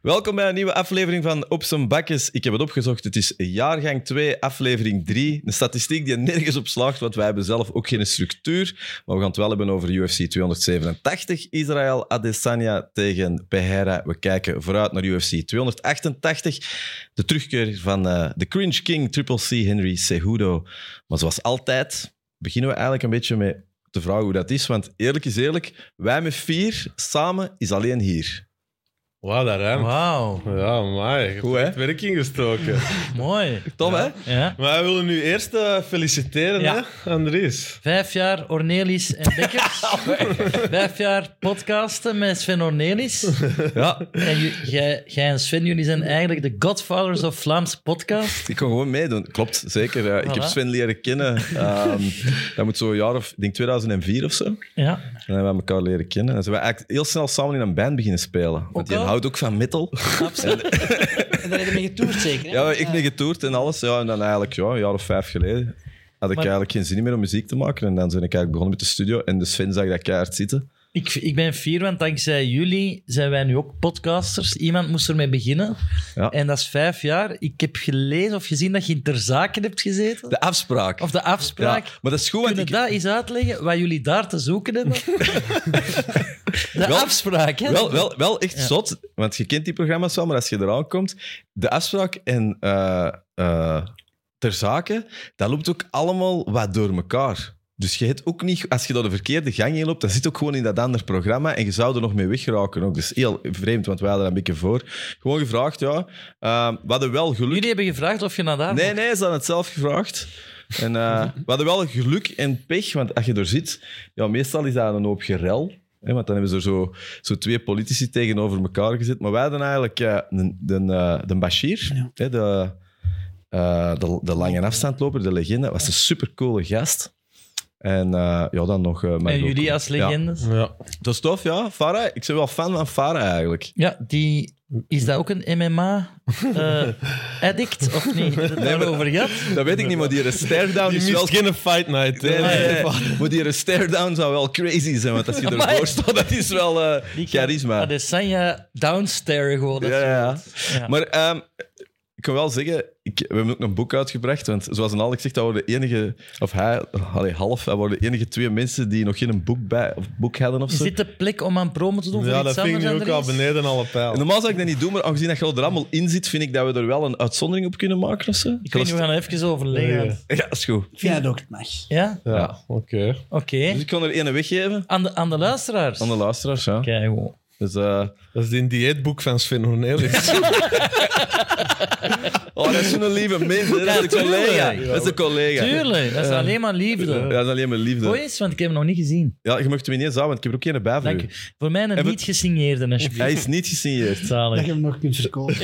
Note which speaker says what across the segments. Speaker 1: Welkom bij een nieuwe aflevering van Op zijn Bakkes. Ik heb het opgezocht. Het is jaargang 2, aflevering 3. Een statistiek die nergens op slaagt, want wij hebben zelf ook geen structuur. Maar we gaan het wel hebben over UFC 287. Israël Adesanya tegen Pereira. We kijken vooruit naar UFC 288. De terugkeer van eh, de Cringe King, Triple C, Henry Cejudo. Maar zoals altijd beginnen we eigenlijk een beetje met de vraag hoe dat is. Want eerlijk is eerlijk, wij met vier, samen is alleen hier.
Speaker 2: Wauw, daar ruim.
Speaker 3: Wauw,
Speaker 2: Ja, maar
Speaker 1: Goed, hè?
Speaker 2: het werk ingestoken.
Speaker 3: mooi.
Speaker 1: Tom, hè?
Speaker 3: Ja.
Speaker 2: maar we willen nu eerst eh, feliciteren,
Speaker 3: Ja.
Speaker 2: hè, Andries.
Speaker 3: Vijf jaar Ornelis en Bekkers.
Speaker 4: Oh,
Speaker 3: Vijf jaar podcasten met Sven Ornelis.
Speaker 1: Ja,
Speaker 3: En ju- jij jij en Sven, jullie zijn eigenlijk de godfathers of Vlaams podcast.
Speaker 1: Ik kon gewoon meedoen. Klopt, zeker. Ja, Ik
Speaker 3: Voilà.
Speaker 1: heb Sven leren kennen. Ehm, dat moet zo'n jaar of, ik denk 2004 of zo. Dan
Speaker 3: Ja,
Speaker 1: hebben we elkaar leren kennen. Dan zijn we eigenlijk heel snel samen in een band beginnen spelen. Want die
Speaker 3: al?
Speaker 1: houdt ook van metal.
Speaker 4: Absoluut. En daar heb je mee getoerd, zeker? Hè?
Speaker 1: Ja, ik ben getoerd en alles. Ja, en dan eigenlijk, ja, een jaar of vijf geleden had ik
Speaker 3: Maar-
Speaker 1: eigenlijk geen zin meer om muziek te maken. En dan ben ik eigenlijk begonnen met de studio. En de Sven zag dat keihard zitten.
Speaker 3: ik, ik ben fier, want dankzij jullie zijn wij nu ook podcasters. Iemand moest ermee beginnen.
Speaker 1: Ja.
Speaker 3: En dat is vijf jaar. Ik heb gelezen of gezien dat je in ter zaken hebt gezeten.
Speaker 1: De afspraak.
Speaker 3: Of de
Speaker 1: ja,
Speaker 3: afspraak.
Speaker 1: maar dat is goed, want
Speaker 3: Kunnen
Speaker 1: ik,
Speaker 3: dat eens uitleggen, wat jullie daar te zoeken hebben? De
Speaker 1: Wel-
Speaker 3: afspraak, hè?
Speaker 1: Wel, wel, wel echt
Speaker 3: Ja.
Speaker 1: zot, want je kent die programma's wel, maar als je eraan komt, de afspraak en eh, eh, ter zake, dat loopt ook allemaal wat door elkaar. Dus je hebt ook niet, als je door de verkeerde gang heen loopt, dat zit ook gewoon in dat ander programma en je zou er nog mee wegraken. Ook. Dus heel vreemd, want wij hadden dat een beetje voor. Gewoon gevraagd, ja. Eh, we hadden wel geluk.
Speaker 3: Jullie hebben gevraagd of je naar daar
Speaker 1: Nee, nee, ze hadden het zelf gevraagd. En, eh, we hadden wel geluk en pech, want als je er zit, ja, meestal is dat een hoop gerel. Hè, want dan hebben ze er zo, zo twee politici tegenover elkaar gezet. Maar wij hadden eigenlijk eh, een- de, eh, de Bashir, hè, de, eh, de, de lange afstandloper, de legende, was een supercoole gast. En eh, ja, dan nog... eh,
Speaker 3: En
Speaker 1: Margot
Speaker 3: jullie
Speaker 1: Koen.
Speaker 3: als
Speaker 1: Ja.
Speaker 3: legendes. Ja.
Speaker 2: Ja.
Speaker 1: Dat is tof, ja. Farah, ik ben wel fan van Farah eigenlijk.
Speaker 3: die, is dat ook een MMA-addict eh, of niet? Heb je het daarover gehad?
Speaker 1: Dat weet ik niet, maar die stare-down
Speaker 2: Die
Speaker 1: is
Speaker 2: mist
Speaker 1: wel
Speaker 2: geen fight night. hè.
Speaker 1: Nee, nee, nee.
Speaker 2: Nee.
Speaker 1: Maar die stare-down zou wel crazy zijn, want als je
Speaker 3: Amai.
Speaker 1: ervoor staat, dat is wel eh,
Speaker 3: Die kan
Speaker 1: charisma.
Speaker 3: Adesanya downstairen gewoon.
Speaker 1: Ja,
Speaker 3: Dat is-
Speaker 1: ja.
Speaker 3: Ja.
Speaker 1: Maar ehm, ik kan wel zeggen, ik, we hebben ook een boek uitgebracht, want zoals een Alex zegt, dat worden de enige, of hij, allee, half, hij worden de enige twee mensen die nog geen boek, bij, of boek hadden of
Speaker 3: Is
Speaker 1: zo.
Speaker 3: dit de plek om aan promo te doen voor
Speaker 2: Ja,
Speaker 3: iets
Speaker 2: dat vind ik
Speaker 3: anders,
Speaker 2: nu ook al
Speaker 3: Andries?
Speaker 2: beneden alle
Speaker 1: En
Speaker 2: pijl.
Speaker 1: normaal zou ik dat niet doen, maar aangezien dat je er allemaal in zit, vind ik dat we er wel een uitzondering op kunnen maken of zo.
Speaker 3: Ik weet niet, we gaan er even overleggen.
Speaker 2: Nee.
Speaker 1: Ja, is goed.
Speaker 4: Ik vind dat ook, het mag.
Speaker 3: Ja?
Speaker 2: Ja,
Speaker 1: Ja.
Speaker 2: oké.
Speaker 3: Oké.
Speaker 1: Dus ik kon er ene weggeven
Speaker 3: Aan, de, aan de luisteraars.
Speaker 1: aan de luisteraars, ja.
Speaker 3: Kijk, gewoon.
Speaker 1: Dus, eh,
Speaker 2: Dat is een dieetboek van Sven Cornelis.
Speaker 1: oh, dat is zo'n lieve mens, hè. dat is een
Speaker 3: tuurlijk.
Speaker 1: collega. Dat is een collega.
Speaker 3: Tuurlijk, dat is alleen maar
Speaker 1: Ja,
Speaker 3: liefde.
Speaker 1: dat is alleen maar liefde.
Speaker 3: Gooi eens, want ik heb hem nog niet gezien.
Speaker 1: Ja, je mag hem ineens aan, want ik heb er ook geen bij voor
Speaker 3: Dank
Speaker 1: u.
Speaker 3: u. Voor mij een
Speaker 1: we-
Speaker 3: niet-gesigneerde,
Speaker 1: Hij
Speaker 3: alsjeblieft.
Speaker 1: is niet gesigneerd.
Speaker 3: Zalig.
Speaker 4: Dat je hem nog kunt verkopen.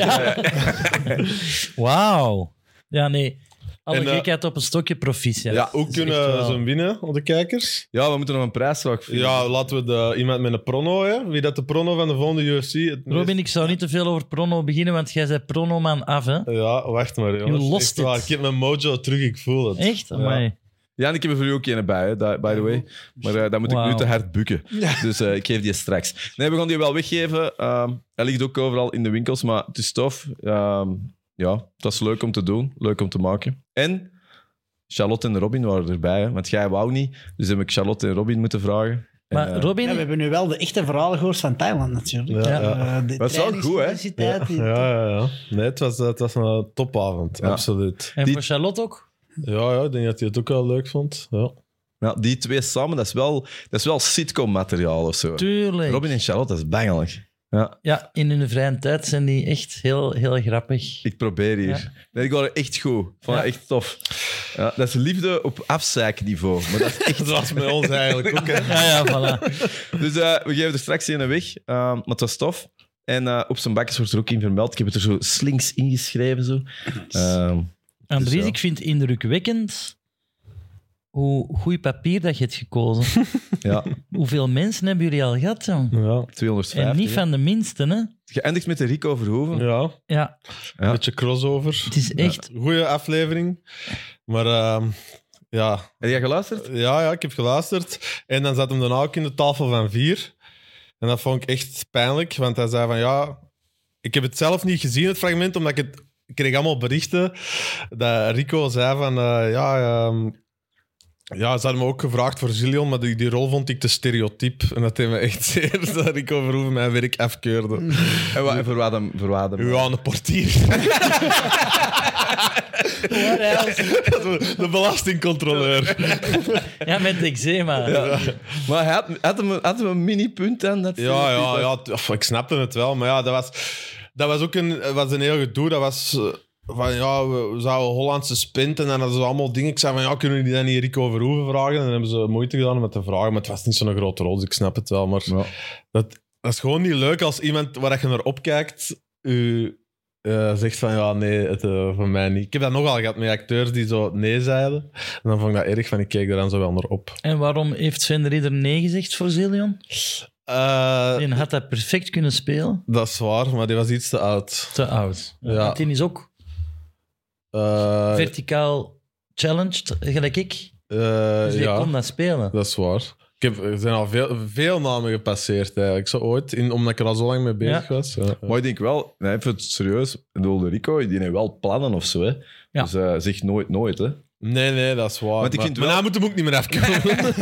Speaker 3: Wauw. Ja, nee. Alle
Speaker 2: En, eh,
Speaker 3: gekheid op een stokje proficiat.
Speaker 1: Ja,
Speaker 2: Hoe kunnen we hem winnen, op de kijkers?
Speaker 1: Ja, we moeten nog een prijsvraag vinden.
Speaker 2: Ja, laten we de, iemand met een prono, hè. Wie dat de prono van de volgende UFC... Het meest-
Speaker 3: Robin, ik zou niet te veel over prono beginnen, want jij zei prono-man af, hè?
Speaker 2: Ja, wacht maar, jongens.
Speaker 3: Je lost
Speaker 2: Echt waar,
Speaker 3: het.
Speaker 2: Ik heb mijn mojo terug, ik voel het.
Speaker 3: Echt? Amai.
Speaker 1: Ja, en ik heb er voor u ook een bij, hè, da- by the way. Maar eh dat moet ik nu
Speaker 3: Wauw.
Speaker 1: te hard bukken. Dus eh, ik geef die straks. Nee, we gaan die wel weggeven. Ehm hij ligt ook overal in de winkels, maar het is tof. Ehm, ja, dat is leuk om te doen. Leuk om te maken. En Charlotte en Robin waren erbij, hè, want jij wou niet. Dus heb ik Charlotte en Robin moeten vragen. En,
Speaker 3: Maar
Speaker 1: eh,
Speaker 3: Robin,
Speaker 4: Ja, we hebben nu wel de echte verhalen gehoord van Thailand, natuurlijk.
Speaker 2: Ja,
Speaker 4: Eh, de
Speaker 1: Dat is wel goed, hè?
Speaker 4: trainingsintensiteit, die-
Speaker 2: Ja, ja, ja. Nee, het was, het was een topavond,
Speaker 1: Ja.
Speaker 2: absoluut.
Speaker 3: en
Speaker 1: die-
Speaker 3: voor Charlotte ook.
Speaker 2: Ja, ja, ik denk dat hij het ook wel leuk vond. Ja.
Speaker 1: nou, die twee samen, dat is wel, dat is wel sitcom-materiaal of zo.
Speaker 3: Tuurlijk.
Speaker 1: Robin en Charlotte, dat is bangelijk. Ja.
Speaker 3: Ja, in hun vrije tijd zijn die echt heel, heel grappig.
Speaker 1: Ik probeer hier. Nee, ik word er echt goed. Ik Vond dat
Speaker 3: Ja.
Speaker 1: echt tof. Ja, dat is liefde op afzeikniveau. Maar dat is echt...
Speaker 2: Dat was bij ons eigenlijk ook, hè.
Speaker 3: Ja, ja, voilà.
Speaker 1: dus eh, we geven er straks een weg. Ehm, maar het was tof. En eh, op zijn bakjes wordt er ook in vermeld. Ik heb het er zo slinks ingeschreven. Zo. Ehm,
Speaker 3: Andries,
Speaker 1: zo.
Speaker 3: ik vind het indrukwekkend hoe goed papier dat je hebt gekozen.
Speaker 1: ja,
Speaker 3: Hoeveel mensen hebben jullie al gehad, jong?
Speaker 2: Ja,
Speaker 1: 250.
Speaker 3: En niet
Speaker 1: hè.
Speaker 3: van de minste, hè?
Speaker 1: Geëindigd met de Rico Verhoeven.
Speaker 2: ja.
Speaker 3: Ja,
Speaker 1: Ja.
Speaker 2: Een beetje crossover.
Speaker 3: het is echt...
Speaker 2: Goeie aflevering. Maar ehm, ja.
Speaker 1: Heb jij geluisterd?
Speaker 2: Ja, ja, ik heb geluisterd. En dan zat hem daarna ook in de tafel van vier. En dat vond ik echt pijnlijk, want hij zei van ja, Ik heb het zelf niet gezien, het fragment, omdat ik het... Ik kreeg allemaal berichten dat Rico zei van... eh, ja, ehm, ja, ze hadden me ook gevraagd voor Zillion, maar die, die rol vond ik te stereotyp. En dat deed me echt zeer dat Rico Verhoeven mijn werk afkeurde.
Speaker 1: En wa- voor wat hem... Voor wat hem-
Speaker 2: Ja, een portier.
Speaker 3: What else?
Speaker 2: De belastingcontroleur.
Speaker 3: Ja, met eczema.
Speaker 1: Maar hij had, had, hem, had hem een mini-punt dan? Dat
Speaker 2: Ja, ja, ja. t- of, ik snapte het wel, maar ja, dat was, dat was ook een, was een heel gedoe. Dat was eh, van, ja, we, we zouden Hollandse spint en dan hadden ze allemaal dingen. Ik zei van, ja, kunnen jullie dan niet Rico Verhoeven vragen? En dan hebben ze moeite gedaan om het te vragen, maar het was niet zo'n grote rol, dus ik snap het wel. Maar
Speaker 1: Ja.
Speaker 2: dat, dat is gewoon niet leuk als iemand waar je naar opkijkt, u eh, zegt van, ja, nee, het, eh, voor mij niet. Ik heb dat nogal gehad met acteurs die zo nee zeiden. En dan vond ik dat erg, van ik keek er dan zo wel naar op.
Speaker 3: En waarom heeft Sven Ridder nee gezegd voor Zillion?
Speaker 2: Eh,
Speaker 3: Die had dat perfect kunnen spelen.
Speaker 2: dat is waar, maar die was iets te oud.
Speaker 3: Te oud.
Speaker 2: Ja. Ah,
Speaker 3: Want die is ook
Speaker 2: Eh,
Speaker 3: verticaal challenged, gelijk ik.
Speaker 2: eh,
Speaker 3: Dus die
Speaker 2: ja,
Speaker 3: kon dat spelen.
Speaker 2: dat is waar. Ik heb, er zijn al veel, veel namen gepasseerd eigenlijk, zo ooit, in, omdat ik er al zo lang mee bezig was. Ja.
Speaker 1: Maar ik denk wel, nee, even serieus, ik bedoel, de Rico, die heeft wel plannen of zo. Hè.
Speaker 3: Ja.
Speaker 1: Dus eh zeg nooit, nooit. Hè.
Speaker 2: Nee, nee, dat is waar.
Speaker 1: Want ik
Speaker 2: maar
Speaker 1: vind
Speaker 2: maar
Speaker 1: wel-
Speaker 2: nou moet hem ook niet meer afkomen.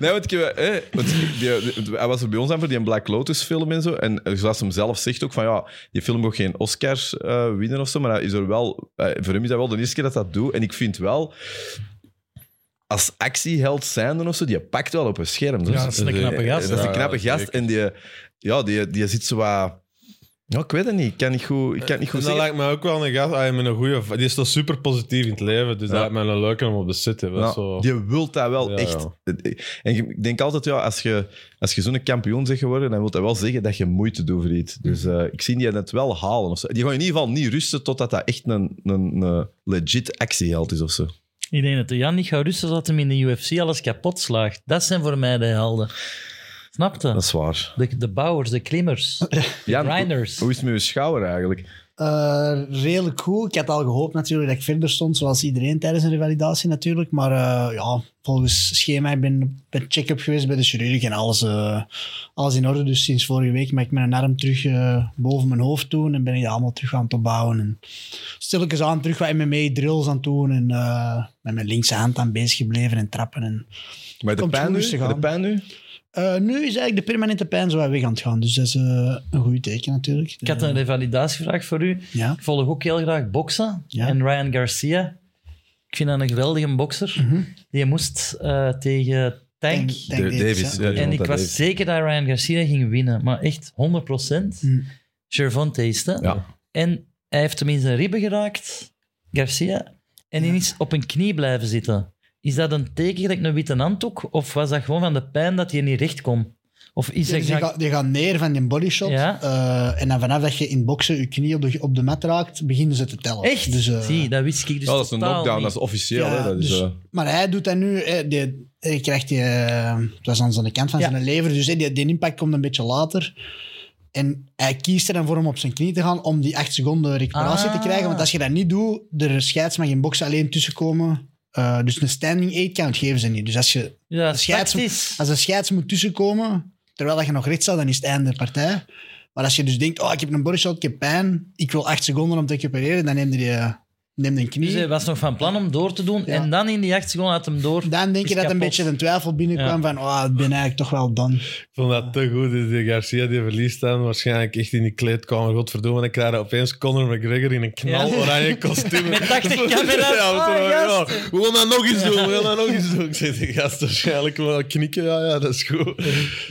Speaker 1: Nee, want, ik, eh, want ik- die- die- hij was er bij ons aan voor die Black Lotus film en zo. En eh, zoals hem zelf zegt ook van ja, die film mag geen Oscars eh, winnen of zo. Maar hij is er wel, eh, voor hem is dat wel de eerste keer dat dat doet. En ik vind wel, als actieheld zijnde of zo, die pakt wel op een scherm. Dus,
Speaker 3: Ja, dat is een knappe gast.
Speaker 1: Dat is
Speaker 2: Ja,
Speaker 1: een knappe
Speaker 2: ja,
Speaker 1: gast. En die, ja, die, die zit zo wat... Ja, ik weet het niet. Ik kan niet goed, ik kan het niet goed
Speaker 2: dat
Speaker 1: zeggen.
Speaker 2: lijkt me ook wel een gast. Ah, met een goeie, die is toch super positief in het leven, dus
Speaker 1: Ja.
Speaker 2: dat lijkt me een leuke om op de set te hebben.
Speaker 1: Nou,
Speaker 2: zo.
Speaker 1: Je wilt dat wel
Speaker 2: Ja,
Speaker 1: echt. En je- ik denk altijd, ja, als je, als je zo'n kampioen bent geworden, dan wil dat wel zeggen dat je moeite doet voor iets. Dus eh, ik zie die net wel halen. Of zo. Die gaan in ieder geval niet rusten totdat dat echt een, een, een legit actieheld is of zo.
Speaker 3: Ik denk dat de Jan niet gaat rusten dat hem in de UFC alles kapot slaagt. Dat zijn voor mij de helden. Snap
Speaker 1: Dat
Speaker 3: je?
Speaker 1: is waar.
Speaker 3: De, de bouwers, de klimmers,
Speaker 1: Jan,
Speaker 3: grinders.
Speaker 1: hoe- Hoe is het met je schouder eigenlijk?
Speaker 4: Eh, redelijk goed. Ik had al gehoopt natuurlijk dat ik verder stond, zoals iedereen tijdens een revalidatie natuurlijk. Maar eh, ja, volgens schema, ik ben bij check-up geweest bij de chirurg en alles, eh, alles in orde. Dus sinds vorige week maak ik mijn arm terug eh, boven mijn hoofd doen en ben ik dat allemaal terug aan het opbouwen. En stilletjes aan terug wat MMA-drills aan het doen en eh, met mijn linkse hand aan bezig gebleven en trappen. En,
Speaker 1: Maar de
Speaker 4: Komt
Speaker 1: pijn,
Speaker 4: goed
Speaker 1: nu,
Speaker 4: rustig aan.
Speaker 1: de pijn nu?
Speaker 4: Eh, nu is eigenlijk de permanente pijn zo wat weg aan het gaan, dus dat is eh, een goed teken natuurlijk. Eh,
Speaker 3: Ik had een revalidatievraag voor u.
Speaker 4: Ja.
Speaker 3: Ik volg ook heel graag boksen.
Speaker 4: Ja.
Speaker 3: En Ryan Garcia. Ik vind dat een geweldige bokser. Die moest eh, tegen Tank.
Speaker 4: Tank-
Speaker 1: De-
Speaker 4: Tank Davis,
Speaker 1: Davis,
Speaker 4: hè.
Speaker 1: ja,
Speaker 3: En
Speaker 1: Gervonta
Speaker 3: ik was
Speaker 1: Davis.
Speaker 3: zeker dat Ryan Garcia ging winnen. Maar echt 100%.
Speaker 4: Mm.
Speaker 3: Gervonta is dat.
Speaker 1: Ja.
Speaker 3: En hij heeft hem in zijn ribben geraakt, Garcia. En hij is op een knie blijven zitten. Is dat een teken gelijk een witte handdoek? Of was dat gewoon van de pijn dat hij niet recht kon? Of is
Speaker 4: Ja,
Speaker 3: dat...
Speaker 4: dus je, gaat, je gaat neer van die bodyshot.
Speaker 3: Ja.
Speaker 4: eh, en dan vanaf dat je in boksen je knie op de, op de mat raakt, beginnen ze te tellen.
Speaker 3: Echt?
Speaker 4: Dus, eh,
Speaker 3: Zie, dat wist ik dus
Speaker 1: Ja, dat is een
Speaker 3: totaal
Speaker 1: knockdown,
Speaker 3: niet.
Speaker 1: dat is officieel.
Speaker 4: ja,
Speaker 1: hè? Dat is,
Speaker 4: dus-
Speaker 1: eh,
Speaker 4: maar hij doet dat nu. Hij, die, hij krijgt die, eh, het was aan zijn kant van
Speaker 3: Ja.
Speaker 4: zijn lever, dus eh, die, die impact komt een beetje later. En hij kiest er dan voor om op zijn knie te gaan om die acht seconden recuperatie
Speaker 3: Ah.
Speaker 4: te krijgen. Want als je dat niet doet, de scheids mag in boksen alleen tussenkomen. Eh, dus een standing eight count geven ze niet. Dus als, je,
Speaker 3: Ja, dat is
Speaker 4: scheids-
Speaker 3: tactisch.
Speaker 4: als de scheids moet tussenkomen, terwijl dat je nog recht staat, dan is het einde partij. Maar als je dus denkt, oh, ik heb een bodyshot, ik heb pijn, ik wil acht seconden om te recupereren, dan neem je die, eh, neem je een knie.
Speaker 3: Dus hij was nog van plan om door te doen.
Speaker 4: Ja.
Speaker 3: En dan in die jacht gewoon had hem door.
Speaker 4: dan denk
Speaker 3: is
Speaker 4: je dat een
Speaker 3: kapot.
Speaker 4: beetje een twijfel binnenkwam van, oh, ik ben eigenlijk toch wel dan.
Speaker 2: Ik vond dat te goed. Dus die Garcia die verliest dan waarschijnlijk echt in die kleedkamer. Godverdomme. En dan krijg je opeens Conor McGregor in een knal oranje kostuum.
Speaker 3: Met 80 camera's.
Speaker 2: we
Speaker 3: Ah,
Speaker 2: zullen-
Speaker 3: gast.
Speaker 2: we gaan dat nog eens doen. We gaan dat nog eens doen. Ik zei die gast waarschijnlijk wel knikken. Ja, ja, dat is goed.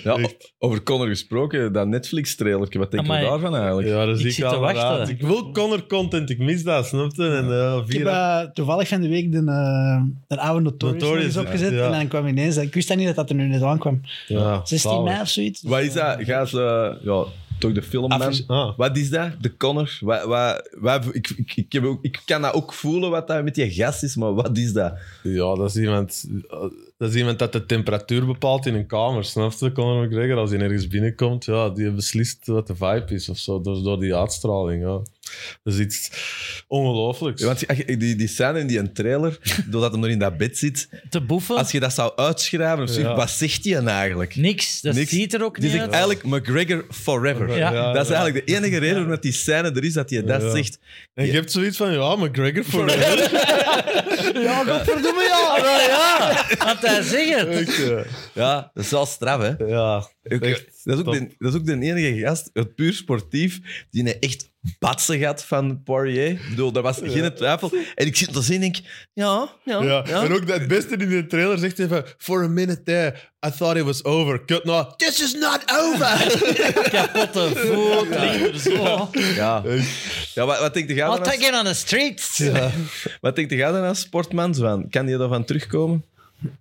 Speaker 1: ja,
Speaker 2: Echt.
Speaker 1: o- over Connor gesproken, dat Netflix-trailertje, wat denk je
Speaker 3: Amai.
Speaker 1: daarvan eigenlijk?
Speaker 2: Ja, dat
Speaker 3: Ik
Speaker 2: zie ik,
Speaker 3: zit te
Speaker 2: al
Speaker 3: wachten.
Speaker 2: raad. Ik wil Conor content. Ik mis dat, snap je? En eh
Speaker 4: Ik heb
Speaker 2: vier...
Speaker 4: eh, toevallig van de week de, eh, de oude Notorious, nog
Speaker 2: Notorious,
Speaker 4: eens opgezet
Speaker 2: ja.
Speaker 4: en dan kwam ineens, dat- ik wist dat niet dat dat er nu net aankwam.
Speaker 2: Ja,
Speaker 4: 16
Speaker 2: zalig.
Speaker 4: mei of zoiets. Dus,
Speaker 1: Wat is
Speaker 4: eh,
Speaker 1: dat? Ga eens, eh, ja, toch de filmman.
Speaker 2: Afges- ah.
Speaker 1: Wat is dat? De Connor? Wat, wat, wat- ik, ik, ik, heb ook- ik kan dat ook voelen wat dat met die gast is, maar wat is dat?
Speaker 2: Ja, dat is, iemand, eh, dat is iemand dat de temperatuur bepaalt in een kamer. Snap je, Conor McGregor? Als hij ergens binnenkomt, ja, die beslist wat de vibe is of zo, door, door die uitstraling. Ja. Dat is iets ongelooflijks.
Speaker 1: Ja, want die, die, die scène in die trailer, doordat hem er in dat bed zit,
Speaker 3: Te boeven,
Speaker 1: als je dat zou uitschrijven of zo,
Speaker 2: Ja.
Speaker 1: wat zegt hij dan eigenlijk?
Speaker 3: niks. Dat
Speaker 1: Niks.
Speaker 3: ziet er ook
Speaker 1: Die
Speaker 3: niet
Speaker 1: zegt
Speaker 3: uit.
Speaker 1: eigenlijk McGregor forever.
Speaker 3: Ja.
Speaker 1: Dat is eigenlijk de enige reden waarom dat die scène er is, dat hij dat
Speaker 2: Ja.
Speaker 1: zegt.
Speaker 2: En je hebt zoiets van, ja, McGregor voor
Speaker 4: Ja, godverdomme, ja.
Speaker 3: Want hij zegt het.
Speaker 1: Ja, dat is wel straf, hè?
Speaker 2: eh, Ja,
Speaker 1: Ook-
Speaker 2: Echt
Speaker 1: dat, is ook
Speaker 2: top.
Speaker 1: de, dat is ook de enige gast, het puur sportief, die een echt batsen gaat van Poirier. Ik bedoel, daar was geen twijfel. En ik zit te zien en denk, ja, ja, ja.
Speaker 2: ja. En ook het beste in de trailer zegt hij van... For a minute there, I thought it was over. Cut now, this is not over!
Speaker 3: Kapotte voet, ligt er zo.
Speaker 1: Ja. Ja, wat, wat denkt de
Speaker 3: I'll take
Speaker 1: gasten
Speaker 3: it on the streets.
Speaker 1: als sportman van? Kan die daarvan terugkomen?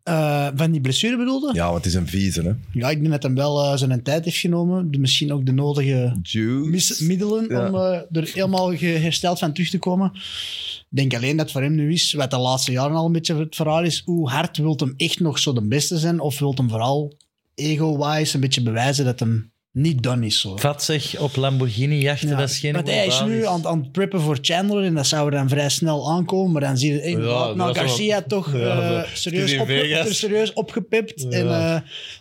Speaker 4: Eh, van die blessure bedoelde? Ja.
Speaker 1: Ja, want het is een vieze, hè?
Speaker 4: ik denk dat hem wel eh, zijn tijd heeft genomen. De- Misschien ook de nodige
Speaker 1: Juice.
Speaker 4: mis- middelen
Speaker 1: Ja.
Speaker 4: om eh, er helemaal ge- hersteld van terug te komen. Ik denk alleen dat het voor hem nu is, wat de laatste jaren al een beetje het verhaal is, hoe hard wilt hem echt nog zo de beste zijn? Of wilt hem vooral ego-wise een beetje bewijzen dat hem niet done is? Zo.
Speaker 3: Vat zich op Lamborghini jachten, dat is geen
Speaker 4: Want hij is
Speaker 3: goed
Speaker 4: nu
Speaker 3: verhaal.
Speaker 4: aan, aan het preppen voor Chandler en dat zou er dan vrij snel aankomen. Maar dan zie je hey, nou,
Speaker 2: dat is wel-
Speaker 4: Garcia toch eh,
Speaker 2: Ja, dat- het is
Speaker 4: serieus,
Speaker 2: in
Speaker 4: opge-
Speaker 2: Vegas.
Speaker 4: er serieus opgepipt.
Speaker 2: Ja.
Speaker 4: En eh,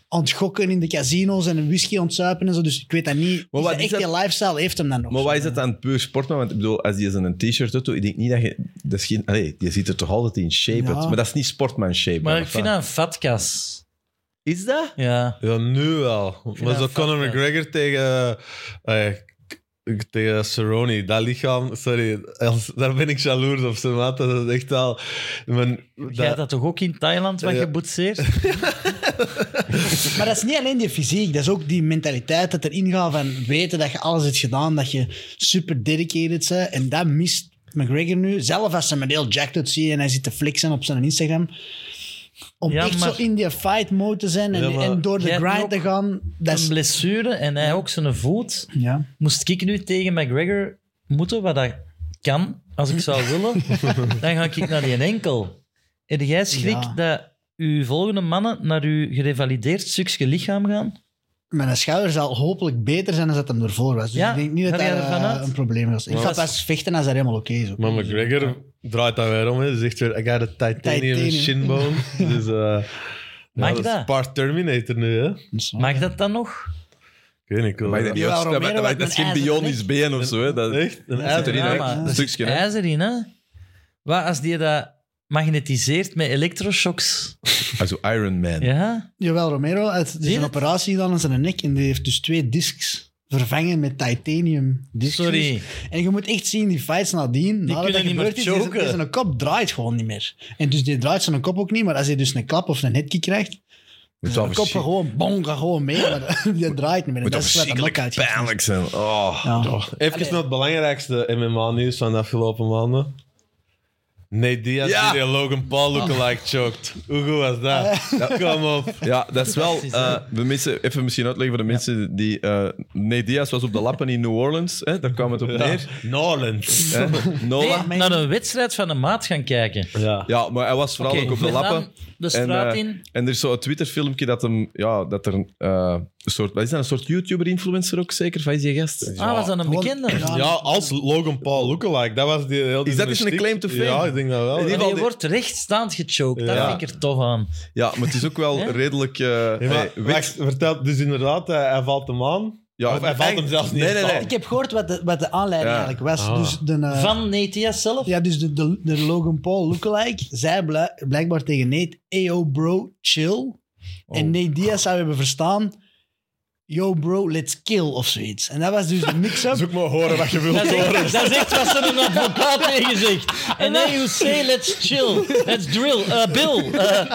Speaker 4: aan het gokken in de casino's en een whisky aan het zuipen en zo. Dus ik weet dat niet.
Speaker 1: Maar
Speaker 4: Is
Speaker 1: wat
Speaker 4: dat
Speaker 1: is
Speaker 4: echt
Speaker 1: dat-
Speaker 4: die lifestyle heeft hem dan nog.
Speaker 1: Maar
Speaker 4: zo,
Speaker 1: wat is
Speaker 4: hè?
Speaker 1: het dan puur sportman? Want ik bedoel, als die eens een t-shirt doet, ik denk niet dat je... Dat is geen, allee, je ziet er toch altijd in shape
Speaker 4: Ja.
Speaker 1: uit. Maar dat is niet sportman-shape.
Speaker 3: Maar
Speaker 1: hè,
Speaker 3: ik
Speaker 1: of
Speaker 3: vind
Speaker 1: wat?
Speaker 3: dat een vatkas.
Speaker 1: Is dat?
Speaker 3: Ja.
Speaker 2: Ja, nu wel. Maar
Speaker 3: dat
Speaker 2: zo
Speaker 3: een
Speaker 2: Conor
Speaker 3: vet, ja.
Speaker 2: McGregor tegen... eh, eh, k- tegen Cerrone, dat lichaam, sorry, als- daar ben ik jaloers op, ze maat, dat is echt al... Men,
Speaker 3: Jij had dat toch ook in Thailand wat
Speaker 2: Ja.
Speaker 3: je boetseert?
Speaker 4: Maar dat is niet alleen die fysiek, dat is ook die mentaliteit dat erin gaat van weten dat je alles hebt gedaan, dat je super dedicated bent. En dat mist McGregor nu. Zelf als ze hem heel jacked uit zien en hij zit te flexen op zijn Instagram. Om
Speaker 3: Ja,
Speaker 4: echt
Speaker 3: maar-
Speaker 4: zo in die fight mode te zijn en,
Speaker 2: Ja, maar
Speaker 4: en door de
Speaker 3: jij hebt
Speaker 4: grind
Speaker 3: ook
Speaker 4: te gaan. Dat
Speaker 3: Een
Speaker 4: is,
Speaker 3: blessure en hij ook zijn voet.
Speaker 4: ja.
Speaker 3: Moest ik nu tegen McGregor moeten, wat dat kan, als ik zou willen, dan ga ik naar die enkel. Heb jij schrik
Speaker 4: Ja.
Speaker 3: dat uw volgende mannen naar uw gerevalideerd stukje lichaam gaan?
Speaker 4: Mijn schouder zal hopelijk beter zijn dan dat hem ervoor was. Dus
Speaker 3: Ja,
Speaker 4: ik denk niet dat
Speaker 3: ga
Speaker 4: dat
Speaker 3: jij ervan
Speaker 4: eh,
Speaker 3: uit?
Speaker 4: een probleem was. Ik
Speaker 2: Maar
Speaker 4: ga
Speaker 3: dat is-
Speaker 4: pas vechten als dat helemaal oké is. ook.
Speaker 2: Maar McGregor draait daar weer om. Hij zegt weer, I got a titanium,
Speaker 4: Titanium.
Speaker 2: shinbone. dus, eh,
Speaker 3: Mag
Speaker 2: ja,
Speaker 3: dat?
Speaker 2: is part Terminator nu, hè?
Speaker 4: Dus, eh,
Speaker 3: Mag dat dan nog?
Speaker 2: Ik weet niet, ik wil
Speaker 1: Maar
Speaker 2: dat-
Speaker 1: dat,
Speaker 4: Jawel,
Speaker 1: dat- dat-
Speaker 4: Romero
Speaker 1: dat-
Speaker 4: had
Speaker 1: dat is
Speaker 4: een
Speaker 1: geen
Speaker 4: ijzeren
Speaker 1: bionisch been of zo. Hè. Dat,
Speaker 2: Echt? Een
Speaker 1: dat zit erin,
Speaker 3: Ja,
Speaker 1: hè.
Speaker 3: maar
Speaker 1: een
Speaker 3: er
Speaker 1: stukje.
Speaker 3: zit
Speaker 1: hè.
Speaker 3: ijzer in, hè? Wat als die dat magnetiseert met elektroshocks?
Speaker 1: Also Iron Man.
Speaker 3: Ja?
Speaker 4: Jawel, Romero heeft dus
Speaker 3: je
Speaker 4: een
Speaker 3: het?
Speaker 4: operatie gedaan aan zijn nek en die heeft dus twee discs vervangen met titanium discs.
Speaker 3: Sorry.
Speaker 4: En je moet echt zien, die fights nadien, nadat dat
Speaker 3: kunnen niet meer
Speaker 4: gebeurd is, die-
Speaker 3: choken.
Speaker 4: die zijn kop draait gewoon niet meer. En dus die draait zijn kop ook niet, maar als hij dus een klap of een hitkick krijgt,
Speaker 1: Moet wel
Speaker 4: zijn kop gaat
Speaker 1: verschrik-
Speaker 4: gewoon, bong, gaat gewoon mee, maar die draait niet meer. En
Speaker 1: moet wel
Speaker 4: dat is wat hem ook
Speaker 1: verschrikkelijk
Speaker 4: uitgeeft.
Speaker 1: pijnlijk zijn. Oh.
Speaker 4: Ja.
Speaker 2: Even
Speaker 4: Allee.
Speaker 2: naar het belangrijkste MMA-nieuws van de afgelopen maanden. Nate Diaz
Speaker 1: Ja.
Speaker 2: die de Logan Paul lookalike choked. Hoe goed was dat? Kom op.
Speaker 1: Ja, dat is wel.
Speaker 3: Fantastisch,
Speaker 1: eh,
Speaker 3: hè?
Speaker 1: we missen, even misschien uitleggen voor de mensen die. eh nee, Diaz was op de lappen in New Orleans. Hè, daar kwam het op
Speaker 2: eh,
Speaker 1: neer.
Speaker 2: Norland.
Speaker 1: Hè, Nola.
Speaker 3: Nee, naar een wedstrijd van een maat gaan kijken.
Speaker 2: Ja.
Speaker 1: Ja, maar hij was vooral
Speaker 3: Oké,
Speaker 1: ook op de
Speaker 3: we
Speaker 1: lappen.
Speaker 3: gaan De
Speaker 1: En,
Speaker 3: straat
Speaker 1: eh,
Speaker 3: in.
Speaker 1: En er is zo'n Twitter-filmpje dat hem. Ja, dat er een, eh, een soort. Wat is dat? Een soort YouTuber-influencer ook zeker? Van is die gast?
Speaker 3: Ah, was dat een
Speaker 4: Gewoon-
Speaker 3: bekende?
Speaker 4: Ja.
Speaker 2: Ja, als Logan Paul lookalike. Dat was die heel die
Speaker 1: Is dat eens een
Speaker 2: mystiek.
Speaker 1: claim to fame?
Speaker 2: Ja, ik denk dat
Speaker 1: In
Speaker 2: wel. ja.
Speaker 1: ieder
Speaker 3: En
Speaker 1: geval
Speaker 3: die
Speaker 1: die-
Speaker 3: wordt rechtstaand gechoked. Dat
Speaker 2: Ja.
Speaker 3: vind ik er tof aan.
Speaker 1: Ja, maar het is ook wel
Speaker 3: Ja?
Speaker 1: redelijk. eh
Speaker 2: Ja, maar
Speaker 1: hey, wit-
Speaker 2: wacht, vertel, dus inderdaad, hij, hij valt hem aan.
Speaker 1: Ja,
Speaker 2: of hij valt hem zelfs niet
Speaker 1: Nee, nee,
Speaker 2: aan.
Speaker 1: nee.
Speaker 4: Ik heb gehoord wat de, wat de aanleiding
Speaker 1: Ja.
Speaker 4: eigenlijk was.
Speaker 2: Ah.
Speaker 4: Dus de, eh,
Speaker 3: Van Netias zelf?
Speaker 4: Ja, dus de, de, de Logan Paul lookalike zei bla- blijkbaar tegen Nate, Ayo bro, chill.
Speaker 2: Oh.
Speaker 4: En Nate Diaz zou hebben verstaan, yo bro, let's kill of zoiets. En dat was dus de mix-up.
Speaker 2: Zoek maar horen wat je wilt
Speaker 3: Dat is,
Speaker 2: horen.
Speaker 3: echt, dat is echt wat ze een advocaat tegen zegt. En then you say, let's chill, let's drill, eh, Bill. eh.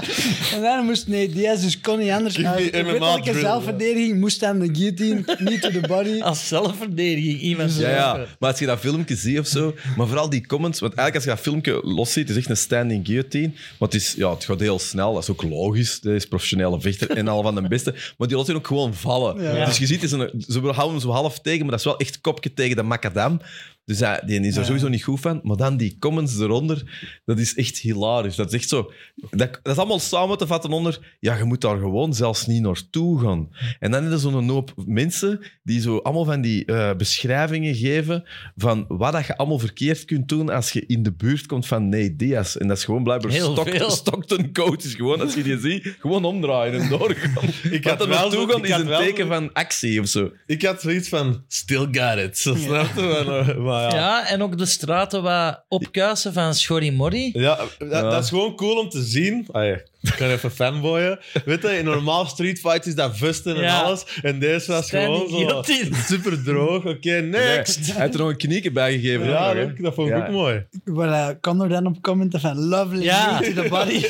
Speaker 4: En daarom moest Nate Diaz dus kon niet anders.
Speaker 2: Give me
Speaker 4: Uit
Speaker 2: MMA
Speaker 4: wettelijke
Speaker 2: drill,
Speaker 4: zelfverdediging moest aan de guillotine, niet to the body.
Speaker 3: als zelfverdediging iemand.
Speaker 1: Ja, ja, maar als je dat filmpje ziet of zo, maar vooral die comments, want eigenlijk als je dat filmpje los ziet, het is echt een standing guillotine, maar het, is, ja, het gaat heel snel, dat is ook logisch, dat is professionele vechter en al van de beste, maar die laat je ook gewoon vallen.
Speaker 4: Ja.
Speaker 1: Dus je ziet, het is een, ze houden hem zo half tegen, maar dat is wel echt kopje tegen de macadam. Dus hij, die is er
Speaker 4: Ja.
Speaker 1: sowieso niet goed van. Maar dan die comments eronder, dat is echt hilarisch. Dat is echt zo... Dat, dat is allemaal samen te vatten onder... Ja, je moet daar gewoon zelfs niet naartoe gaan. En dan is er zo'n hoop mensen die zo allemaal van die eh, beschrijvingen geven van wat dat je allemaal verkeerd kunt doen als je in de buurt komt van Nate Diaz. En dat is gewoon blijkbaar
Speaker 3: Heel
Speaker 1: Stock-
Speaker 3: veel.
Speaker 1: Stockton coach. Is gewoon, als je die ziet, gewoon omdraaien en doorgaan. Ik
Speaker 2: had
Speaker 1: had er
Speaker 2: wel
Speaker 1: naartoe
Speaker 2: zo-
Speaker 1: gaan
Speaker 2: ik
Speaker 1: is
Speaker 2: had
Speaker 1: een
Speaker 2: wel-
Speaker 1: teken van actie of zo.
Speaker 2: Ik had zoiets van, still got it. Zo snap je? Maar, eh, maar ja. Ja,
Speaker 3: Ja, en ook de straten waar opkuisen van Schorimori.
Speaker 2: dat,
Speaker 1: Ja.
Speaker 2: dat is gewoon cool om te zien. Ah, ja. Ik kan even fanboyen. Weet je, in normaal street fights is dat vusten en
Speaker 3: Ja.
Speaker 2: alles. En deze was
Speaker 3: Standing
Speaker 2: gewoon zo
Speaker 3: guillotine.
Speaker 2: super droog. Oké,
Speaker 1: Nee,
Speaker 2: next.
Speaker 1: Hij heeft er nog een knieken bij gegeven.
Speaker 2: Ja,
Speaker 1: ook nog, hè.
Speaker 2: dat, dat vond ik
Speaker 1: Ja. Eh,
Speaker 2: ook mooi.
Speaker 4: Voilà, kan er dan op commenten van lovely
Speaker 3: Ja.
Speaker 4: meat to the body.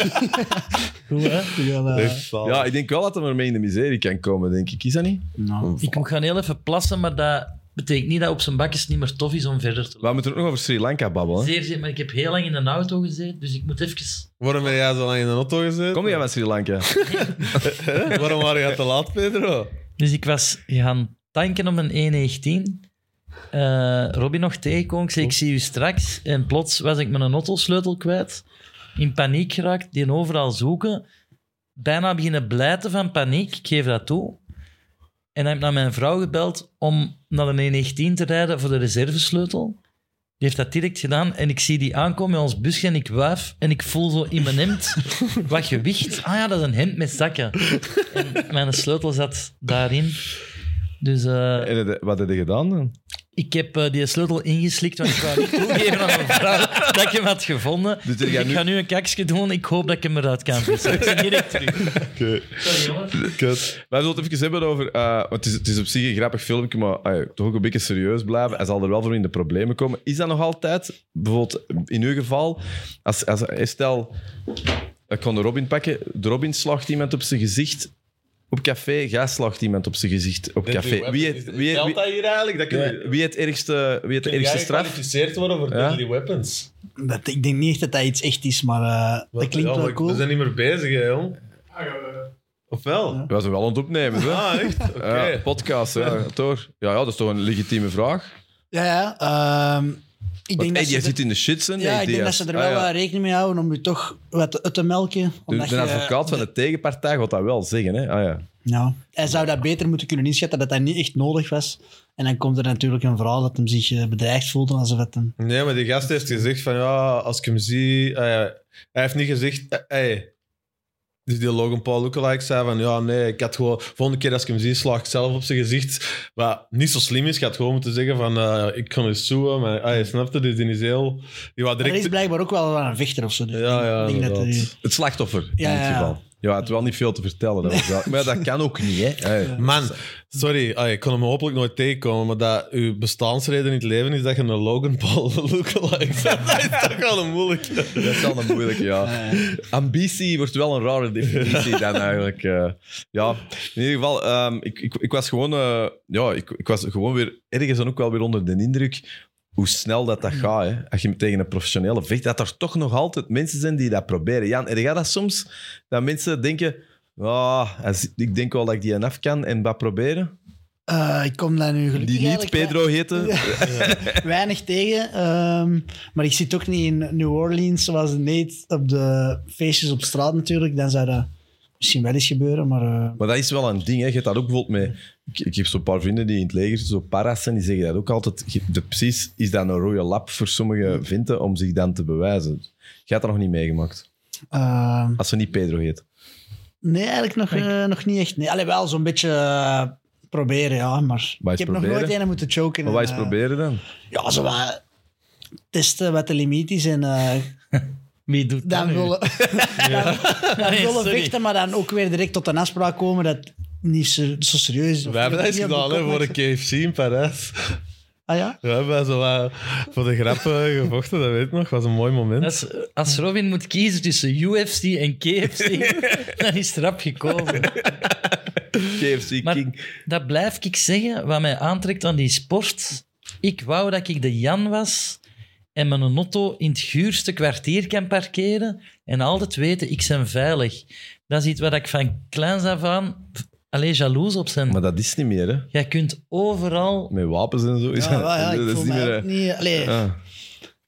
Speaker 3: Goed, hè?
Speaker 4: Wel, eh,
Speaker 2: Echt zalig.
Speaker 1: Ja, ik denk wel dat hij ermee in de miserie kan komen, denk ik. Is dat niet?
Speaker 4: nou.
Speaker 3: Ik moet gaan heel even plassen, maar dat betekent niet dat op zijn bakjes niet meer tof is om verder te lopen.
Speaker 1: We moeten ook nog over Sri Lanka babbelen. hè.
Speaker 3: Zeer, zeer, maar ik heb heel lang in een auto gezeten, dus ik moet even...
Speaker 2: Waarom ben jij zo lang in de auto gezeten?
Speaker 1: Kom jij van Sri Lanka?
Speaker 2: Hè? Waarom waren jij te laat, Pedro?
Speaker 3: Dus ik was gaan tanken om een E 1.19. Eh Robin nog tegenkwam, ik zei ik zie u straks. En plots was ik mijn autosleutel kwijt. In paniek geraakt, die overal zoeken. Bijna beginnen blijten van paniek, ik geef dat toe. En dan heb ik naar mijn vrouw gebeld om naar de 1.19 te rijden voor de reservesleutel. Die heeft dat direct gedaan en ik zie die aankomen met ons busje en ik wuif en ik voel zo in mijn hemd wat gewicht. Ah ja, dat is een hemd met zakken. En mijn sleutel zat daarin. Dus eh,
Speaker 1: En het- wat heb je gedaan dan?
Speaker 3: ik heb eh, die sleutel ingeslikt, want ik wou niet toegeven aan mijn vrouw dat ik hem had gevonden.
Speaker 1: Dus er
Speaker 3: ik
Speaker 1: gaat nu-
Speaker 3: ga nu een kaksje doen, ik hoop dat ik hem eruit kan vissen. Ik ben direct terug.
Speaker 2: Oké,
Speaker 3: Sorry jongens.
Speaker 2: kut.
Speaker 1: Wij zullen het even hebben over... eh, want het, is, het is op zich een grappig filmpje, maar ah, toch ook een beetje serieus blijven. Hij zal er wel voor in de problemen komen. Is dat nog altijd, bijvoorbeeld in uw geval, als, als, eh, stel, ik kon de Robin pakken, de Robin slacht iemand op zijn gezicht... Op café, jij slacht iemand op zijn gezicht op café. Wie het, wie,
Speaker 2: Telt
Speaker 1: wie,
Speaker 2: dat hier eigenlijk? Dat kun je-
Speaker 1: wie, wie het ergste, wie het
Speaker 2: kun
Speaker 1: ergste
Speaker 2: jij
Speaker 1: straf...
Speaker 2: gekwalificeerd worden voor
Speaker 1: Ja.
Speaker 2: deadly weapons?
Speaker 4: dat, ik denk niet echt dat dat iets echt is, maar eh,
Speaker 2: Wat-
Speaker 4: dat klinkt
Speaker 2: ja,
Speaker 4: wel
Speaker 2: maar
Speaker 4: cool.
Speaker 2: We zijn niet meer bezig, hè, jong. Of wel?
Speaker 4: Ja.
Speaker 1: We zijn wel aan het opnemen, hè?
Speaker 2: Ah, echt? Oké.
Speaker 1: Ja, podcast, ja, toch? Ja, ja, dat is toch een legitieme vraag.
Speaker 4: Ja, ja. ehm, ik
Speaker 1: Want,
Speaker 4: denk
Speaker 1: hey,
Speaker 4: dat
Speaker 1: jij
Speaker 4: ze
Speaker 1: zit
Speaker 4: er,
Speaker 1: in de shit, hè?
Speaker 4: ja,
Speaker 1: nee,
Speaker 4: ik denk dat
Speaker 1: Diaz.
Speaker 4: ze er
Speaker 1: Ah,
Speaker 4: wel eh,
Speaker 1: ja.
Speaker 4: wat rekening mee houden om je toch wat uit te melken.
Speaker 1: De,
Speaker 4: Omdat
Speaker 1: de
Speaker 4: je-
Speaker 1: advocaat van de tegenpartij gaat dat wel zeggen, hè? Ah, ja.
Speaker 4: Ja, hij zou dat beter moeten kunnen inschatten dat dat niet echt nodig was. En dan komt er natuurlijk een verhaal dat hem zich eh, bedreigd voelde alsof het hem...
Speaker 2: Nee, maar die gast heeft gezegd van ja, als ik hem zie... eh, hij heeft niet gezegd... eh, hey. Dus die Logan Paul lookalike zei van ja, nee, ik had gewoon... Volgende keer als ik hem zie, sla ik zelf op zijn gezicht. Wat niet zo slim is, ik had gewoon moeten zeggen van eh, ik kan eens zoen. Maar hij snapte, dus die is heel... Die wou
Speaker 4: Maar hij
Speaker 2: direct...
Speaker 4: is blijkbaar ook wel een vechter of zo. Dus
Speaker 2: Ja, ja,
Speaker 4: ik denk dat
Speaker 2: inderdaad.
Speaker 4: hij-
Speaker 1: Het slachtoffer,
Speaker 4: Ja,
Speaker 1: in dit
Speaker 4: ja.
Speaker 1: geval. Ja, het wel niet veel te vertellen. Dat was wel- Maar dat kan ook niet, hè? Ah, ja.
Speaker 2: Man, sorry, ah, ik kon hem hopelijk nooit tegenkomen, maar dat uw bestaansreden in het leven is dat je een Logan Paul lookalike bent. Dat is toch wel een moeilijke.
Speaker 1: Dat is wel een moeilijke, ja. Ambitie wordt wel een rare definitie dan eigenlijk. eh. ja, in ieder geval, ehm, ik, ik, ik was gewoon... eh, ja, ik, ik was gewoon weer ergens dan ook wel weer onder de indruk hoe snel dat, dat gaat. Hè. Als je tegen een professionele vecht, dat er toch nog altijd mensen zijn die dat proberen. Jan, er gaat dat soms dat mensen denken... ah, hij zit- ik denk wel dat ik die aan af kan en dat proberen.
Speaker 4: Eh, ik kom daar nu gelukkig
Speaker 1: Die niet
Speaker 4: eigenlijk
Speaker 1: Pedro heten.
Speaker 4: weinig tegen. ehm, maar ik zit ook niet in New Orleans zoals Nate op de feestjes op straat natuurlijk. Dan zou dat misschien wel eens gebeuren, maar... eh,
Speaker 1: Maar dat is wel een ding. Hè. Je hebt dat ook bijvoorbeeld met... Ik, ik heb zo'n paar vrienden die in het leger zitten, zo paras zijn, die zeggen dat ook altijd. Je- De, precies, is dat een rode lap voor sommige vinten om zich dan te bewijzen. Jij hebt dat nog niet meegemaakt.
Speaker 4: ehm,
Speaker 1: Als ze niet Pedro heet.
Speaker 4: nee, eigenlijk nog, eh, nog niet echt. Nee, allee, wel zo'n beetje eh, proberen, ja. Maar
Speaker 1: Wat is
Speaker 4: ik heb nog
Speaker 1: proberen?
Speaker 4: nooit een moeten choken.
Speaker 1: Maar wij eens
Speaker 4: en, eh,
Speaker 1: proberen dan.
Speaker 4: Ja, zo wat testen wat de limiet is en eh,
Speaker 3: Wie doet dat
Speaker 4: dan
Speaker 3: nu?
Speaker 4: willen, dan, dan
Speaker 3: Nee,
Speaker 4: willen
Speaker 3: sorry.
Speaker 4: vechten, maar dan ook weer direct tot een afspraak komen dat niet ser- zo serieus is.
Speaker 2: We hebben dat eens
Speaker 4: Niet op de
Speaker 2: gedaan hè,
Speaker 4: kop
Speaker 2: voor
Speaker 4: met-
Speaker 2: een KFC in Parijs.
Speaker 4: Ah ja?
Speaker 2: We hebben zo wat voor de grap eh, gevochten, dat weet ik nog. was een mooi moment.
Speaker 3: Als, als Robin moet kiezen tussen UFC en KFC, dan is het rap gekomen.
Speaker 1: KFC
Speaker 3: Maar
Speaker 1: King.
Speaker 3: dat blijf ik zeggen, wat mij aantrekt aan die sport. Ik wou dat ik de Jan was en mijn auto in het guurste kwartier kan parkeren en altijd weten, ik ben veilig. Dat is iets wat ik van kleins af aan alleen jaloers op zijn.
Speaker 1: Maar dat is niet meer, hè?
Speaker 3: Jij kunt overal...
Speaker 1: Met wapens en zo. Is
Speaker 4: Ja,
Speaker 1: dat,
Speaker 4: wel, ja, ik
Speaker 1: dat is
Speaker 4: voel
Speaker 1: niet
Speaker 4: mij
Speaker 1: meer.
Speaker 4: ook niet... Allee,
Speaker 1: Ah.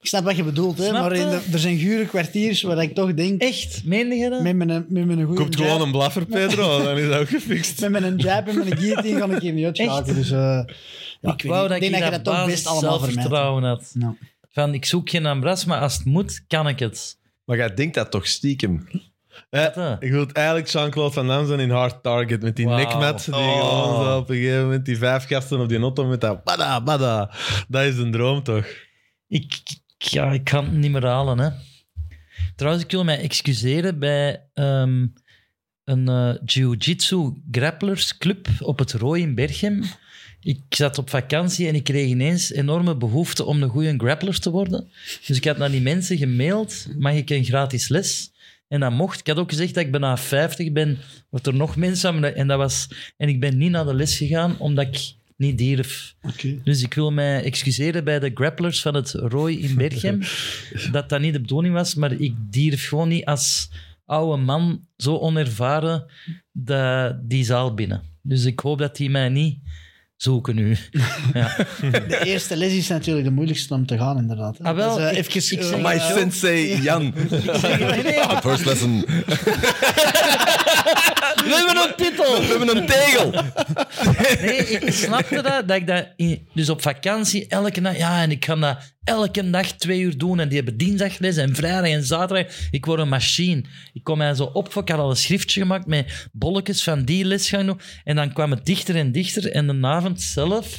Speaker 4: Ik snap wat je bedoelt, hè,
Speaker 3: Snap
Speaker 4: maar in
Speaker 3: je?
Speaker 4: de- er zijn gure kwartiers waar ik toch denk...
Speaker 3: Echt, meende je dat?
Speaker 4: Met mijn, met mijn goede
Speaker 2: Komt gewoon een blaffer, Pedro, dan is dat ook gefixt.
Speaker 4: Met mijn jab en mijn guillotine kan ik hier niet uitschakelen. Dus, eh, ja,
Speaker 3: ik wou
Speaker 4: niet.
Speaker 3: dat ik
Speaker 4: denk dat je
Speaker 3: dat
Speaker 4: dat toch best allemaal vermijdt.
Speaker 3: zelfvertrouwen had.
Speaker 4: Ja.
Speaker 3: Van, ik zoek geen ambras, maar als het moet, kan ik het.
Speaker 1: Maar jij denkt dat toch stiekem?
Speaker 2: Eh,
Speaker 3: Wat, hè?
Speaker 2: ik wil het eigenlijk Jean-Claude Van Damme zijn in Hard Target met die
Speaker 3: Wauw.
Speaker 2: nekmat. Die
Speaker 1: Oh.
Speaker 2: gewoon zo op een gegeven moment die vijf gasten op die auto met dat bada bada. Dat is een droom toch?
Speaker 3: Ik, ik- ja, ik kan het niet meer halen, hè. Trouwens, ik wil mij excuseren bij ehm, een eh, jiu-jitsu grapplers club op het Rooi in Berchem. Ik zat op vakantie en ik kreeg ineens enorme behoefte om een goede grappler te worden. Dus ik had naar die mensen gemaild, mag ik een gratis les? En dat mocht. Ik had ook gezegd dat ik bijna 50 ben, wordt er nog mensen aan me- En, dat was, en ik ben niet naar de les gegaan, omdat ik niet durf. Dus ik wil mij excuseren bij de grapplers van het Rooi in Berchem. dat dat niet de bedoeling was, maar ik durf gewoon niet als oude man, zo onervaren, de, die zaal binnen. Dus ik hoop dat die mij niet zoeken nu. ja.
Speaker 4: De eerste les is natuurlijk de moeilijkste om te gaan, inderdaad.
Speaker 3: Ah, wel,
Speaker 4: Dat is, eh,
Speaker 3: ik-
Speaker 4: even,
Speaker 3: ik
Speaker 4: eh,
Speaker 3: zeg-
Speaker 1: My
Speaker 3: Ja.
Speaker 1: sensei, Jan.
Speaker 3: Nee, nee,
Speaker 1: First lesson.
Speaker 3: we hebben een pittel!
Speaker 1: We hebben een tegel.
Speaker 3: Nee, ik snapte dat. dat, ik dat in- dus op vakantie, elke dag, ja, en ik kan dat elke dag twee uur doen. En die hebben dinsdagles en vrijdag en zaterdag. Ik word een machine. Ik kom mij zo op, ik had al een schriftje gemaakt met bolletjes van die les gaan doen. En dan kwam het dichter en dichter. En de avond zelf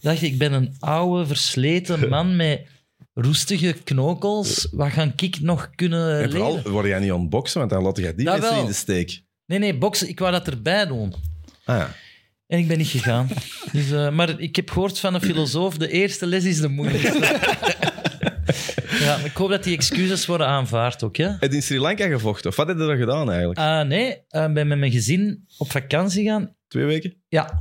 Speaker 3: dacht ik, ik ben een oude, versleten man met roestige knokels. Wat gaan ik nog kunnen
Speaker 1: En
Speaker 3: leren?
Speaker 1: vooral, word jij niet aan het boksen, want dan laat jij die
Speaker 3: Dat
Speaker 1: mensen
Speaker 3: wel.
Speaker 1: in de steek.
Speaker 3: Nee, nee, boksen. Ik wou dat erbij doen.
Speaker 1: Ah, ja.
Speaker 3: En ik ben niet gegaan. Dus, eh, maar ik heb gehoord van een filosoof, de eerste les is de moeilijkste. ja, maar ik hoop dat die excuses worden aanvaard ook. Hè?
Speaker 1: Heb je in Sri Lanka gevochten? Of wat heb je daar gedaan eigenlijk?
Speaker 3: Ah, nee, eh, ben met mijn gezin op vakantie gaan.
Speaker 1: Twee weken?
Speaker 3: Ja.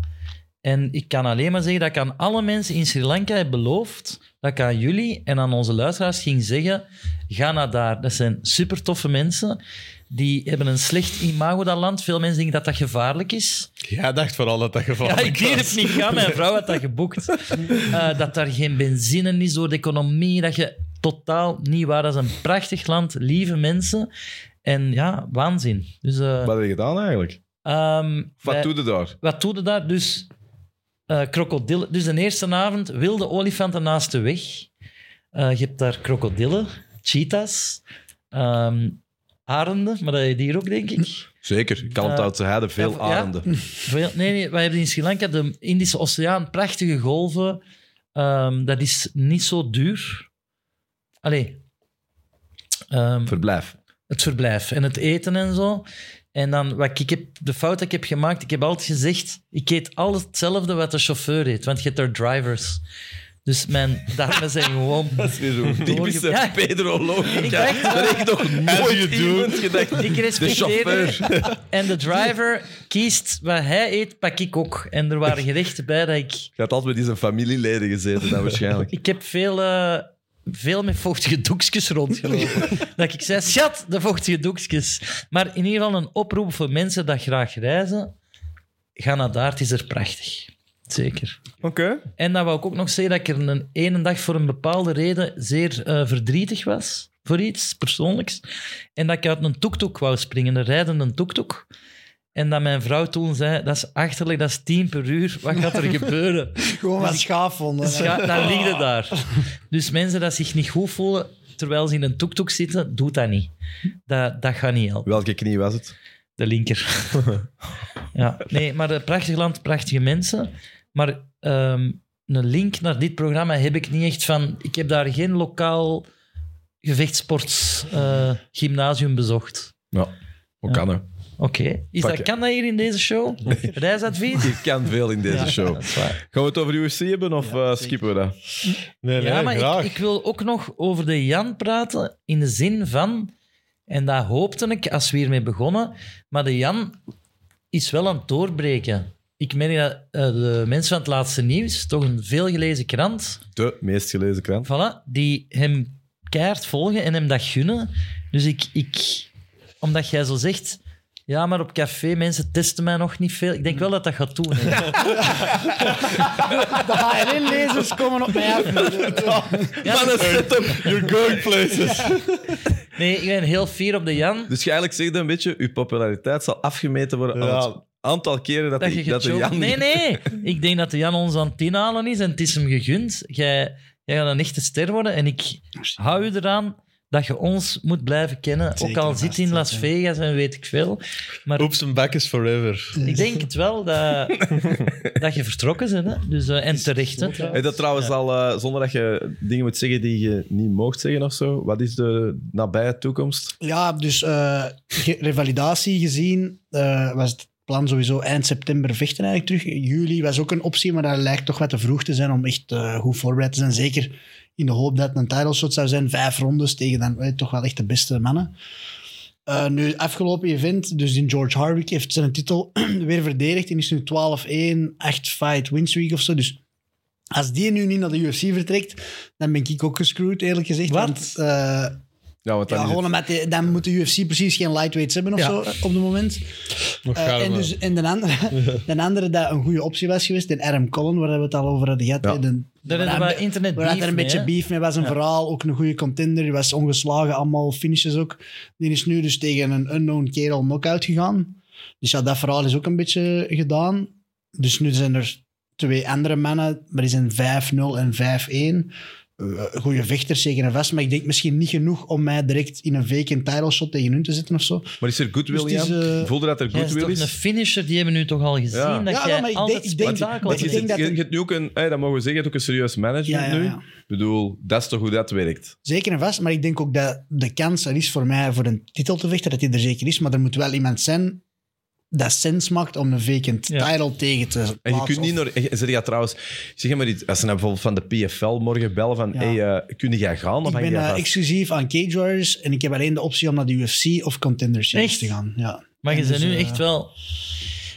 Speaker 3: En ik kan alleen maar zeggen dat ik aan alle mensen in Sri Lanka heb beloofd dat ik aan jullie en aan onze luisteraars ging zeggen, ga naar daar. Dat zijn super toffe mensen. Die hebben een slecht imago, dat land. Veel mensen denken dat dat gevaarlijk is.
Speaker 2: Jij dacht vooral dat dat geval
Speaker 3: Ja, ik durf niet gaan. Mijn vrouw had dat geboekt. Eh, dat daar geen benzine is door de economie. Dat je totaal niet waar. Dat is een prachtig land. Lieve mensen. En ja, waanzin. Dus, eh,
Speaker 1: Wat heb je gedaan eigenlijk?
Speaker 3: ehm,
Speaker 1: Wat
Speaker 3: wij-
Speaker 1: doe je daar?
Speaker 3: wat doe je daar? Dus eh, krokodillen. Dus de eerste avond wilde olifanten naast de weg. Eh, je hebt daar krokodillen, cheetahs, ehm, arenden, maar dat heb je hier ook, denk ik.
Speaker 1: Zeker, Kalmthoutse Heide, veel
Speaker 3: Eh, ja, ja.
Speaker 1: arenden.
Speaker 3: Veel- Nee, nee, wij hebben in Sri Lanka de Indische Oceaan, prachtige golven. Ehm, dat is niet zo duur. Allee, ehm,
Speaker 1: Verblijf.
Speaker 3: het verblijf en het eten en zo. En dan, wat ik heb, de fout die ik heb gemaakt, ik heb altijd gezegd, ik eet al hetzelfde wat de chauffeur eet, want je hebt er drivers. Dus mijn darmen zijn gewoon...
Speaker 1: Dat is weer zo'n typische
Speaker 3: Ja. Ik
Speaker 1: Pedro-logica.
Speaker 3: dacht-
Speaker 1: Dat heeft toch nooit
Speaker 2: you do.
Speaker 1: iemand gedacht.
Speaker 3: Ik
Speaker 1: De
Speaker 3: respecteer
Speaker 1: chauffeur.
Speaker 3: En de driver kiest wat hij eet, pak ik ook. En er waren gerechten bij dat ik...
Speaker 1: Je had altijd met die zijn familieleden gezeten dan waarschijnlijk.
Speaker 3: Ik heb veel, eh, veel met vochtige doekjes rondgelopen. dat ik zei, schat, de vochtige doekjes. Maar in ieder geval een oproep voor mensen dat graag reizen. Ga naar daar, het is er prachtig. Zeker.
Speaker 1: Oké.
Speaker 3: En dan wou ik ook nog zeggen dat ik er een ene dag voor een bepaalde reden zeer eh, verdrietig was. Voor iets persoonlijks. En dat ik uit een toektoek wou springen, een rijdende toektoek. En dat mijn vrouw toen zei, dat is achterlijk, dat is tien per uur. Wat gaat er gebeuren?
Speaker 4: Gewoon
Speaker 3: Dus
Speaker 4: wat schaaf vonden.
Speaker 3: Scha- dan ligt het daar. Dus mensen dat zich niet goed voelen terwijl ze in een tuk-tuk zitten, doet dat niet. Dat, dat gaat niet helpen.
Speaker 1: Welke knie was het?
Speaker 3: De linker. ja. Nee, maar een prachtig land, prachtige mensen. Maar ehm, een link naar dit programma heb ik niet echt van... Ik heb daar geen lokaal gevechtssportsgymnasium gymnasium bezocht.
Speaker 1: Ja, ook kan hè.
Speaker 3: Oké. Is
Speaker 1: Pak
Speaker 3: dat,
Speaker 1: je.
Speaker 3: kan dat hier in deze show? Reisadvies?
Speaker 1: Je kan veel in deze
Speaker 3: Ja,
Speaker 1: show.
Speaker 3: dat is waar.
Speaker 1: Gaan we het over UFC hebben of eh, skippen we dat?
Speaker 2: Nee, nee,
Speaker 3: Ja, maar
Speaker 2: graag.
Speaker 3: ik, ik wil ook nog over de Jan praten in de zin van, en daar hoopte ik als we hiermee begonnen, maar de Jan is wel aan het doorbreken. Ik merk dat eh, de mensen van het laatste nieuws, toch een veelgelezen krant,
Speaker 1: De meest gelezen krant.
Speaker 3: voilà, die hem keihard volgen en hem dat gunnen. Dus ik, ik omdat jij zo zegt, Ja, maar op café, mensen testen mij nog niet veel. Ik denk wel dat dat gaat doen. hè.
Speaker 4: De HRN-lezers Ah, komen op mij af.
Speaker 3: Ja, dat-
Speaker 2: You're going places.
Speaker 3: nee, ik ben heel fier op de Jan.
Speaker 1: Dus je eigenlijk zegt een beetje, je populariteit zal afgemeten worden
Speaker 2: Ja.
Speaker 1: aan het aantal keren dat,
Speaker 3: Dat
Speaker 1: die-
Speaker 3: je
Speaker 1: dat de
Speaker 3: gechoked-
Speaker 1: Jan...
Speaker 3: Nee, nee. Ik denk dat de Jan ons aan het inhalen is en het is hem gegund. Jij, jij gaat een echte ster worden en ik hou je eraan dat je ons moet blijven kennen.
Speaker 4: Zeker,
Speaker 3: ook al zit je in
Speaker 4: vast,
Speaker 3: Las
Speaker 4: zeker.
Speaker 3: Vegas en weet ik veel. Maar
Speaker 2: Oops and back is forever.
Speaker 3: ik denk het wel dat, dat je vertrokken bent. Hè? Dus, eh, en terecht. Hè,
Speaker 1: Hey, dat trouwens al, eh, zonder dat je dingen moet zeggen die je niet mocht zeggen of zo. Wat is de nabije toekomst?
Speaker 4: Ja, dus eh, ge- revalidatie gezien eh, was het plan sowieso eind september vechten eigenlijk terug. Juli was ook een optie, maar dat lijkt toch wat te vroeg te zijn om echt eh, goed voorbereid te zijn. Zeker in de hoop dat het een title shot zou zijn. Vijf rondes tegen dan eh, toch wel echt de beste mannen. Eh, nu, afgelopen event, dus in George Harwick heeft zijn titel weer verdedigd en is nu 12-1, 8 fight win streak of zo. Dus als die nu niet naar de UFC vertrekt, dan ben ik ook gescrewd, eerlijk gezegd.
Speaker 3: Wat?
Speaker 4: Want, eh,
Speaker 1: Ja, want dan
Speaker 4: ja,
Speaker 1: is het-
Speaker 4: gewoon omdat die- dan moet de UFC precies geen lightweights hebben of
Speaker 3: Ja.
Speaker 4: zo eh, op het moment.
Speaker 2: Nog
Speaker 4: Eh, en, dus, en de andere, de andere dat een goede optie was geweest, de Adam Cullen, waar we het al over hadden gehad.
Speaker 1: Ja.
Speaker 4: hè, de-
Speaker 3: Daar
Speaker 4: waar
Speaker 3: hebben
Speaker 4: hij-
Speaker 3: we internet
Speaker 4: Waar hij er een beetje beef mee was, een verhaal, ook een goede contender. Die was ongeslagen, allemaal finishes ook. Die is nu dus tegen een unknown kerel knock-out gegaan. Dus ja, dat verhaal is ook een beetje gedaan. Dus nu zijn er twee andere mannen, maar die zijn 5-0 en 5-1. Eh, goede vechters, zeker en vast. Maar ik denk misschien niet genoeg om mij direct in een vacant title shot tegen hun te zetten of zo.
Speaker 1: Maar is er goodwill
Speaker 4: Dus het
Speaker 1: in?
Speaker 4: is,
Speaker 1: aan?
Speaker 4: eh,
Speaker 1: Voelde dat er
Speaker 3: Jij is
Speaker 1: goodwill
Speaker 3: toch een
Speaker 1: is?
Speaker 3: finisher, die hebben we nu toch al gezien.
Speaker 1: Ja.
Speaker 3: Dat
Speaker 4: Ja,
Speaker 3: jij
Speaker 4: maar ik
Speaker 3: altijd
Speaker 4: denk- ik denk dat-
Speaker 3: spektakel
Speaker 1: Want je,
Speaker 4: ik
Speaker 3: hebt.
Speaker 1: zit-
Speaker 4: denk dat
Speaker 1: je-
Speaker 4: het-
Speaker 1: je hebt nu ook een, hey, dat mogen we zeggen, je hebt ook een serieus management
Speaker 4: Ja, ja, ja.
Speaker 1: nu. Ik bedoel, dat is toch hoe dat werkt?
Speaker 4: Zeker en vast, maar ik denk ook dat de kans er is voor mij voor een titel te vechten, dat die er zeker is. Maar er moet wel iemand zijn dat sens maakt om een vacant
Speaker 3: Ja.
Speaker 4: title tegen te plaatsen.
Speaker 1: En je kunt niet
Speaker 4: Of-
Speaker 1: naar... en je- Zeg ja, trouwens, zeg maar iets. Als ze nou bijvoorbeeld van de PFL morgen bellen van,
Speaker 4: Ja.
Speaker 1: hey, eh, kun jij gaan? Of
Speaker 4: Ik
Speaker 1: hang
Speaker 4: ben
Speaker 1: jij
Speaker 4: eh,
Speaker 1: vast?
Speaker 4: exclusief aan Cage Warriors en ik heb alleen de optie om naar de UFC of Contender Series
Speaker 3: Echt?
Speaker 4: te gaan. Ja.
Speaker 3: Maar je
Speaker 4: En
Speaker 3: bent
Speaker 4: dus,
Speaker 3: nu
Speaker 4: eh,
Speaker 3: echt wel...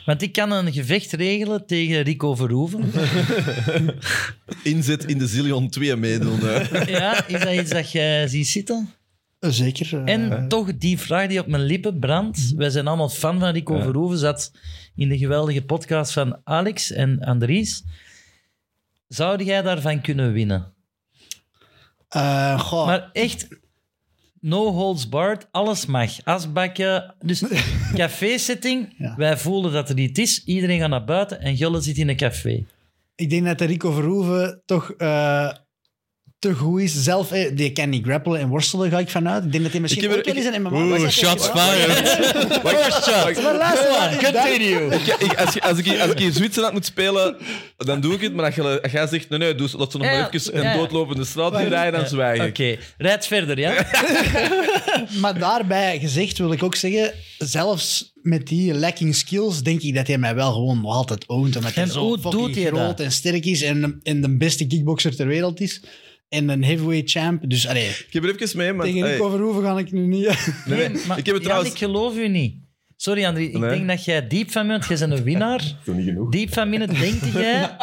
Speaker 3: Want ik kan een gevecht regelen tegen Rico Verhoeven.
Speaker 1: Inzet in de Zillion 2 meedoen. eh.
Speaker 3: ja, is dat iets dat jij ziet zitten?
Speaker 4: eh, Zeker. eh,
Speaker 3: En toch die vraag die op mijn lippen brandt.
Speaker 1: Mhm.
Speaker 3: Wij zijn allemaal fan van Rico Verhoeven. Zat in de geweldige podcast van Alex en Andries. Zou jij daarvan kunnen winnen?
Speaker 4: eh,
Speaker 1: Oh.
Speaker 4: goh,
Speaker 3: Maar echt, no holds barred, alles mag. Asbakken, dus café-setting.
Speaker 4: Ja.
Speaker 3: Wij voelen dat er iets is. Iedereen gaat naar buiten en Gulle zit in een café.
Speaker 4: Ik denk dat de Rico Verhoeven toch... eh, te goed is. Zelf, eh, die kan niet grappelen en worstelen, ga ik vanuit. Ik denk dat hij misschien
Speaker 1: heb er-
Speaker 4: ook wel
Speaker 1: ik-
Speaker 4: eens in MMA...
Speaker 2: Oeh,
Speaker 4: was dat
Speaker 2: shots
Speaker 4: echt-
Speaker 2: fired.
Speaker 4: Maar luister, maar-
Speaker 1: Ik- ik- als, je- als, ik, hier- als ik hier Zwitserland moet spelen, dan doe ik het. Maar als, je, als jij zegt, nee, nee, doe, laat ze nog
Speaker 3: Ja,
Speaker 1: maar even een
Speaker 3: ja.
Speaker 1: doodlopende straat in rijden, dan zwijg
Speaker 3: Oké,
Speaker 1: ik.
Speaker 3: rijd verder, ja?
Speaker 4: Maar daarbij gezegd wil ik ook zeggen, zelfs met die lacking skills, denk ik dat hij mij wel gewoon nog altijd oont. Omdat hij
Speaker 3: En
Speaker 4: zo
Speaker 3: hoe
Speaker 4: fucking
Speaker 3: doet hij
Speaker 4: groot
Speaker 3: dat?
Speaker 4: en sterk is en, en de beste kickboxer ter wereld is. En een heavyweight champ. Dus allee,
Speaker 1: Ik heb er even mee, maar...
Speaker 4: tegen
Speaker 1: hey,
Speaker 4: Rico Verhoeven ga ik nu niet. eh.
Speaker 1: nee, nee,
Speaker 3: Maar,
Speaker 1: ik heb het trouwens...
Speaker 3: Jan, ik geloof u niet. Sorry, André. Ik
Speaker 1: Nee.
Speaker 3: denk dat jij diep van binnen... Jij bent een winnaar.
Speaker 1: Niet genoeg.
Speaker 3: Diep van binnen denk jij...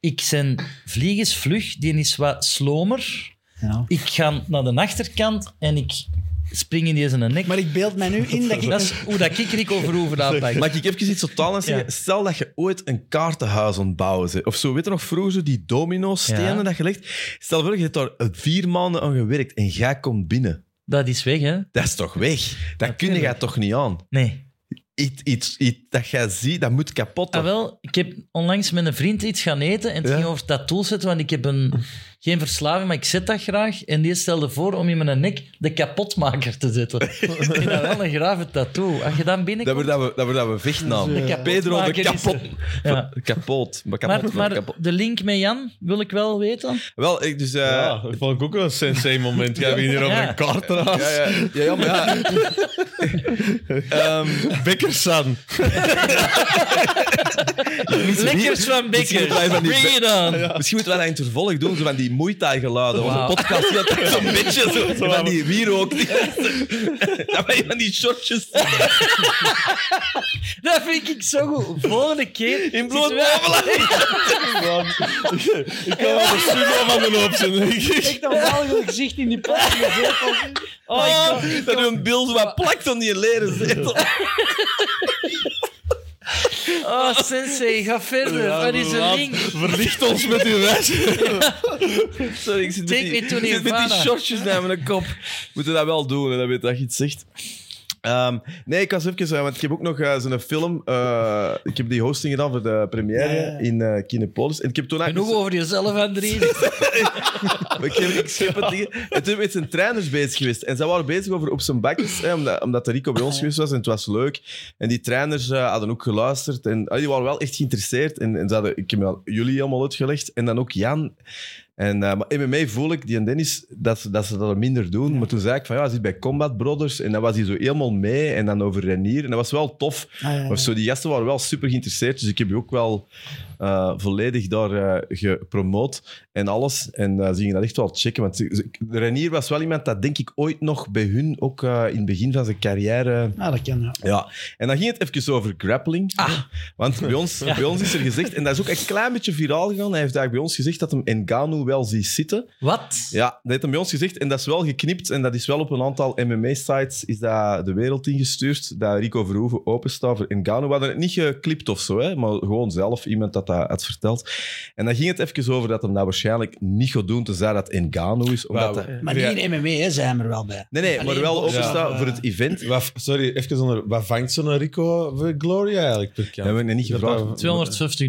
Speaker 3: Ik zijn vliegensvlug, die is wat slomer.
Speaker 4: Ja.
Speaker 3: Ik ga naar de achterkant en ik spring in deze nek.
Speaker 4: Maar ik beeld mij nu in dat ik... Ah,
Speaker 3: Dat is hoe dat ik Rico Verhoeven aanpak.
Speaker 1: Mag ik even iets totaal anders zeggen?
Speaker 3: Ja.
Speaker 1: Stel dat je ooit een kaartenhuis ontbouwen bent. Of zo, weet je nog, vroeger zo die domino-stenen
Speaker 3: Ja.
Speaker 1: dat je legt. Stel voor, je hebt daar vier maanden aan gewerkt en jij komt binnen.
Speaker 3: Dat is weg, hè?
Speaker 1: Dat is toch weg? Dat kun je
Speaker 3: Natuurlijk.
Speaker 1: toch niet aan?
Speaker 3: Nee.
Speaker 1: Iets, iets, iets dat jij ziet, dat moet kapot.
Speaker 3: Ah, wel, ik heb onlangs met een vriend iets gaan eten en het
Speaker 1: Ja.
Speaker 3: ging over tattoos zetten, want ik heb een, geen verslaving, maar ik zet dat graag. En die stelde voor om in mijn nek de kapotmaker te zetten. ik vind dat wel een grave tattoo. Als je dan
Speaker 1: Dat
Speaker 3: binnenkomt...
Speaker 1: wordt dat we, dat wordt dat we vechtnaam.
Speaker 4: Dus, eh,
Speaker 1: Pedro de
Speaker 3: kapotmaker is
Speaker 1: kapot.
Speaker 3: Ja.
Speaker 1: Kapot. Maar kapot.
Speaker 3: Maar,
Speaker 1: maar
Speaker 3: maar
Speaker 1: kapot.
Speaker 3: de link met Jan wil ik wel weten.
Speaker 1: Wel, ik dus... eh,
Speaker 2: Ja, dat vond ik ook wel een sensei-moment. Jij bent hier op
Speaker 3: Ja.
Speaker 2: een kaart eraan.
Speaker 1: ja, ja, ja, ja, maar ja. Ehm,
Speaker 2: Bekkersan.
Speaker 3: Lekkers van
Speaker 1: Misschien
Speaker 3: Bekker.
Speaker 1: moeten wij van die-
Speaker 3: Bring it on.
Speaker 1: Misschien moeten we dat in het vervolg doen, zo van die Muay Thai geluiden op
Speaker 3: Wauw.
Speaker 1: een podcast. Dat is zo'n beetje zo. zo van die wierook. Ja, maar van die shortjes.
Speaker 3: Dat vind ik zo goed. Volgende keer...
Speaker 1: In bloot
Speaker 3: zitten wij-
Speaker 2: Ik kan wel de sumo van mijn hoop zijn.
Speaker 4: Echt een walgelijk gezicht in die plaats. met zetels in.
Speaker 3: Oh, ik kom- ik
Speaker 1: Ah, dat
Speaker 3: kom-
Speaker 1: een beeld wat plakt aan die leren zetel.
Speaker 3: Oh, sensei, ga verder. Wat is een
Speaker 2: laat-
Speaker 3: link?
Speaker 2: Verlicht ons met uw wijsheid.
Speaker 1: Sorry, ik zit met
Speaker 3: Take
Speaker 1: die,
Speaker 3: me to
Speaker 1: ik zit met die
Speaker 3: Nirvana.
Speaker 1: shortjes naar mijn kop. Moeten dat wel doen, hè, dat weet dat je iets zegt. Ehm, nee, ik was even... eh, Want ik heb ook nog eh, zo'n film... eh, ik heb die hosting gedaan voor de première
Speaker 4: Ja, ja.
Speaker 1: in eh, Kinepolis. En ik heb toen
Speaker 3: Genoeg
Speaker 1: eigenlijk...
Speaker 3: over jezelf, Andries.
Speaker 1: Ik, heb, ik schip het niet. En toen ben ik met zijn trainers bezig geweest. En zij waren bezig over op zijn bakjes, hè, omdat, omdat de Rico bij ons geweest was en het was leuk. En die trainers eh, hadden ook geluisterd. En ah, die waren wel echt geïnteresseerd. En, en ze hadden, ik heb wel jullie allemaal uitgelegd. En dan ook Jan. En, eh maar MMA voel ik, die en Dennis, dat ze dat, ze dat minder doen. Maar toen zei ik van, ja, hij zit bij Combat Brothers. En dan was hij zo helemaal mee. En dan over Renier. En dat was wel tof.
Speaker 4: Ah, ja, ja.
Speaker 1: Of zo, die gasten waren wel super geïnteresseerd. Dus ik heb je ook wel eh, volledig daar eh, gepromoot en alles. En eh ze gingen dat echt wel checken. Want ze- ze- Renier was wel iemand dat denk ik ooit nog bij hun, ook eh, in het begin van zijn carrière...
Speaker 4: Ah, dat kan, ja.
Speaker 1: Ja, en dan ging het even over grappling. Want bij ons, bij ons is er gezegd, en dat is ook een klein beetje viraal gegaan, hij heeft eigenlijk bij ons gezegd dat hem Engano wel ziet zitten.
Speaker 3: Wat?
Speaker 1: Ja, dat heeft hem bij ons gezegd. En dat is wel geknipt. En dat is wel op een aantal MMA-sites is dat de wereld ingestuurd. Dat Rico Verhoeven openstaat voor Ngannou. We hadden het niet geklipt of zo, hè, maar gewoon zelf iemand dat dat had verteld. En dan ging het even over dat hem dat waarschijnlijk niet gaat doen, tenzij dat Ngannou is. Omdat
Speaker 2: Wauw.
Speaker 1: dat-
Speaker 4: Maar
Speaker 2: Ja.
Speaker 4: niet in MMA hè, zijn we er wel bij.
Speaker 1: Nee, nee,
Speaker 4: Alleen
Speaker 1: maar wel
Speaker 4: boxen,
Speaker 1: openstaan
Speaker 4: eh,
Speaker 1: voor het event.
Speaker 2: Wat- Sorry, even onder. Wat vangt zo'n Rico voor Gloria eigenlijk per
Speaker 1: Dat
Speaker 2: kant?
Speaker 1: hebben we nog niet
Speaker 2: Dat
Speaker 1: gevraagd.
Speaker 2: dat-
Speaker 3: 250.000.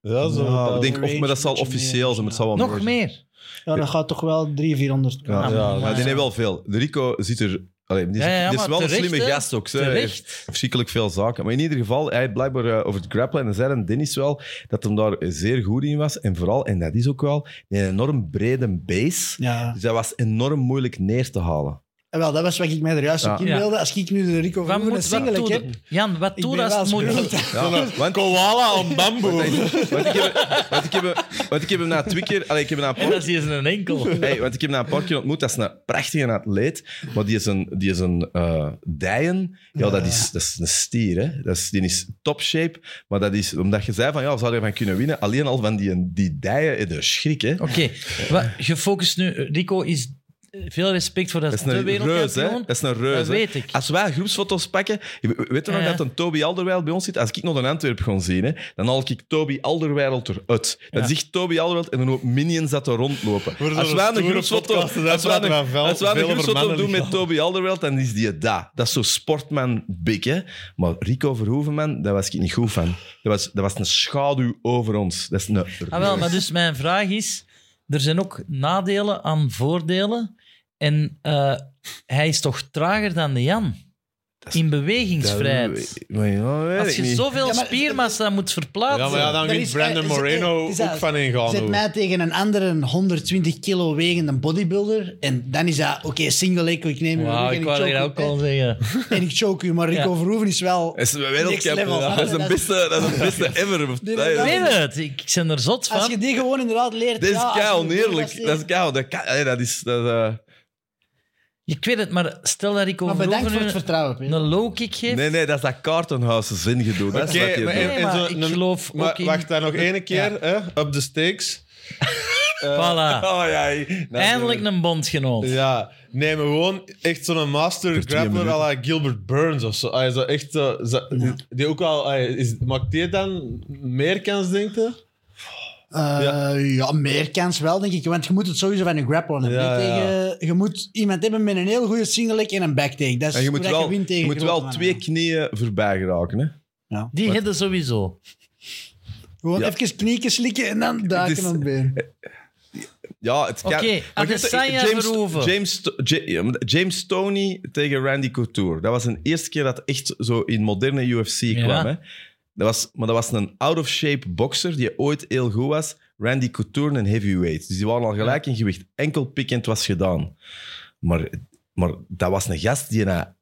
Speaker 2: Ja, zo.
Speaker 1: Ja, ik
Speaker 2: dat-
Speaker 1: denk, of, maar dat zal
Speaker 4: Beetje
Speaker 1: officieel
Speaker 4: meer.
Speaker 1: zijn, maar het zal wel
Speaker 3: Nog meer. Ah,
Speaker 4: Ja, dat gaat toch wel 300, 400.
Speaker 1: Ja,
Speaker 2: ja,
Speaker 1: maar
Speaker 2: ja.
Speaker 1: die heeft wel veel. De Rico ziet er... Allee, die is,
Speaker 3: Ja, ja,
Speaker 1: die is
Speaker 3: maar
Speaker 1: wel
Speaker 3: terecht,
Speaker 1: een slimme
Speaker 3: hè.
Speaker 1: gast ook. Ze heeft
Speaker 3: Terecht.
Speaker 1: verschrikkelijk veel zaken. Maar in ieder geval, hij heeft blijkbaar eh, over het grappelen. En dan zei dan Dennis wel dat hem daar zeer goed in was. En vooral, en dat is ook wel, die had een enorm brede base.
Speaker 4: Ja.
Speaker 1: Dus dat was enorm moeilijk neer te halen.
Speaker 4: En wel, dat was wat ik mij er juist
Speaker 1: Ja.
Speaker 4: ook in
Speaker 3: Ja.
Speaker 4: wilde. Als ik nu de Rico
Speaker 3: Wat
Speaker 4: van een
Speaker 3: moet, wat
Speaker 4: single
Speaker 3: doe
Speaker 4: heb,
Speaker 3: je- Jan, wat
Speaker 4: ik
Speaker 3: doe
Speaker 4: ben
Speaker 3: je
Speaker 4: wel
Speaker 3: als het moet?
Speaker 4: spelend.
Speaker 1: Ja, want,
Speaker 2: Koala aan bamboe.
Speaker 1: want ik heb, want, ik heb, want ik heb hem na twee keer... Allee, ik heb hem na een
Speaker 3: En
Speaker 1: paar
Speaker 3: dat is hier een enkel.
Speaker 1: Hey, want ik heb hem na een paar keer ontmoet. Dat is een prachtige atleet. Maar die is een, die is een eh, dijen. Ja, dat is, dat is een stier. Hè? Dat is, die is top shape. Maar dat is, omdat je zei van, ja, we zouden ervan kunnen winnen. Alleen al van die, die dijen, eh, de schrik. Hè?
Speaker 3: Oké, wat- gefocust nu. Rico is... Veel respect voor dat,
Speaker 1: Dat is
Speaker 3: de
Speaker 1: een reus, hè?
Speaker 3: wereldkampioen.
Speaker 1: Dat is een reus.
Speaker 3: Dat
Speaker 1: hè.
Speaker 3: weet ik.
Speaker 1: Als wij groepsfoto's pakken... Weet je nog
Speaker 3: Ja.
Speaker 1: dat een Toby Alderweireld bij ons zit? Als ik nog een Antwerp gewoon zien, hè, dan haal ik Toby Alderweireld eruit. Dan
Speaker 3: Ja.
Speaker 1: zegt Toby Alderweireld en een hoop minions dat er rondlopen.
Speaker 2: Wordt
Speaker 1: Als
Speaker 2: zo'n
Speaker 1: wij een
Speaker 2: stoere
Speaker 1: groepsfoto,
Speaker 2: podcast, dat
Speaker 1: als wij
Speaker 2: praten
Speaker 1: een,
Speaker 2: we wel
Speaker 1: als wij een
Speaker 2: veel over
Speaker 1: groepsfoto
Speaker 2: mannen
Speaker 1: doen met
Speaker 2: lichaam.
Speaker 1: Toby Alderweireld, dan is die dat. Dat is zo sportman big, hè. Maar Rico Verhoeven, man, daar was ik niet goed van. Dat was, dat was een schaduw over ons. Dat is een
Speaker 3: Ah, wel,
Speaker 1: reus.
Speaker 3: maar dus mijn vraag is: er zijn ook nadelen aan voordelen. En eh, hij is toch trager dan de Jan? In bewegingsvrijheid.
Speaker 1: Maar ja, weet
Speaker 3: Als
Speaker 1: ik
Speaker 3: je
Speaker 1: niet.
Speaker 3: zoveel
Speaker 4: Ja, maar-
Speaker 3: spiermassa moet verplaatsen.
Speaker 2: Ja, maar ja, dan
Speaker 4: Er
Speaker 2: wint
Speaker 4: is-
Speaker 2: Brandon
Speaker 4: eh,
Speaker 2: Moreno
Speaker 4: eh, is
Speaker 2: ook
Speaker 4: dat-
Speaker 2: van ingaan.
Speaker 4: Zet mij tegen een andere 120 kilo wegende bodybuilder. En dan is dat, oké, single leg, ik neem u
Speaker 3: Wauw,
Speaker 4: rug en
Speaker 3: ik wou
Speaker 4: choke
Speaker 3: dat
Speaker 4: u,
Speaker 3: ook
Speaker 4: hè.
Speaker 3: al zeggen.
Speaker 4: En ik choke u, maar Rico
Speaker 3: Ja.
Speaker 4: Verhoeven is wel...
Speaker 1: Dat is een
Speaker 4: level,
Speaker 1: wereldkampioen.
Speaker 4: hè.
Speaker 1: Dat is de
Speaker 4: Dat is-
Speaker 1: beste, dat is de beste ever.
Speaker 4: Die
Speaker 1: Ja, ja.
Speaker 3: Ik
Speaker 4: Ja.
Speaker 3: weet het, ik, ik ben er zot
Speaker 4: Als
Speaker 3: van.
Speaker 4: je die gewoon inderdaad leert...
Speaker 1: Dit is
Speaker 4: ja, als je eh.
Speaker 1: kei
Speaker 4: een
Speaker 1: oneerlijk.
Speaker 4: doel
Speaker 1: Dat is kei... Dat, kan- nee, dat is... Dat, eh,
Speaker 3: Ik weet het, maar stel dat ik
Speaker 4: Maar
Speaker 3: over
Speaker 4: bedankt voor het
Speaker 3: een,
Speaker 4: vertrouwen, Peter.
Speaker 3: een low kick geef.
Speaker 1: nee, nee, dat is dat Cartonhouse zingedoe. Dat is
Speaker 2: Oké,
Speaker 1: wat je
Speaker 2: maar
Speaker 1: doet.
Speaker 2: en-
Speaker 3: Nee,
Speaker 2: en
Speaker 3: maar
Speaker 2: zo
Speaker 3: ik
Speaker 2: een-
Speaker 3: geloof ook
Speaker 2: Maar
Speaker 3: in...
Speaker 2: wacht daar nog één keer, hè? Up the stakes.
Speaker 3: Voilà.
Speaker 1: Oh, ja. ja. Nou,
Speaker 3: Eindelijk een bondgenoot.
Speaker 2: Ja, nee, maar gewoon echt zo'n master
Speaker 1: Voor twee
Speaker 2: grappler à
Speaker 1: minuten.
Speaker 2: la Gilbert Burns of zo. Hij zo echt, eh, zo- Die ook wel, hij is, maakt die dan meer kans, denk je?
Speaker 4: Eh, ja. meer kans wel, denk ik. Want je moet het sowieso van een grappler hebben.
Speaker 2: Ja,
Speaker 4: hè,
Speaker 2: ja.
Speaker 4: Tegen, je moet iemand hebben met een heel goede single leg en een backtake. Dat is
Speaker 1: En je
Speaker 4: hoe
Speaker 1: moet
Speaker 4: dat
Speaker 1: wel,
Speaker 4: wint tegen
Speaker 1: je moet
Speaker 4: grote
Speaker 1: wel
Speaker 4: mannen.
Speaker 1: twee knieën voorbij geraken. Hè?
Speaker 3: Die hebben sowieso.
Speaker 4: Gewoon
Speaker 1: Ja.
Speaker 4: even knieken slikken en dan duiken
Speaker 1: is-
Speaker 4: op het been.
Speaker 1: Ja, het kan...
Speaker 3: Oké,
Speaker 1: Maar je hebt-
Speaker 3: Adesanya
Speaker 1: James,
Speaker 3: Verhoeven.
Speaker 1: James, Ja- ja, maar James Tony tegen Randy Couture. Dat was de eerste keer dat echt zo in moderne UFC kwam. Hè? Dat was, maar dat was een out-of-shape boxer die ooit heel goed was. Randy Couture, een heavyweight. Dus die waren al gelijk in gewicht. Enkel pikkend was gedaan. Maar, maar dat was een gast die na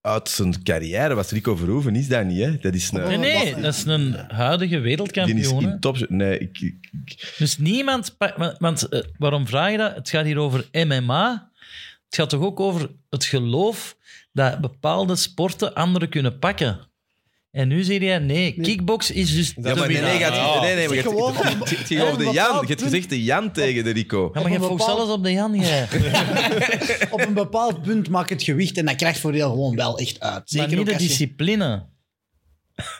Speaker 1: uit zijn carrière was Rico Verhoeven, is dat niet, hè? Dat is een...
Speaker 3: Nee, nee, dat is een huidige
Speaker 1: Die is
Speaker 3: wereldkampioen. hè.
Speaker 1: in top... Nee, ik, ik- ik-
Speaker 3: Dus niemand... pa- wa- Want eh, waarom vraag je dat? Het gaat hier over MMA. Het gaat toch ook over het geloof dat bepaalde sporten anderen kunnen pakken. En nu zie je, nee, kickbox is dus
Speaker 1: Ja, maar nee, nee, gaat-
Speaker 2: Ja.
Speaker 1: nee, nee, maar
Speaker 4: Zeg
Speaker 1: gaat-
Speaker 4: gewoon-
Speaker 1: het- het ging over de
Speaker 4: Op-
Speaker 1: Jan.
Speaker 4: op-
Speaker 1: Je hebt gezegd de Jan tegen de Rico.
Speaker 3: Ja, maar je
Speaker 4: Op een
Speaker 3: focust
Speaker 4: bepaald-
Speaker 3: alles op de Jan, jij.
Speaker 4: Op een bepaald punt maakt het gewicht en dat krachtvoordeel gewoon wel echt uit. Zeker
Speaker 3: maar niet
Speaker 4: ook
Speaker 3: de
Speaker 4: als je-
Speaker 3: discipline.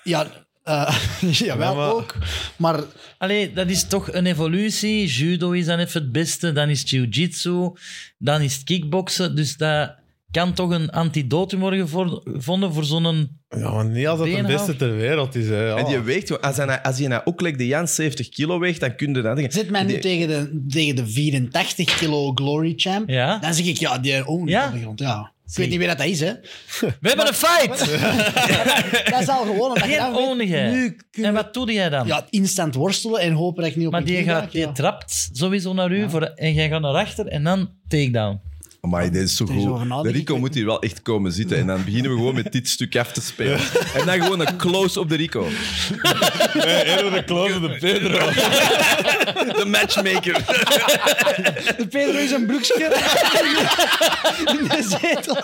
Speaker 4: Ja, eh jawel
Speaker 2: Ja, maar-
Speaker 4: ook. Maar
Speaker 3: Allee, dat is toch een evolutie. Judo is dan even het beste, dan is jiu-jitsu, dan is het kickboksen. Dus dat kan toch een antidotum worden gevo- gevonden voor zo'n...
Speaker 2: Ja, maar niet als dat de
Speaker 3: Beenhouwer.
Speaker 2: beste ter wereld is. Hè. Oh. Ja.
Speaker 1: En die weegt gewoon... Als hij, nou- als hij nou ook like de Jan 70 kilo weegt, dan kun je dat... denken.
Speaker 4: zit mij nu
Speaker 1: Die-
Speaker 4: tegen de, tegen de 84 kilo Glory Champ,
Speaker 3: Ja.
Speaker 4: dan zeg ik, ja, die own
Speaker 3: Ja?
Speaker 4: op de grond. Ja. Ik
Speaker 3: Zie.
Speaker 4: weet niet meer dat dat is, hè.
Speaker 3: We hebben een fight!
Speaker 4: Dat is al gewoon omdat je
Speaker 3: Geen
Speaker 4: dat weet.
Speaker 3: onige.
Speaker 4: Nu kun
Speaker 3: En
Speaker 4: je
Speaker 3: wat doe jij dan?
Speaker 4: ja, instant worstelen en hopen dat ik niet op
Speaker 3: maar
Speaker 4: een
Speaker 3: die,
Speaker 4: knie
Speaker 3: gaat,
Speaker 4: raak,
Speaker 3: die
Speaker 4: ja.
Speaker 3: trapt sowieso naar u voor, en jij gaat naar achter en dan takedown.
Speaker 1: Maar dit is zo
Speaker 4: Er is over
Speaker 1: goed. De
Speaker 4: nadenken.
Speaker 1: Rico moet hier wel echt komen zitten. En dan beginnen we gewoon met dit stuk af te spelen. En dan gewoon een close op de Rico.
Speaker 2: Eerder de close dan de Pedro.
Speaker 1: De matchmaker.
Speaker 4: De Pedro is een broekje in de zetel.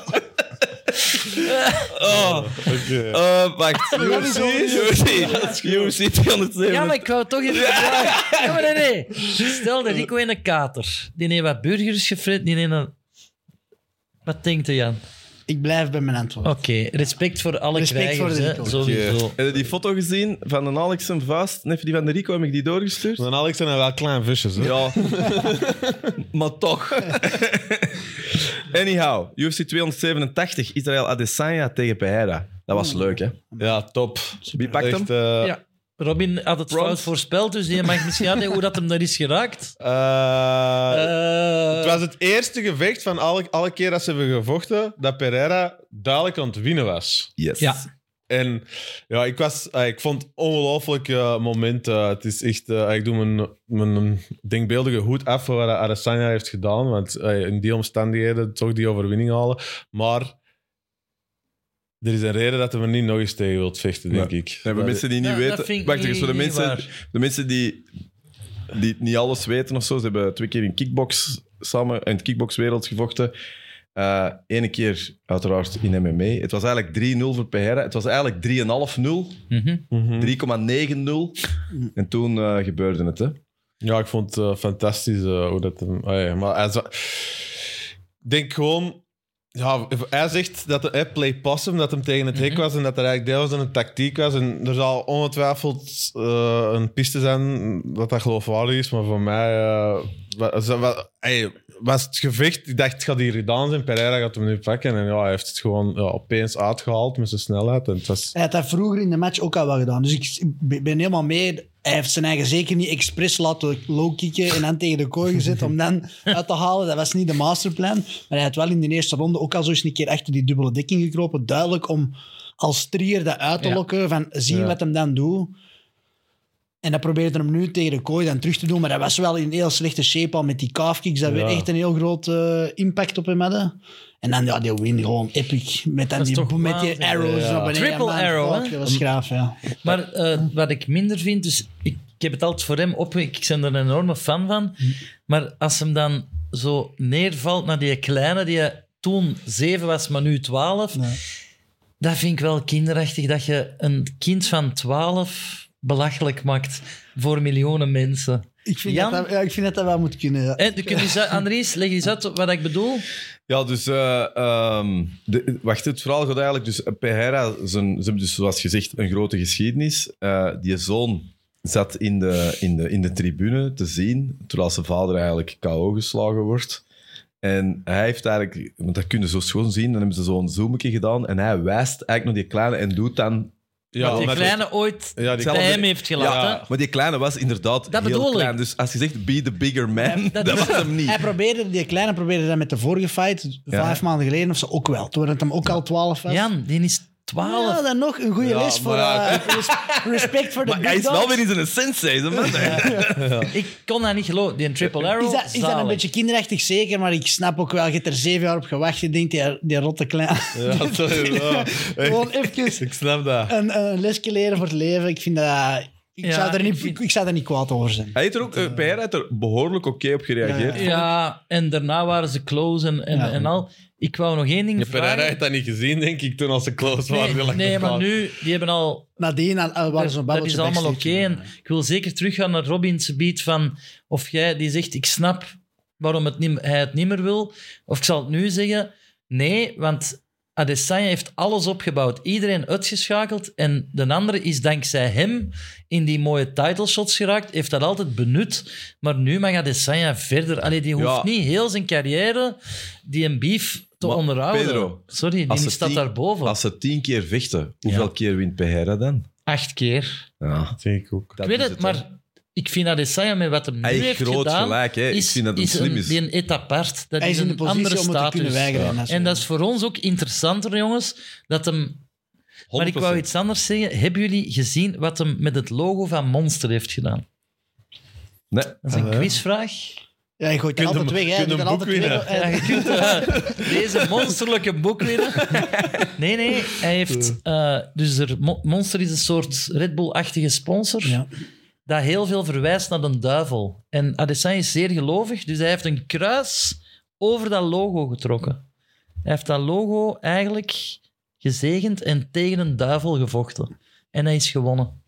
Speaker 2: Oké.
Speaker 1: Eh, wacht.
Speaker 4: Dat is wel
Speaker 1: UFC. UFC 207.
Speaker 3: Ja, maar ik wou toch even vragen. Ja, maar nee, nee. Stel dat Rico in een kater. Die heeft wat burgers gefrit, die heeft een... Wat denkt hij, Jan?
Speaker 4: Ik blijf bij mijn antwoord.
Speaker 3: Oké, respect voor alle
Speaker 4: Respect
Speaker 3: krijgers,
Speaker 4: voor de
Speaker 3: hè,
Speaker 4: Rico.
Speaker 3: sowieso.
Speaker 1: Heb je die foto gezien van een Alex en Vuist? Nef die van de Rico, heb ik die doorgestuurd?
Speaker 2: Dan Alex zijn wel klein visjes. Hè.
Speaker 1: Ja. maar toch. Anyhow, UFC 287, Israël Adesanya tegen Pereira. Dat was leuk, hè?
Speaker 2: Ja, top.
Speaker 1: Wie pakt hem?
Speaker 2: Echt, eh,
Speaker 3: Ja. Robin had het
Speaker 1: Prompt.
Speaker 3: fout voorspeld, dus je mag misschien uitleggen hoe dat hem daar is geraakt.
Speaker 2: eh,
Speaker 3: Eh,
Speaker 2: het was het eerste gevecht van alle, alle keer dat ze hebben gevochten dat Pereira duidelijk aan het winnen was.
Speaker 1: Yes.
Speaker 3: Ja.
Speaker 2: En ja, ik, was, eh, ik vond het ongelooflijk eh, moment. eh, het is echt, eh, ik doe mijn, mijn denkbeeldige hoed af voor wat Arasanya heeft gedaan. Want eh, in die omstandigheden toch die overwinning halen. Maar er is een reden dat hij er niet nog eens tegen wilt vechten, denk
Speaker 1: Ja.
Speaker 2: ik.
Speaker 1: Nee, voor
Speaker 2: Dat-
Speaker 1: mensen die niet
Speaker 3: Ja, dat
Speaker 1: weten.
Speaker 3: vind ik
Speaker 1: wacht even,
Speaker 3: niet-
Speaker 1: zo de,
Speaker 3: niet
Speaker 1: mensen,
Speaker 3: waar.
Speaker 1: de mensen die, die niet alles weten of zo. Ze hebben twee keer in kickbox samen in het kickboxwereld gevochten. Eh Eén keer uiteraard in MMA. Het was eigenlijk 3-0 voor Pereira. Het was eigenlijk 3,5-0.
Speaker 3: mhm.
Speaker 1: 3,90. En toen eh, gebeurde het, hè?
Speaker 2: Ja, ik vond het eh, fantastisch eh, hoe dat hem. ah ja, maar hij za- ik denk gewoon. Ja, hij zegt dat hij play possum, dat hem tegen het hek
Speaker 3: Mhm.
Speaker 2: was en dat er eigenlijk deel was en een tactiek was. En er zal ongetwijfeld eh, een piste zijn dat dat geloofwaardig is, maar voor mij eh, wa- ze- wa- ey, was het gevecht. Ik dacht, het gaat hier gedaan zijn, Pereira gaat hem nu pakken. En ja, hij heeft het gewoon ja, opeens uitgehaald met zijn snelheid. En het was,
Speaker 4: Hij had dat vroeger in de match ook al wel gedaan. Dus ik ben ben helemaal mee. Hij heeft zijn eigen zeker niet expres laten low-kicken en dan tegen de kooi gezet om dan uit te halen. Dat was niet de masterplan. Maar hij had wel in de eerste ronde ook al zo eens een keer achter die dubbele dekking gekropen. Duidelijk om als trier dat uit te
Speaker 3: Ja.
Speaker 4: lokken, van zien
Speaker 2: Ja.
Speaker 4: wat hem dan doet. En dat probeerde hem nu tegen de kooi dan terug te doen. Maar dat was wel in heel slechte shape al met die calfkicks. Dat weer
Speaker 2: Ja.
Speaker 4: echt een heel groot eh, impact op hem hadden. En dan ja, die win gewoon epic. Met, dan
Speaker 3: Dat is
Speaker 4: die,
Speaker 3: toch
Speaker 4: met die
Speaker 3: waanzin.
Speaker 4: arrows
Speaker 2: Ja.
Speaker 4: op en
Speaker 3: Triple
Speaker 4: ja, man,
Speaker 3: arrow,
Speaker 4: fuck,
Speaker 3: hè?
Speaker 4: Dat was graaf, ja.
Speaker 3: Maar eh, wat ik minder vind, dus ik, ik heb het altijd voor hem op, ik ben er een enorme fan van. Maar als hem dan zo neervalt naar die kleine, die toen 7 was, maar nu 12,
Speaker 4: Nee.
Speaker 3: dat vind ik wel kinderachtig dat je een kind van 12 belachelijk maakt voor miljoenen mensen.
Speaker 4: Ik vind,
Speaker 3: Jan?
Speaker 4: dat, dat- ja, ik vind dat dat wel moet kunnen. ja.
Speaker 3: Hè, kun je eens uit- Andries, leg eens uit wat ik bedoel.
Speaker 1: Ja, dus eh, ehm, de- wacht, het verhaal gaat eigenlijk. Dus eh, Pereira, zijn, ze hebben dus zoals gezegd een grote geschiedenis. Eh, die zoon zat in de, in, de, in de tribune te zien, terwijl zijn vader eigenlijk KO geslagen wordt. En hij heeft eigenlijk, want dat kunnen ze zo schoon zien, dan hebben ze zo'n zoometje gedaan en hij wijst eigenlijk naar die kleine en doet dan.
Speaker 2: ja,
Speaker 3: dat die
Speaker 2: omdat-
Speaker 3: kleine ooit
Speaker 2: ja, die
Speaker 3: bij
Speaker 1: zelfde-
Speaker 3: hem heeft gelaten.
Speaker 1: Ja, maar die kleine was inderdaad
Speaker 3: Dat
Speaker 1: heel
Speaker 3: bedoel ik.
Speaker 1: klein. Dus als je zegt be the bigger man,
Speaker 3: Ja,
Speaker 1: dat,
Speaker 3: dat
Speaker 1: was
Speaker 3: is-
Speaker 1: hem
Speaker 4: Hij
Speaker 1: niet.
Speaker 4: probeerde, die kleine probeerde dat met de vorige fight, vijf maanden geleden of zo, ook wel. Toen werd hem ook al twaalf was.
Speaker 3: Jan, die is 12.
Speaker 4: Ja, dan nog een goede
Speaker 2: Ja,
Speaker 4: les voor
Speaker 2: maar ja,
Speaker 4: eh, res- respect voor de
Speaker 1: Maar
Speaker 4: big
Speaker 1: hij is wel
Speaker 4: dogs.
Speaker 1: weer in zijn sensei, hè, man.
Speaker 3: Ik kon dat niet geloven. Die triple arrow,
Speaker 4: Is dat, is dat een
Speaker 3: zalig.
Speaker 4: beetje kinderachtig zeker, maar ik snap ook wel, je hebt er zeven jaar op gewacht. Je denkt, die, die rotte klein.
Speaker 2: Ja, sorry, ja.
Speaker 4: Gewoon even
Speaker 2: Ik snap dat.
Speaker 4: een, een lesje leren voor het leven. Ik vind dat... Ik,
Speaker 3: Ja,
Speaker 4: zou, er
Speaker 3: ik
Speaker 4: niet,
Speaker 3: vind-
Speaker 4: ik, ik zou er niet kwaad over zijn.
Speaker 1: Hij heeft er ook, eh, PR heeft er behoorlijk oké op gereageerd.
Speaker 4: Ja.
Speaker 3: Ja, en daarna waren ze close en, en,
Speaker 4: Ja.
Speaker 3: en al. Ik wou nog één ding
Speaker 2: Je Pereira
Speaker 3: vragen.
Speaker 2: heeft dat niet gezien, denk ik, toen als ze close
Speaker 3: Nee,
Speaker 2: waren. Die lag
Speaker 3: nee,
Speaker 2: te
Speaker 3: maar
Speaker 2: praten.
Speaker 3: nu, die hebben al
Speaker 4: Nadien al- al waren
Speaker 3: Dat- dat
Speaker 4: zo'n babbeltje
Speaker 3: is allemaal oké.
Speaker 4: backstage.
Speaker 3: En ik wil zeker teruggaan naar Robin's beat van of jij die zegt: ik snap waarom het niet, hij het niet meer wil. Of ik zal het nu zeggen: nee, want Adesanya heeft alles opgebouwd, iedereen uitgeschakeld en de andere is dankzij hem in die mooie title shots geraakt, heeft dat altijd benut. Maar nu mag Adesanya verder. Allee, die hoeft
Speaker 1: Ja.
Speaker 3: niet heel zijn carrière die een beef te
Speaker 1: Maar
Speaker 3: onderhouden.
Speaker 1: Pedro,
Speaker 3: Sorry,
Speaker 1: als
Speaker 3: die
Speaker 1: het
Speaker 3: staat
Speaker 1: tien-
Speaker 3: daarboven.
Speaker 1: Als ze tien keer vechten, hoeveel keer wint Pereira dan?
Speaker 3: Acht keer.
Speaker 1: Ja,
Speaker 2: Dat denk ik ook.
Speaker 1: dat
Speaker 3: ik
Speaker 1: is
Speaker 3: weet het,
Speaker 1: hè.
Speaker 3: maar ik vind Adesanya met wat hem nu
Speaker 1: Hij heeft
Speaker 3: heeft
Speaker 1: groot
Speaker 3: gedaan...
Speaker 1: gelijk, hè. ik vind dat het slim
Speaker 3: een,
Speaker 1: is.
Speaker 3: Die een et apart. Dat
Speaker 4: Hij is in de
Speaker 3: een andere
Speaker 4: positie om het te
Speaker 3: status.
Speaker 4: kunnen weigeren. En dat is-
Speaker 3: En dat is voor ons ook interessanter, jongens. Dat hem...
Speaker 1: 100%.
Speaker 3: Maar ik wou iets anders zeggen. Hebben jullie gezien wat hem met het logo van Monster heeft gedaan?
Speaker 1: Nee.
Speaker 3: Dat is een
Speaker 2: Ah,
Speaker 4: Eh?
Speaker 2: ja.
Speaker 3: quizvraag.
Speaker 4: Ja, je gooit
Speaker 2: Kunt
Speaker 4: het altijd
Speaker 2: hem-
Speaker 4: weg. hè. Je
Speaker 2: kunt
Speaker 4: doet
Speaker 2: hem
Speaker 4: dat altijd
Speaker 2: boek
Speaker 4: weg.
Speaker 3: Ja, je kunt eh, deze monsterlijke boek winnen. Nee, nee. Hij heeft... eh, dus er, Mo- Monster is een soort Red Bull-achtige sponsor.
Speaker 4: Ja.
Speaker 3: dat heel veel verwijst naar een duivel. En Adesanya is zeer gelovig, dus hij heeft een kruis over dat logo getrokken. Hij heeft dat logo eigenlijk gezegend en tegen een duivel gevochten. En hij is gewonnen.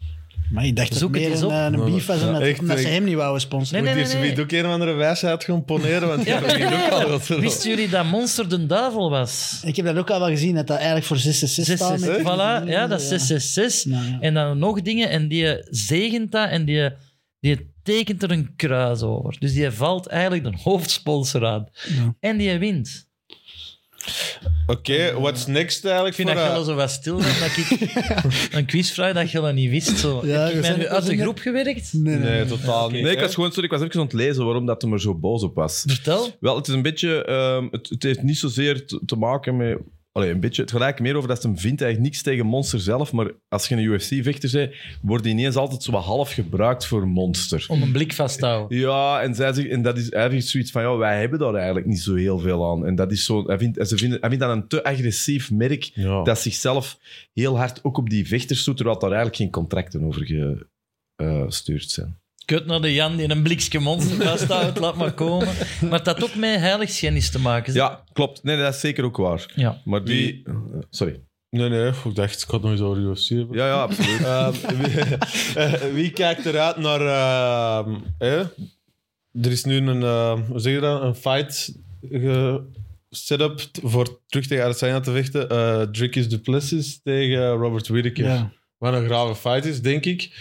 Speaker 4: Maar ik dacht
Speaker 3: Zoek het
Speaker 4: dat meer
Speaker 3: eens
Speaker 4: een, eh,
Speaker 3: op.
Speaker 4: een beef was omdat,
Speaker 2: echt, eh,
Speaker 4: omdat ze
Speaker 2: ik-
Speaker 4: hem niet wouden sponsoren.
Speaker 3: Nee,
Speaker 2: Moet
Speaker 3: nee,
Speaker 2: hier
Speaker 3: nee,
Speaker 2: zoiets
Speaker 3: nee.
Speaker 2: ook een of andere wijsheid gaan poneren, want ja,
Speaker 3: Ja, ja, ja.
Speaker 2: dat is-
Speaker 3: Wisten jullie dat Monster de duivel was?
Speaker 4: Ik heb dat ook al wel gezien, dat dat eigenlijk voor 666
Speaker 3: 6,
Speaker 4: staat. met-
Speaker 3: voilà, ja, dat is 666.
Speaker 4: Ja, ja.
Speaker 3: En dan nog dingen, en die zegent dat en die, die tekent er een kruis over. Dus die valt eigenlijk de hoofdsponsor aan.
Speaker 4: Ja.
Speaker 3: En die wint.
Speaker 2: Oké, what's next eigenlijk?
Speaker 3: Ik
Speaker 2: voor,
Speaker 3: vind dat Gelle
Speaker 2: eh,
Speaker 3: zo wat stil was, dat ik een quizvraag dat Gelle niet wist. Zo.
Speaker 4: Ja,
Speaker 3: Heb
Speaker 4: we
Speaker 3: ik mij
Speaker 4: zijn-
Speaker 3: nu
Speaker 4: we
Speaker 3: uit de
Speaker 4: zijn-
Speaker 3: groep gewerkt?
Speaker 4: Nee, nee,
Speaker 2: Nee,
Speaker 4: nee.
Speaker 2: totaal niet.
Speaker 1: Nee, ik
Speaker 2: hè?
Speaker 1: was gewoon, sorry, ik was even aan het lezen waarom dat hij er zo boos op was.
Speaker 3: Vertel.
Speaker 1: Wel, het is een beetje. ehm, het, het heeft niet zozeer te, te maken met. Allee, een beetje. Het gelijk meer over dat ze hem vindt eigenlijk niks tegen Monster zelf. Maar als je een UFC-vechter bent, wordt die ineens altijd zo wat half gebruikt voor Monster.
Speaker 3: Om een blik vast te houden.
Speaker 1: Ja, en, zij zegt, en dat is eigenlijk zoiets van, ja, wij hebben daar eigenlijk niet zo heel veel aan. En dat is zo, hij, vindt, ze vinden, hij vindt dat een te agressief merk
Speaker 2: Ja.
Speaker 1: dat zichzelf heel hard ook op die vechters doet, terwijl daar eigenlijk geen contracten over gestuurd zijn.
Speaker 3: Kut naar de Jan die een blikske monster vasthoudt, laat maar komen. Maar het had ook met heiligschennis te maken. zeg.
Speaker 1: Ja, klopt. Nee, nee, dat is zeker ook waar.
Speaker 3: Ja.
Speaker 1: Maar die... Eh, Sorry.
Speaker 2: Nee, nee, ik dacht, ik had nooit over UFC hebben.
Speaker 1: Ja, ja, absoluut.
Speaker 2: Ehm, wie, eh, wie kijkt eruit naar. ehm, hè? Er is nu een, ehm, hoe zeg je dat? Een fight setup voor terug tegen Adesanya te vechten. Eh Dricus Duplessis tegen Robert Whittaker.
Speaker 4: Ja.
Speaker 2: Wat een grave fight is, denk ik.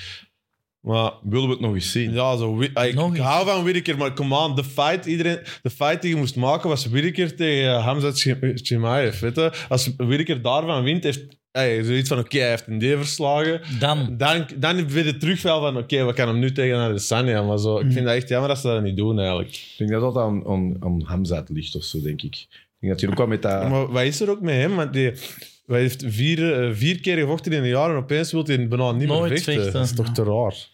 Speaker 2: Maar
Speaker 1: Willen we het nog eens zien?
Speaker 2: ja, zo, Whi- ik,
Speaker 3: Nog
Speaker 2: ik
Speaker 3: eens.
Speaker 2: hou van Whittaker, maar come on, de fight, iedereen, de fight die je moest maken was Whittaker tegen eh, Hamzat Chimaev. Weet je? Als Whittaker daarvan wint, heeft hey, zoiets van oké, hij heeft een D verslagen.
Speaker 3: Dan.
Speaker 2: Dan, dan weer het terugval van, oké, we gaan hem nu tegen Adesanya. Maar zo,
Speaker 4: Hmm.
Speaker 2: ik vind dat echt jammer dat ze dat niet doen, eigenlijk.
Speaker 1: Ik denk dat dat aan, aan, aan Hamzat ligt of zo, denk ik. Ik denk dat hij ook wel met dat...
Speaker 2: Maar wat is er ook met hem? Want die, hij heeft vier, eh, vier keer gevochten in een jaar en opeens wil hij bijna niet
Speaker 3: Nooit
Speaker 2: meer vechten.
Speaker 3: vechten.
Speaker 2: Dat is toch te raar?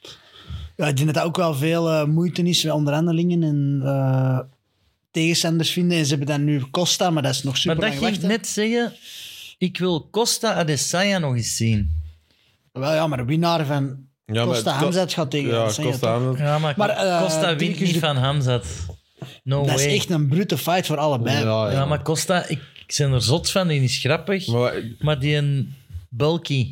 Speaker 4: Ja, ik denk dat dat ook wel veel eh, moeite is met onderhandelingen en eh, tegenstanders vinden. En ze hebben dan nu Costa, maar dat is nog
Speaker 3: Maar
Speaker 4: super
Speaker 3: dat
Speaker 4: lang
Speaker 3: ging ik
Speaker 4: wachten.
Speaker 3: net zeggen. Ik wil Costa Adesanya nog eens zien.
Speaker 4: Wel, ja, maar de winnaar van
Speaker 2: Ja,
Speaker 4: Costa
Speaker 2: maar-
Speaker 4: Hamzet gaat tegen
Speaker 2: Ja,
Speaker 4: Adesanya,
Speaker 2: Costa
Speaker 4: toch?
Speaker 2: Hamzat.
Speaker 3: Ja, maar,
Speaker 4: Maar, eh,
Speaker 3: Costa wint
Speaker 4: Dricus
Speaker 3: niet
Speaker 4: de-
Speaker 3: van Hamzat. No
Speaker 4: Dat
Speaker 3: way.
Speaker 4: is echt een Oh, brute fight voor allebei.
Speaker 2: Ja,
Speaker 3: Ja, maar Costa, ik, ik ben er zot van. Die is grappig.
Speaker 2: Maar, wat-
Speaker 3: Maar die een bulky.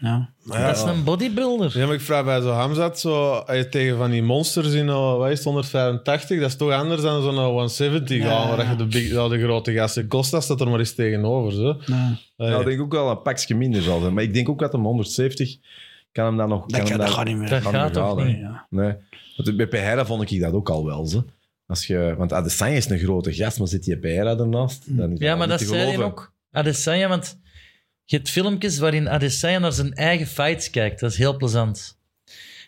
Speaker 4: Ja.
Speaker 2: ja.
Speaker 3: Dat is een bodybuilder.
Speaker 2: Ja, maar ik vraag bij zo'n Hamzat, zo, eh, tegen van die monsters in eh, wat is het, 185, dat is toch anders dan zo'n eh, 170
Speaker 4: Ja,
Speaker 2: gaan, waar
Speaker 4: ja.
Speaker 2: je de, big, ja, de grote gasten... Costa staat er maar eens tegenover, zo.
Speaker 4: Ja.
Speaker 2: Eh,
Speaker 1: Nou, ik denk ook wel een pakje minder zal zijn. Maar ik denk ook dat hem 170 kan hem dan nog...
Speaker 4: Dat,
Speaker 1: kan
Speaker 4: kan,
Speaker 1: hem
Speaker 4: dat
Speaker 1: dan-
Speaker 4: gaat niet meer.
Speaker 3: Dat
Speaker 1: Kan
Speaker 3: gaat
Speaker 1: niet
Speaker 3: toch
Speaker 1: gaan,
Speaker 3: niet?
Speaker 1: hè.
Speaker 4: Ja.
Speaker 1: Nee. Want bij Pereira vond ik dat ook al wel. Ze. Als je, want Adesanya is een grote gast, maar zit je Pereira ernaast? Dan is
Speaker 3: Ja,
Speaker 1: al
Speaker 3: maar
Speaker 1: niet
Speaker 3: dat
Speaker 1: te
Speaker 3: zei hij
Speaker 1: geloven.
Speaker 3: ook. Adesanya, want je hebt filmpjes waarin Adesanya naar zijn eigen fights kijkt. Dat is heel plezant.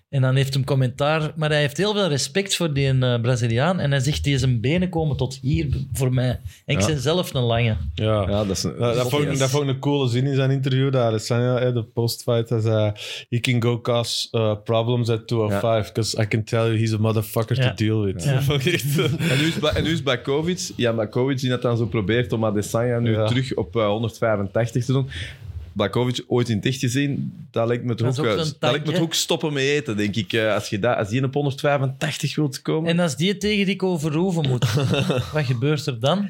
Speaker 3: En dan heeft hem commentaar, maar hij heeft heel veel respect voor die eh, Braziliaan. En hij zegt, die zijn benen komen tot hier b- voor mij. En ik
Speaker 1: Ja.
Speaker 3: ben zelf een lange.
Speaker 2: Ja.
Speaker 1: Ja, dat is een-
Speaker 2: Dat, dat, vond ik, dat vond ik een coole zin in zijn interview. Daar Adesanya, hè, de postfight, hij zei... He can go cause uh, problems at 205, because I can tell you he's a motherfucker
Speaker 3: Ja.
Speaker 2: to deal with.
Speaker 3: Ja.
Speaker 2: Dat vond ik echt, eh,
Speaker 1: En nu is, bij- en nu is bij Kovic, ja, bij Kovic die dat dan zo probeert om Adesanya nu
Speaker 2: Ja.
Speaker 1: terug op eh, 185 te doen. Blakovic ooit in het echt gezien, dat lijkt me het
Speaker 3: Dat is
Speaker 1: hoek,
Speaker 3: ook
Speaker 1: eh,
Speaker 3: zo'n
Speaker 1: dat
Speaker 3: tank,
Speaker 1: lijkt me het
Speaker 3: hè?
Speaker 1: hoek stoppen mee eten, denk ik. eh, als, je dat, als die op 185 wilt komen.
Speaker 3: En als die tegen die overhoeven moet, wat gebeurt er dan?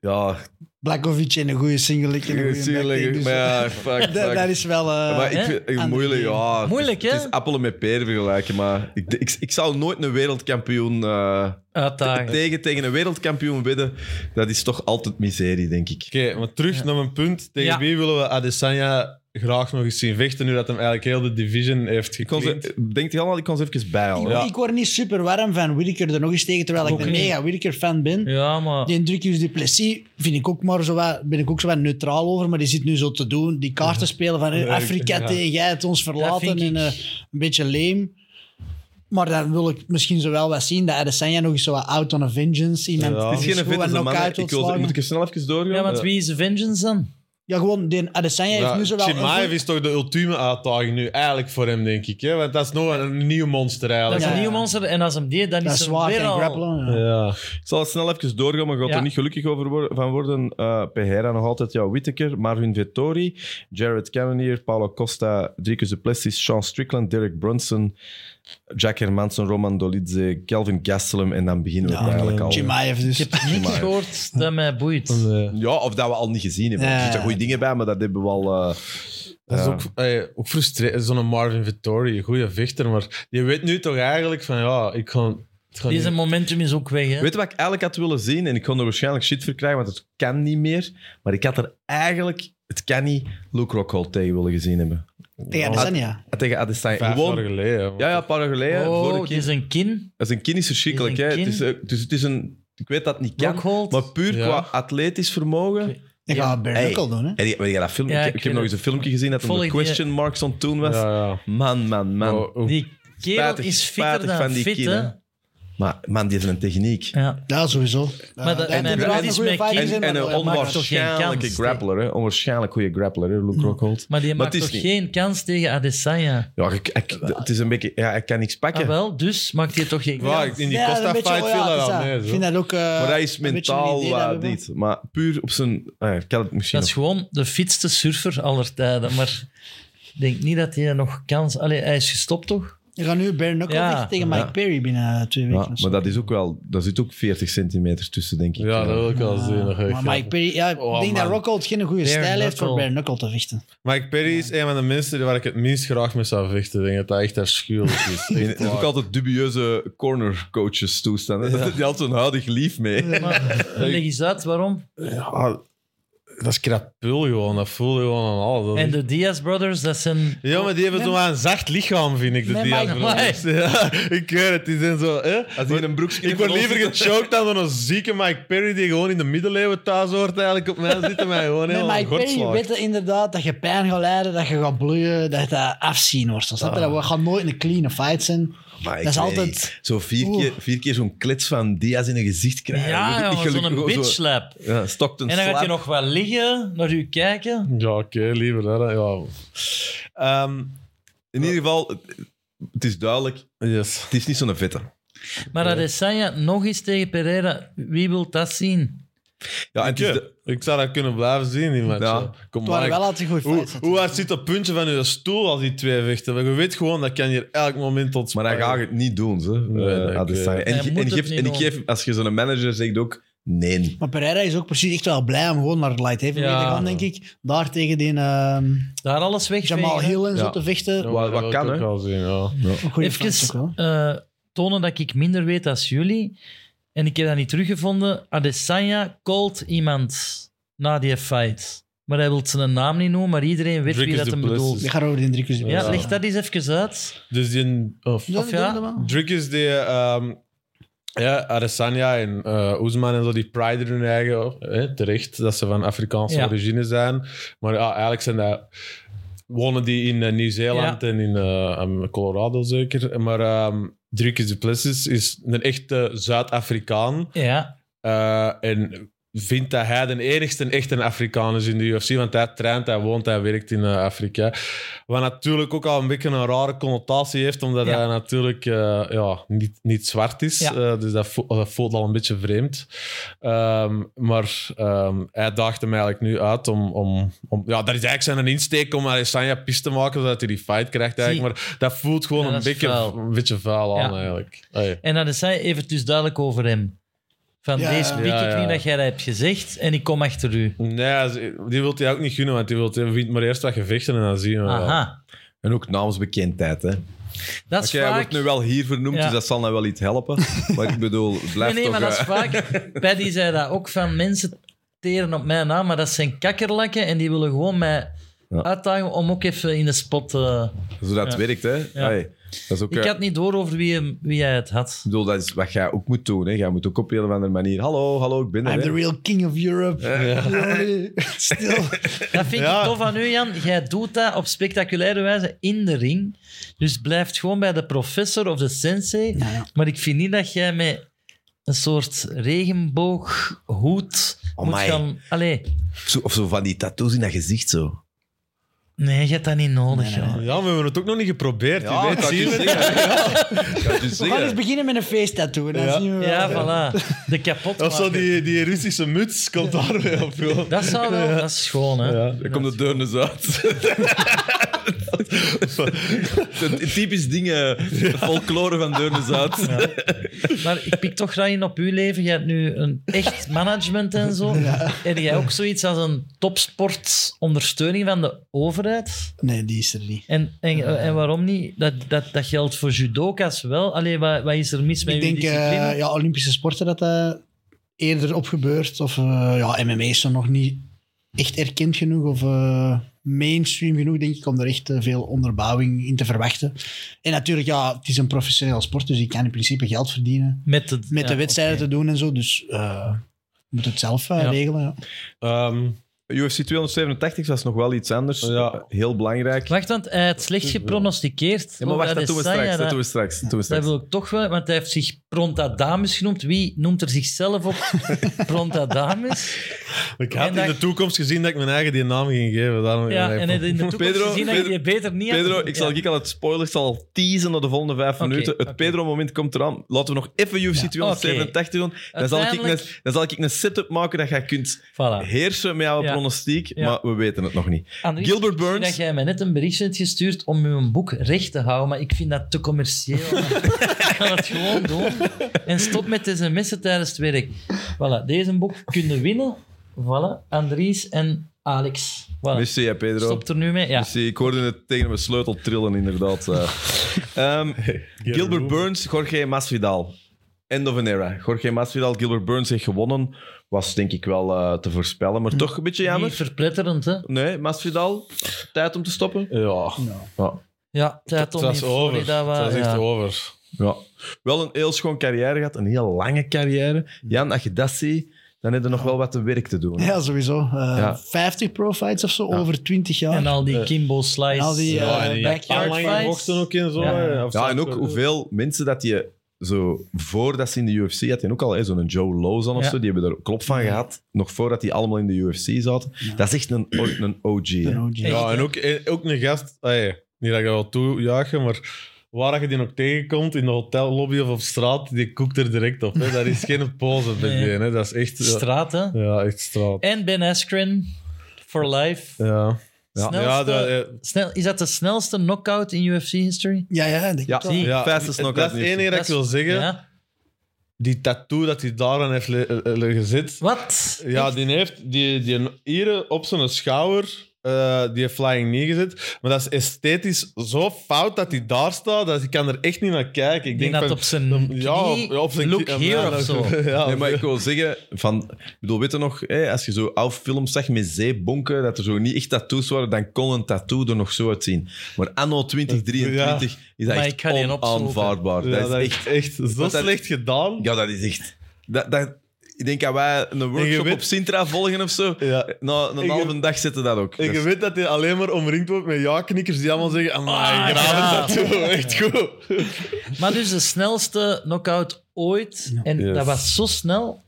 Speaker 1: ja,
Speaker 4: Blakovic in een goede single. in een goede
Speaker 1: natuurlijk.
Speaker 4: backkick, dus-
Speaker 1: maar ja, fuck, fuck.
Speaker 4: Dat, dat is wel... eh,
Speaker 1: maar ik
Speaker 3: hè?
Speaker 1: vind eh,
Speaker 4: Andere
Speaker 1: moeilijk,
Speaker 4: game.
Speaker 1: ja. het is-
Speaker 3: Moeilijk, hè?
Speaker 1: Het is appelen met peren vergelijken, maar ik, ik, ik zou nooit een wereldkampioen eh,
Speaker 3: Uitdagen.
Speaker 1: tegen, tegen een wereldkampioen wedden. Dat is toch altijd miserie, denk ik.
Speaker 2: Oké, maar terug naar mijn punt. Tegen
Speaker 3: Ja.
Speaker 2: wie willen we Adesanya graag nog eens zien vechten, nu dat hem eigenlijk heel de division heeft
Speaker 1: Ik kon
Speaker 2: gecleaned?
Speaker 1: ze, denk je allemaal, ik kon ze even bijhalen.
Speaker 2: Ja.
Speaker 4: Ik word niet super warm van Whittaker er nog eens tegen, terwijl
Speaker 3: Ook
Speaker 4: ik een
Speaker 3: niet.
Speaker 4: mega Whittaker-fan ben.
Speaker 3: Ja, maar...
Speaker 4: Die Dricus Duplessis vind ik ook maar zo wat, ben ik ook zo wat neutraal over, maar die zit nu zo te doen. Die kaart te spelen van eh,
Speaker 2: Ja,
Speaker 4: Afrika
Speaker 2: ja.
Speaker 4: tegen jij hebt ons verlaten
Speaker 3: vind ik-
Speaker 4: en eh, een beetje leem. Maar dan wil ik misschien zo wel wat zien dat Adesanya nog eens zo wat out on a vengeance. Iemand
Speaker 2: Ja.
Speaker 4: die
Speaker 1: Het is geen
Speaker 4: gewoon
Speaker 1: vette
Speaker 4: een
Speaker 1: man. hè.
Speaker 4: knock-out
Speaker 1: Ik
Speaker 4: wil
Speaker 1: wil,
Speaker 4: slagen.
Speaker 1: moet ik er snel even doorgaan?
Speaker 3: Ja, want wie is de vengeance dan?
Speaker 4: Ja, gewoon, die Adesanya heeft
Speaker 2: Ja,
Speaker 4: nu zo wel... een
Speaker 2: Chimaev
Speaker 4: goed-
Speaker 2: is toch de ultieme uitdaging nu eigenlijk voor hem, denk ik. Hè? Want dat is nog een, een nieuw monster
Speaker 3: Dat
Speaker 2: eigenlijk.
Speaker 3: is
Speaker 4: Ja,
Speaker 3: een
Speaker 4: ja.
Speaker 3: nieuw monster. En als hem die, dan
Speaker 4: dat
Speaker 3: is
Speaker 4: is
Speaker 3: hem
Speaker 4: zwaar
Speaker 3: weer
Speaker 4: en
Speaker 3: al...
Speaker 4: grappelen. ja.
Speaker 2: Ja.
Speaker 1: Ik zal het snel even doorgaan, maar je gaat
Speaker 3: Ja.
Speaker 1: er niet gelukkig over wor- van worden. Eh Pereira nog altijd, jouw Whittaker, Marvin Vettori, Jared Cannonier, Paulo Costa, Dricus Duplessis, Sean Strickland, Derek Brunson, Jack Hermansen, Roman Dolidze, Kelvin Gastelum en dan beginnen we
Speaker 4: Ja,
Speaker 1: eigenlijk al.
Speaker 4: Chimaev
Speaker 3: Ik
Speaker 4: dus.
Speaker 3: heb niks gehoord dat mij boeit.
Speaker 2: eh,
Speaker 1: Ja, of dat we al niet gezien hebben.
Speaker 4: Ja.
Speaker 1: Er zitten goede dingen bij, maar dat hebben we al... eh,
Speaker 2: Dat is
Speaker 1: Ja.
Speaker 2: ook, ey, ook frustrerend. Zo'n Marvin Vittori, een goede vechter. Maar je weet nu toch eigenlijk van ja, ik ga. Het gaat
Speaker 3: Deze
Speaker 2: niet-
Speaker 3: momentum is ook weg, hè.
Speaker 1: Weet je wat ik eigenlijk had willen zien? En ik kon er waarschijnlijk shit voor krijgen, want het kan niet meer. Maar ik had er eigenlijk, het kan niet, Luke Rockhold tegen willen gezien hebben.
Speaker 4: Tegen Adesanya.
Speaker 1: Ah, Tegen Adesanya.
Speaker 2: Vijf
Speaker 1: Gewoon-
Speaker 2: jaar geleden. hè, maar-
Speaker 1: Ja, ja, een paar jaar geleden.
Speaker 3: oh,
Speaker 1: vorige
Speaker 3: het
Speaker 1: keer.
Speaker 3: is een kin.
Speaker 1: Dat is een kind is verschrikkelijk.
Speaker 3: Is een
Speaker 1: hè. Het is, eh, dus het is een... Ik weet dat het niet kan.
Speaker 3: Rockhold.
Speaker 1: Maar puur
Speaker 2: Ja.
Speaker 1: qua atletisch vermogen...
Speaker 3: Ik-
Speaker 4: Die
Speaker 3: Ja.
Speaker 4: gaat Bernukkel doen, hè.
Speaker 1: En die- weet je dat filmpje?
Speaker 3: Ja,
Speaker 1: ik,
Speaker 3: ik
Speaker 1: ik heb
Speaker 3: weet
Speaker 1: nog
Speaker 3: het.
Speaker 1: eens een filmpje gezien dat er
Speaker 3: Volg
Speaker 1: een
Speaker 3: die-
Speaker 1: question marks aan toen was.
Speaker 2: Ja, ja. Oh,
Speaker 1: Man, man, man.
Speaker 2: Maar ook-
Speaker 3: Die kerel
Speaker 1: Spijtig-
Speaker 3: is fitter
Speaker 1: spijtig
Speaker 3: dan
Speaker 1: van die
Speaker 3: fit,
Speaker 1: kin,
Speaker 3: hè.
Speaker 1: hè. Maar man, die heeft een techniek.
Speaker 3: Ja.
Speaker 4: Ja, sowieso.
Speaker 3: Maar dat- en- en-
Speaker 1: en-
Speaker 4: is
Speaker 3: is met
Speaker 1: En, en een
Speaker 3: maakt toch geen
Speaker 1: onwaarschijnlijke
Speaker 3: kans, Mm.
Speaker 1: grappler, hè? Onwaarschijnlijk goede grappler, hè, Luke Rockhold.
Speaker 3: Maar die
Speaker 1: Maar
Speaker 3: maakt
Speaker 1: het is
Speaker 3: toch
Speaker 1: niet-
Speaker 3: geen kans tegen Adesanya?
Speaker 1: Ja, ik, ik- het is een beetje... Ja, ik kan niks pakken.
Speaker 3: Ah, wel, dus maakt hij toch geen
Speaker 2: Waar,
Speaker 3: kans?
Speaker 2: in die Costa fight viel dat wel mee.
Speaker 4: Ik
Speaker 2: zo.
Speaker 4: vind oh dat ook... eh,
Speaker 1: maar hij is
Speaker 4: een beetje een
Speaker 1: mentaal
Speaker 4: idee dat
Speaker 1: eh,
Speaker 4: we-
Speaker 1: niet. Maar puur op zijn... ah ja, ik kan het misschien
Speaker 3: Dat is gewoon de fitste surfer aller tijden. Maar ik denk niet dat hij nog kans... Allee, hij is gestopt, toch?
Speaker 4: Je gaat nu Bare Knuckle
Speaker 3: Ja.
Speaker 4: vechten tegen
Speaker 1: Ja.
Speaker 4: Mike Perry binnen twee weken.
Speaker 1: Ja,
Speaker 4: of zo.
Speaker 1: maar dat is ook wel... Daar zit ook 40 centimeter tussen, denk ik.
Speaker 2: Ja, dat wil ik wel
Speaker 4: Ah,
Speaker 2: zien. dat ga ik
Speaker 4: maar
Speaker 2: graag-
Speaker 4: Mike Perry, ja, ik
Speaker 2: Oh,
Speaker 4: denk
Speaker 2: man.
Speaker 4: dat Rockhold geen goede
Speaker 3: Bare
Speaker 4: stijl heeft voor
Speaker 3: Knuckle.
Speaker 4: Bare Knuckle te vechten.
Speaker 2: Mike Perry is een van de mensen waar ik het minst graag mee zou vechten. Ik denk dat dat echt afschuwelijk is.
Speaker 1: En Er
Speaker 2: Echt
Speaker 1: is ook
Speaker 2: waar.
Speaker 1: altijd dubieuze corner coaches toestaan. hè. Die had zo'n huidig lief mee.
Speaker 3: Maar leg eens uit, waarom?
Speaker 2: Ja, dat is krapul gewoon. Dat voel je gewoon aan alles. Dat is
Speaker 3: En de Diaz Brothers, dat zijn...
Speaker 2: Ja, maar die hebben
Speaker 4: Nee,
Speaker 2: zo'n een zacht lichaam, vind ik. De
Speaker 4: Nee,
Speaker 2: Diaz
Speaker 4: maar-
Speaker 2: Brothers. Ja, ik weet het. Die zijn zo... Hè?
Speaker 1: Als die in een broekje
Speaker 2: Ik word liever gechoked dan door een zieke Mike Perry die gewoon in de middeleeuwen thuis hoort eigenlijk op mij zitten. Mij gewoon
Speaker 4: Met
Speaker 2: helemaal
Speaker 4: Mike
Speaker 2: aan
Speaker 4: Perry
Speaker 2: gort slaagt.
Speaker 4: weet je inderdaad dat je pijn gaat lijden, dat je gaat bloeien, dat dat afzien wordt. Snap je? Dat gaat nooit een clean fight zijn.
Speaker 1: Maar ik
Speaker 4: Dat is
Speaker 1: weet
Speaker 4: altijd-
Speaker 1: niet. Zo vier
Speaker 4: Oeh.
Speaker 1: keer, vier keer zo'n klets van Diaz in een gezicht krijgen.
Speaker 3: Ja,
Speaker 1: Ik- ik
Speaker 3: jongen,
Speaker 1: geluk-
Speaker 3: zo'n
Speaker 1: gewoon zo-
Speaker 3: bitch slap.
Speaker 1: Ja, Stockton
Speaker 3: En dan gaat
Speaker 1: slap.
Speaker 3: hij nog wel liggen, naar u kijken.
Speaker 2: Ja, oké, liever. Hè, dan- ja. Ehm,
Speaker 1: In ieder geval, het- het is duidelijk,
Speaker 2: yes.
Speaker 1: het is niet zo'n vette.
Speaker 3: Maar Adesanya nog eens tegen Pereira. Wie wil dat zien?
Speaker 1: Ja, en het is
Speaker 2: Ja,
Speaker 1: de-
Speaker 2: Dus Ik zou dat kunnen blijven zien, die match.
Speaker 1: Ja.
Speaker 2: hè. Kom,
Speaker 4: Het waren
Speaker 2: Mike.
Speaker 4: wel altijd goede
Speaker 2: Hoe,
Speaker 4: fights.
Speaker 2: hoe hard zit dat puntje van je stoel als die twee vechten? Want Je weet gewoon, dat kan hier elk moment
Speaker 1: maar
Speaker 2: ontspannen.
Speaker 1: hij gaat het niet doen, ze.
Speaker 2: Nee,
Speaker 1: eh,
Speaker 2: nee, ik
Speaker 1: Adesanya.
Speaker 2: weet-
Speaker 1: En,
Speaker 3: Hij
Speaker 1: ge-
Speaker 3: moet
Speaker 1: en,
Speaker 3: het
Speaker 1: geef,
Speaker 3: niet
Speaker 1: en ik
Speaker 3: doen.
Speaker 1: geef, als je zo'n manager zegt ook, nee.
Speaker 4: Maar Pereira is ook precies echt wel blij om gewoon naar het light heavyweight
Speaker 3: Ja.
Speaker 4: te gaan, denk ik. Daar tegen die ehm,
Speaker 3: Daar alles weg.
Speaker 4: Jamal Hill en
Speaker 1: Ja.
Speaker 4: zo te vechten.
Speaker 2: Ja,
Speaker 1: Wat-
Speaker 2: dat
Speaker 1: wat
Speaker 2: wil ik
Speaker 1: kan,
Speaker 2: ook
Speaker 1: hè?
Speaker 2: wel zien, ja.
Speaker 4: Een goede fight ook wel.
Speaker 3: Even eh, tonen dat ik minder weet als jullie. En ik heb dat niet teruggevonden. Adesanya called iemand na die fight. Maar hij wil zijn naam niet noemen, maar iedereen weet
Speaker 2: Dricus
Speaker 3: wie dat hem
Speaker 2: Duplessis.
Speaker 3: bedoelt.
Speaker 4: Die gaat over die Dricus.
Speaker 3: Ja,
Speaker 2: Ja.
Speaker 3: leg dat eens even uit.
Speaker 2: Dus die... oh,
Speaker 4: Ja,
Speaker 3: Of ja?
Speaker 4: doe dat maar.
Speaker 2: Drukjes die. ehm ja, Adesanya en eh Oesman en zo, die priden hun eigen, eh, terecht, dat ze van Afrikaanse
Speaker 3: Ja.
Speaker 2: origine zijn. Maar ja, eigenlijk zijn dat wonen die in eh, Nieuw-Zeeland en in eh, um, Colorado zeker. Maar ehm Dricus Duplessis is een echte Zuid-Afrikaan.
Speaker 3: Ja,
Speaker 2: eh, en vindt dat hij de enigste echte Afrikaan is in de UFC. Want hij traint, hij woont, hij werkt in eh, Afrika. Wat natuurlijk ook al een beetje een rare connotatie heeft, omdat
Speaker 3: Ja.
Speaker 2: hij natuurlijk eh, ja, niet, niet zwart is.
Speaker 3: Ja.
Speaker 2: Eh, dus dat, vo- dat voelt al een beetje vreemd. Ehm, maar ehm, hij daagde hem eigenlijk nu uit om... om, om ja, dat is eigenlijk zijn insteek om Alessandra pis te maken, zodat hij die fight krijgt eigenlijk. Maar dat voelt gewoon
Speaker 3: Ja,
Speaker 2: een,
Speaker 3: dat is
Speaker 2: beetje,
Speaker 3: vuil.
Speaker 2: een beetje vuil aan
Speaker 3: Ja.
Speaker 2: eigenlijk. Hey.
Speaker 3: en dat is hij even dus duidelijk over hem. Van
Speaker 4: Ja.
Speaker 3: deze pik ik
Speaker 2: Ja, ja.
Speaker 3: niet dat jij dat hebt gezegd en ik kom achter u.
Speaker 2: Nee, ze- die wilt hij ook niet gunnen, want die wilt hij vindt maar eerst wat gevechten en dan zien we wel.
Speaker 3: Aha,
Speaker 1: En ook namensbekendheid. Hè.
Speaker 3: dat is
Speaker 1: Oké, hij
Speaker 3: vaak...
Speaker 1: wordt nu wel hier vernoemd,
Speaker 3: Ja.
Speaker 1: dus dat zal nou wel iets helpen. Maar ik bedoel, het
Speaker 3: Nee,
Speaker 1: blijft
Speaker 3: nee,
Speaker 1: toch...
Speaker 3: maar dat is
Speaker 1: eh,
Speaker 3: vaak... Paddy zei dat ook van mensen teren op mijn naam, maar dat zijn kakkerlakken en die willen gewoon mij
Speaker 1: Ja.
Speaker 3: uitdagen om ook even in de spot... eh,
Speaker 1: Zodat het
Speaker 3: Ja.
Speaker 1: werkt, hè. Hey, dat is ook...
Speaker 3: Ik
Speaker 1: eh,
Speaker 3: had niet door over wie, hem- wie hij het had.
Speaker 1: Ik bedoel, dat is wat jij ook moet doen. Hè. Jij moet ook op een of andere manier... Hallo, hallo, ik ben er.
Speaker 4: I'm
Speaker 1: hè.
Speaker 4: the real king of Europe. Glory. Stil.
Speaker 3: Dat vind
Speaker 2: Ja.
Speaker 3: ik tof aan u, Jan. Jij doet dat op spectaculaire wijze in de ring. Dus blijft gewoon bij de professor of de sensei.
Speaker 4: Ja, ja.
Speaker 3: Maar ik vind niet dat jij met een soort regenbooghoed moet
Speaker 1: Amai.
Speaker 3: gaan... Allee,
Speaker 1: Zo- Of zo van die tattoos in dat gezicht, zo.
Speaker 3: nee, je hebt dat niet nodig.
Speaker 4: Nee, nee,
Speaker 3: joh.
Speaker 2: Ja, we hebben het ook nog niet geprobeerd.
Speaker 1: Ja,
Speaker 2: je
Speaker 1: dat
Speaker 2: weet,
Speaker 1: kan
Speaker 2: zie
Speaker 1: je
Speaker 2: je het.
Speaker 1: zeggen. Dat is
Speaker 4: We gaan eens
Speaker 1: zeggen.
Speaker 4: beginnen met een feesttattoo. Dan
Speaker 2: Ja.
Speaker 4: zien we
Speaker 3: Ja,
Speaker 4: wel.
Speaker 3: voilà. De kapot
Speaker 2: Of zo
Speaker 3: maken.
Speaker 2: die, die Russische muts komt daar weer op. joh.
Speaker 3: Dat zou wel... Dat is schoon, hè.
Speaker 2: Ja.
Speaker 1: Dan komt de deur dus uit. Het Typisch dingen, de folklore van Deurnes uit.
Speaker 3: Maar ik pik toch graag in op uw leven. Jij hebt nu een echt management en zo. Heb jij ook zoiets als een topsportondersteuning van de overheid?
Speaker 4: Nee, die is er niet.
Speaker 3: En, en, en waarom niet? Dat, dat, dat geldt voor judoka's wel. Allee, wat, wat is er mis met
Speaker 4: ik denk,
Speaker 3: uw discipline?
Speaker 4: eh, ja, Olympische sporten, dat dat eerder opgebeurt. Of eh, ja, MMA is er nog niet echt erkend genoeg. Of eh, mainstream genoeg, denk ik, om er echt eh, veel onderbouwing in te verwachten. En natuurlijk, ja, het is een professioneel sport, dus je kan in principe geld verdienen.
Speaker 3: met de,
Speaker 4: Met
Speaker 3: ja,
Speaker 4: de wedstrijden
Speaker 3: oké.
Speaker 4: te doen en zo. Dus eh, je moet het zelf eh,
Speaker 3: Ja.
Speaker 4: regelen. Ja.
Speaker 2: Ehm,
Speaker 1: UFC 287 was nog wel iets anders.
Speaker 2: Ja.
Speaker 1: Heel
Speaker 4: dus.
Speaker 1: belangrijk.
Speaker 3: Wacht, want hij had slecht gepronosticeerd.
Speaker 1: Ja, maar wacht,
Speaker 3: over
Speaker 1: dat doen we
Speaker 3: Adesanya,
Speaker 1: straks. Dat
Speaker 3: dat-
Speaker 1: doen we straks. Dat doen we
Speaker 3: dat
Speaker 1: straks.
Speaker 3: wil ik toch wel, want hij heeft zich Prontadamus genoemd. Wie noemt er zichzelf op Prontadamus?
Speaker 2: ik had
Speaker 3: En
Speaker 2: in
Speaker 3: dat-
Speaker 2: de toekomst gezien dat ik mijn eigen die naam ging geven. Daarom
Speaker 3: Ja, en hij had in de toekomst
Speaker 1: Pedro,
Speaker 3: gezien dat je
Speaker 1: Pedro,
Speaker 3: die beter niet had
Speaker 1: Pedro,
Speaker 3: genoemd.
Speaker 1: ik zal
Speaker 3: Ja.
Speaker 1: ik al het spoilers al teasen naar de volgende vijf
Speaker 3: Oké,
Speaker 1: minuten. Het
Speaker 3: oké.
Speaker 1: Pedro-moment komt eraan. Laten we nog even UFC
Speaker 4: Ja.
Speaker 1: 287 doen. Dan zal, ik
Speaker 3: Uiteindelijk-
Speaker 1: een, dan zal ik een setup maken dat jij kunt
Speaker 3: Voilà.
Speaker 1: heersen met jouw
Speaker 3: Ja.
Speaker 1: pronostiek.
Speaker 3: Ja.
Speaker 1: Maar we weten het nog niet.
Speaker 3: Andries,
Speaker 1: Gilbert
Speaker 3: ik zie
Speaker 1: Burns.
Speaker 3: dat jij mij net een berichtje hebt gestuurd om uw boek recht te houden, maar ik vind dat te commercieel. ik ga het gewoon doen. En stop met sms'en tijdens het werk. Voilà, deze boek kunnen winnen. Voilà, Andries en Alex. Voilà.
Speaker 1: Merci, hè, Pedro.
Speaker 3: Stop er nu mee. Ja.
Speaker 1: Merci. Dus Ik hoorde het tegen mijn sleutel trillen, inderdaad. Eh, ehm, Gilbert Burns, Jorge Masvidal. End of an era. Jorge Masvidal, Gilbert Burns heeft gewonnen. Was denk ik wel eh, te voorspellen, maar toch een beetje
Speaker 3: Niet
Speaker 1: jammer.
Speaker 3: verpletterend, hè?
Speaker 1: Nee, Masvidal, tijd om te stoppen.
Speaker 2: Ja,
Speaker 3: Ja, tijd
Speaker 2: het
Speaker 3: om in
Speaker 2: was over.
Speaker 3: Florida
Speaker 2: Het
Speaker 3: wa-
Speaker 2: was echt
Speaker 3: ja.
Speaker 2: over.
Speaker 1: Ja. Wel een heel schoon carrière gehad, een heel lange carrière. Jan, als je dat ziet, dan heb je nog wel wat te werk te doen.
Speaker 4: Ja, sowieso. Eh,
Speaker 1: Ja.
Speaker 4: 50 profites of zo
Speaker 1: Ja.
Speaker 4: over 20 jaar.
Speaker 3: En al die Kimbo Slice.
Speaker 4: En al die, eh,
Speaker 2: Ja, en in
Speaker 4: backyard
Speaker 2: Japan lang
Speaker 3: fights.
Speaker 2: gevochten ook en zo.
Speaker 3: Ja.
Speaker 2: hè. Of
Speaker 1: Ja,
Speaker 2: zo-
Speaker 1: en ook hoeveel mensen dat je zo voordat ze in de UFC had, en ook al hè, zo'n Joe Lozan of
Speaker 3: Ja.
Speaker 1: zo, die hebben er klop van gehad, nog voordat die allemaal in de UFC zaten. Dat is echt een, o- een OG. hè.
Speaker 4: Een OG.
Speaker 2: Ja, en ook, en ook een gast, hey, niet dat ik dat wil toejuichen, maar waar je die nog tegenkomt, in de hotellobby of op straat, die koekt er direct op. Hè. Dat is geen pose bij
Speaker 3: Nee.
Speaker 2: die, hè. Dat is echt... Ja,
Speaker 3: Straat, hè?
Speaker 2: ja, echt straat.
Speaker 3: En Ben Askren, for life.
Speaker 2: Ja.
Speaker 1: Ja.
Speaker 3: Snelste-
Speaker 2: Ja, dat, eh,
Speaker 3: snel, is dat de snelste knockout in UFC-history?
Speaker 4: Ja, ja, denk ik
Speaker 1: Ja,
Speaker 4: wel.
Speaker 1: zie.
Speaker 2: ja,
Speaker 1: Fastest knockout
Speaker 2: dat is het
Speaker 1: niet.
Speaker 2: enige dat ik wil zeggen.
Speaker 3: Ja.
Speaker 2: Die tattoo dat hij daar aan heeft le- eh, liggen zit.
Speaker 3: Wat?
Speaker 2: Ja, die heeft die, die hier op zijn schouder eh, die flying knee gezet. Maar dat is esthetisch zo fout dat hij daar staat, dat ik kan er echt niet naar kijken. Ik
Speaker 3: Die
Speaker 2: denk
Speaker 3: had
Speaker 2: van-
Speaker 3: op zijn knie,
Speaker 2: knie-
Speaker 3: look here
Speaker 2: ja, nou,
Speaker 3: of zo.
Speaker 2: ja,
Speaker 1: Nee, maar ik wil zeggen, van, ik bedoel, weet je nog, hè, als je zo oude films zag met zeebonken, dat er zo niet echt tattoos waren, dan kon een tattoo er nog zo uitzien. Maar anno 2023 is dat
Speaker 3: Maar ik
Speaker 1: echt
Speaker 3: ga die opzoeken.
Speaker 1: onaanvaardbaar.
Speaker 2: Ja,
Speaker 1: dat is echt...
Speaker 2: echt zo
Speaker 1: Want dat-
Speaker 2: slecht gedaan.
Speaker 1: Ja, dat is echt... Dat, dat, Ik denk dat wij een workshop
Speaker 2: weet-
Speaker 1: op Sintra volgen of zo.
Speaker 2: Ja.
Speaker 1: Na een
Speaker 2: je-
Speaker 1: halve dag zitten dat ook.
Speaker 2: Ik
Speaker 1: Dus-
Speaker 2: weet dat hij alleen maar omringd wordt met ja-knikkers die allemaal zeggen: Amai,
Speaker 3: Ah,
Speaker 2: graven tattoo, echt goed.
Speaker 3: Maar dus de snelste knockout ooit. En
Speaker 1: Yes.
Speaker 3: dat was zo snel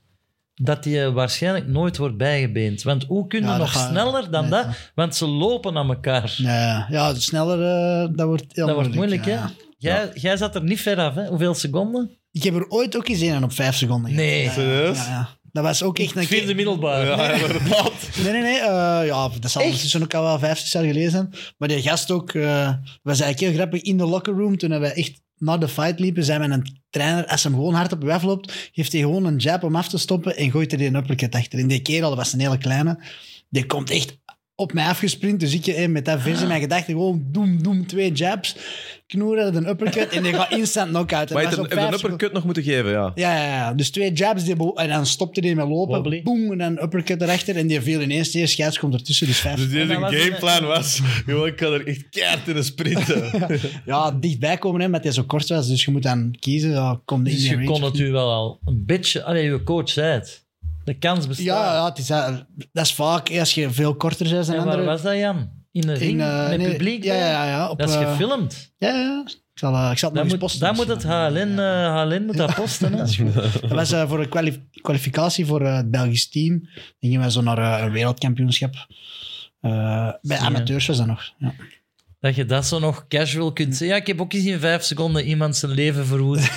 Speaker 3: dat die eh, waarschijnlijk nooit wordt bijgebeend. Want hoe kun je
Speaker 4: Ja, dat
Speaker 3: nog
Speaker 4: gaat-
Speaker 3: sneller dan
Speaker 4: nee,
Speaker 3: dat? Want ze lopen aan elkaar.
Speaker 4: Ja, ja, sneller, eh, dat wordt heel
Speaker 3: dat wordt moeilijk, hè?
Speaker 4: ja.
Speaker 3: Jij, jij zat er niet ver af, hè? Hoeveel seconden?
Speaker 4: Ik heb er ooit ook eens een op vijf seconden. gehad.
Speaker 3: Nee.
Speaker 4: Ja,
Speaker 2: Serieus?
Speaker 4: Ja, ja. Dat was ook echt... Een keer-
Speaker 3: Vierde middelbaar.
Speaker 2: Ja, inderdaad.
Speaker 4: Nee, nee, nee. eh, ja, dat zal
Speaker 3: Echt?
Speaker 4: ondertussen ook al wel vijf, zes jaar geleden zijn. Maar die gast ook eh, was eigenlijk heel grappig. In de locker room, toen wij echt naar de fight liepen, zijn met een trainer, als hem gewoon hard op je weg loopt, geeft hij gewoon een jab om af te stoppen en gooit er die een uppercut achter. En die kerel, dat was een hele kleine, die komt echt op mij afgesprint. Dus ik eh, met dat vers in mijn gedachten gewoon doem, doem, twee jabs, knoeren, een uppercut en die gaat instant knock-out. En
Speaker 1: Maar je hebt
Speaker 4: dat was
Speaker 1: een,
Speaker 4: op
Speaker 1: heb je een
Speaker 4: vijf seconden-
Speaker 1: uppercut nog moeten geven, ja.
Speaker 4: ja, ja, ja. Dus twee jabs die bo- en dan stopte hij met lopen.
Speaker 3: Wobbly.
Speaker 4: Boem, en dan uppercut erachter. En die viel ineens neer. Scheids komt ertussen, dus vijf.
Speaker 2: Dus deze
Speaker 3: En dat was
Speaker 2: gameplan was: joh, ik kan er echt keihard in een sprinten.
Speaker 4: Ja, dichtbij komen, hè, met die zo kort was. Dus je moet dan kiezen. Ja, kom de
Speaker 3: Dus
Speaker 4: in
Speaker 3: je
Speaker 4: range
Speaker 3: kon
Speaker 4: of
Speaker 3: het
Speaker 4: niet.
Speaker 3: u wel al een beetje... Allee, je coach zei het. De kans bestaat.
Speaker 4: Ja, ja het is, dat dat is vaak als je veel korter bent dan
Speaker 3: en waar
Speaker 4: anderen.
Speaker 3: was dat, Jan? In de ring?
Speaker 4: eh,
Speaker 3: met
Speaker 4: nee,
Speaker 3: publiek?
Speaker 4: Ja,
Speaker 3: bij?
Speaker 4: ja, ja. Op,
Speaker 3: Dat is
Speaker 4: eh,
Speaker 3: gefilmd.
Speaker 4: ja, ja, ja. Ik zal, eh, ik zal het
Speaker 3: Dan
Speaker 4: nog
Speaker 3: moet,
Speaker 4: eens posten.
Speaker 3: dan moet het HLN, eh, HLN moet dat posten. Hè?
Speaker 4: Dat was eh, voor een kwali- kwalificatie voor eh, het Belgisch team. Dan gingen we zo naar eh, een wereldkampioenschap. Eh, bij
Speaker 3: Ja.
Speaker 4: amateurs was dat nog. Ja.
Speaker 3: Dat je dat zo nog casual kunt zeggen. Ja, ik heb ook eens in vijf seconden iemand zijn leven verwoest.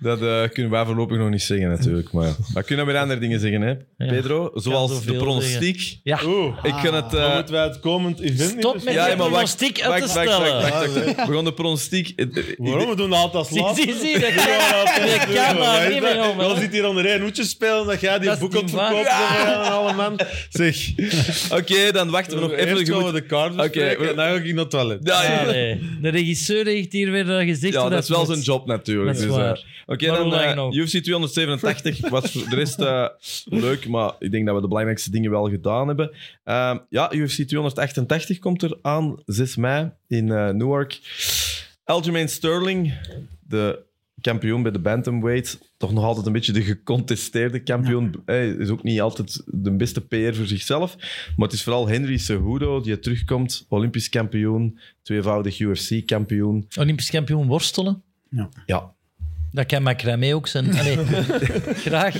Speaker 1: Dat eh, kunnen wij voorlopig nog niet zeggen, natuurlijk. Maar we kunnen weer andere dingen zeggen, hè? Pedro, zoals de
Speaker 3: zoveel Ah.
Speaker 1: pronostiek.
Speaker 3: Ja.
Speaker 2: Oeh,
Speaker 1: Ik kan het... eh,
Speaker 2: dan moeten wij het komend event
Speaker 3: Stop
Speaker 2: niet
Speaker 3: met
Speaker 1: ja,
Speaker 3: je
Speaker 1: maar wacht,
Speaker 3: pronostiek uit
Speaker 1: wacht,
Speaker 3: te
Speaker 1: wacht, wacht,
Speaker 3: stellen.
Speaker 1: wacht, wacht, wacht. We gaan de pronostiek... eh, eh,
Speaker 2: Ah, Waarom? We doen dat altijd als
Speaker 3: Zie,
Speaker 2: laatste.
Speaker 3: zie, zie. Dat kan, dat kan maar niet meer, jongen.
Speaker 2: Dan zit hier onder één hoedje spelen dat jij
Speaker 3: Dat
Speaker 2: die
Speaker 3: is
Speaker 2: boek
Speaker 3: niet
Speaker 2: op
Speaker 3: waar.
Speaker 2: verkoopt. Ja. alle man. Zeg,
Speaker 1: Oké, dan wachten we nog even. Je
Speaker 2: eerst gaan
Speaker 1: moet-
Speaker 2: we de kaart
Speaker 1: Oké,
Speaker 2: bespreken
Speaker 1: we-
Speaker 2: en dan ga ik in het toilet.
Speaker 1: Ja, ja.
Speaker 3: Allee, De regisseur heeft hier weer eh, gezegd...
Speaker 1: Ja,
Speaker 3: hoe
Speaker 1: dat is wel
Speaker 3: moet.
Speaker 1: zijn job natuurlijk.
Speaker 3: Dat is
Speaker 1: dus, eh,
Speaker 3: waar.
Speaker 1: Oké,
Speaker 3: Maar hoe
Speaker 1: dan
Speaker 3: lang
Speaker 1: eh,
Speaker 3: nog?
Speaker 1: UFC 287 was voor de rest eh, leuk, maar ik denk dat we de belangrijkste dingen wel gedaan hebben. Ehm, ja, UFC 288 komt er aan, 6 mei in eh, Newark. Aljamain Sterling, de kampioen bij de bantamweight, toch nog altijd een beetje de gecontesteerde kampioen. Hij is ook niet altijd de beste PR voor zichzelf. Maar het is vooral Henry Cejudo die terugkomt, Olympisch kampioen, tweevoudig UFC-kampioen.
Speaker 3: Olympisch kampioen worstelen.
Speaker 1: Ja,
Speaker 3: Dat kan macramé ook zijn. Allee, graag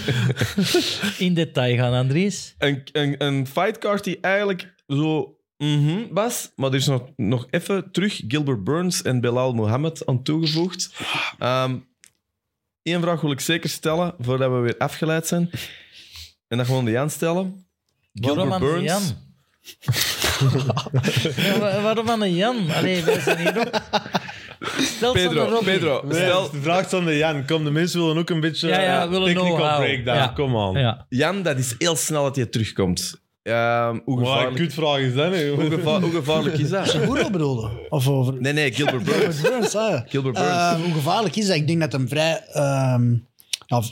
Speaker 3: in detail gaan, Andries.
Speaker 1: een, een, een fightcard die eigenlijk zo mhm was. Maar er is nog, nog even terug Gilbert Burns en Belal Mohammed aan toegevoegd. Ehm Eén vraag wil ik zeker stellen voordat we weer afgeleid zijn. En dat gewoon de Jan stellen.
Speaker 3: Waarom
Speaker 1: Gilbert
Speaker 3: aan
Speaker 1: Burns.
Speaker 3: de Jan? Ja, wa- waarom aan de Jan? Allee, wij zijn hier ook... Stel ze aan de
Speaker 1: Pedro,
Speaker 3: Robbie.
Speaker 1: Pedro,
Speaker 2: Nee,
Speaker 1: stel.
Speaker 2: De vraag is aan de Jan. Kom, de mensen willen ook een beetje
Speaker 3: Ja, ja,
Speaker 2: eh,
Speaker 3: willen
Speaker 2: technical
Speaker 3: know-how.
Speaker 2: breakdown.
Speaker 3: Ja.
Speaker 2: Kom aan.
Speaker 3: Ja.
Speaker 1: Jan, dat is heel snel dat hij terugkomt. Ehm, hoe,
Speaker 2: Wat een
Speaker 1: gevaarlijk,
Speaker 2: kutvraag is dat nu?
Speaker 1: hoe, geva- hoe gevaarlijk is dat?
Speaker 4: Oero bedoelde? Of over...
Speaker 1: Nee, nee, Gilbert Burns.
Speaker 4: Gilbert Burns, ah, ja.
Speaker 1: Gilbert Burns.
Speaker 4: Eh, hoe gevaarlijk is dat? Ik denk dat hem vrij ehm, ja, v-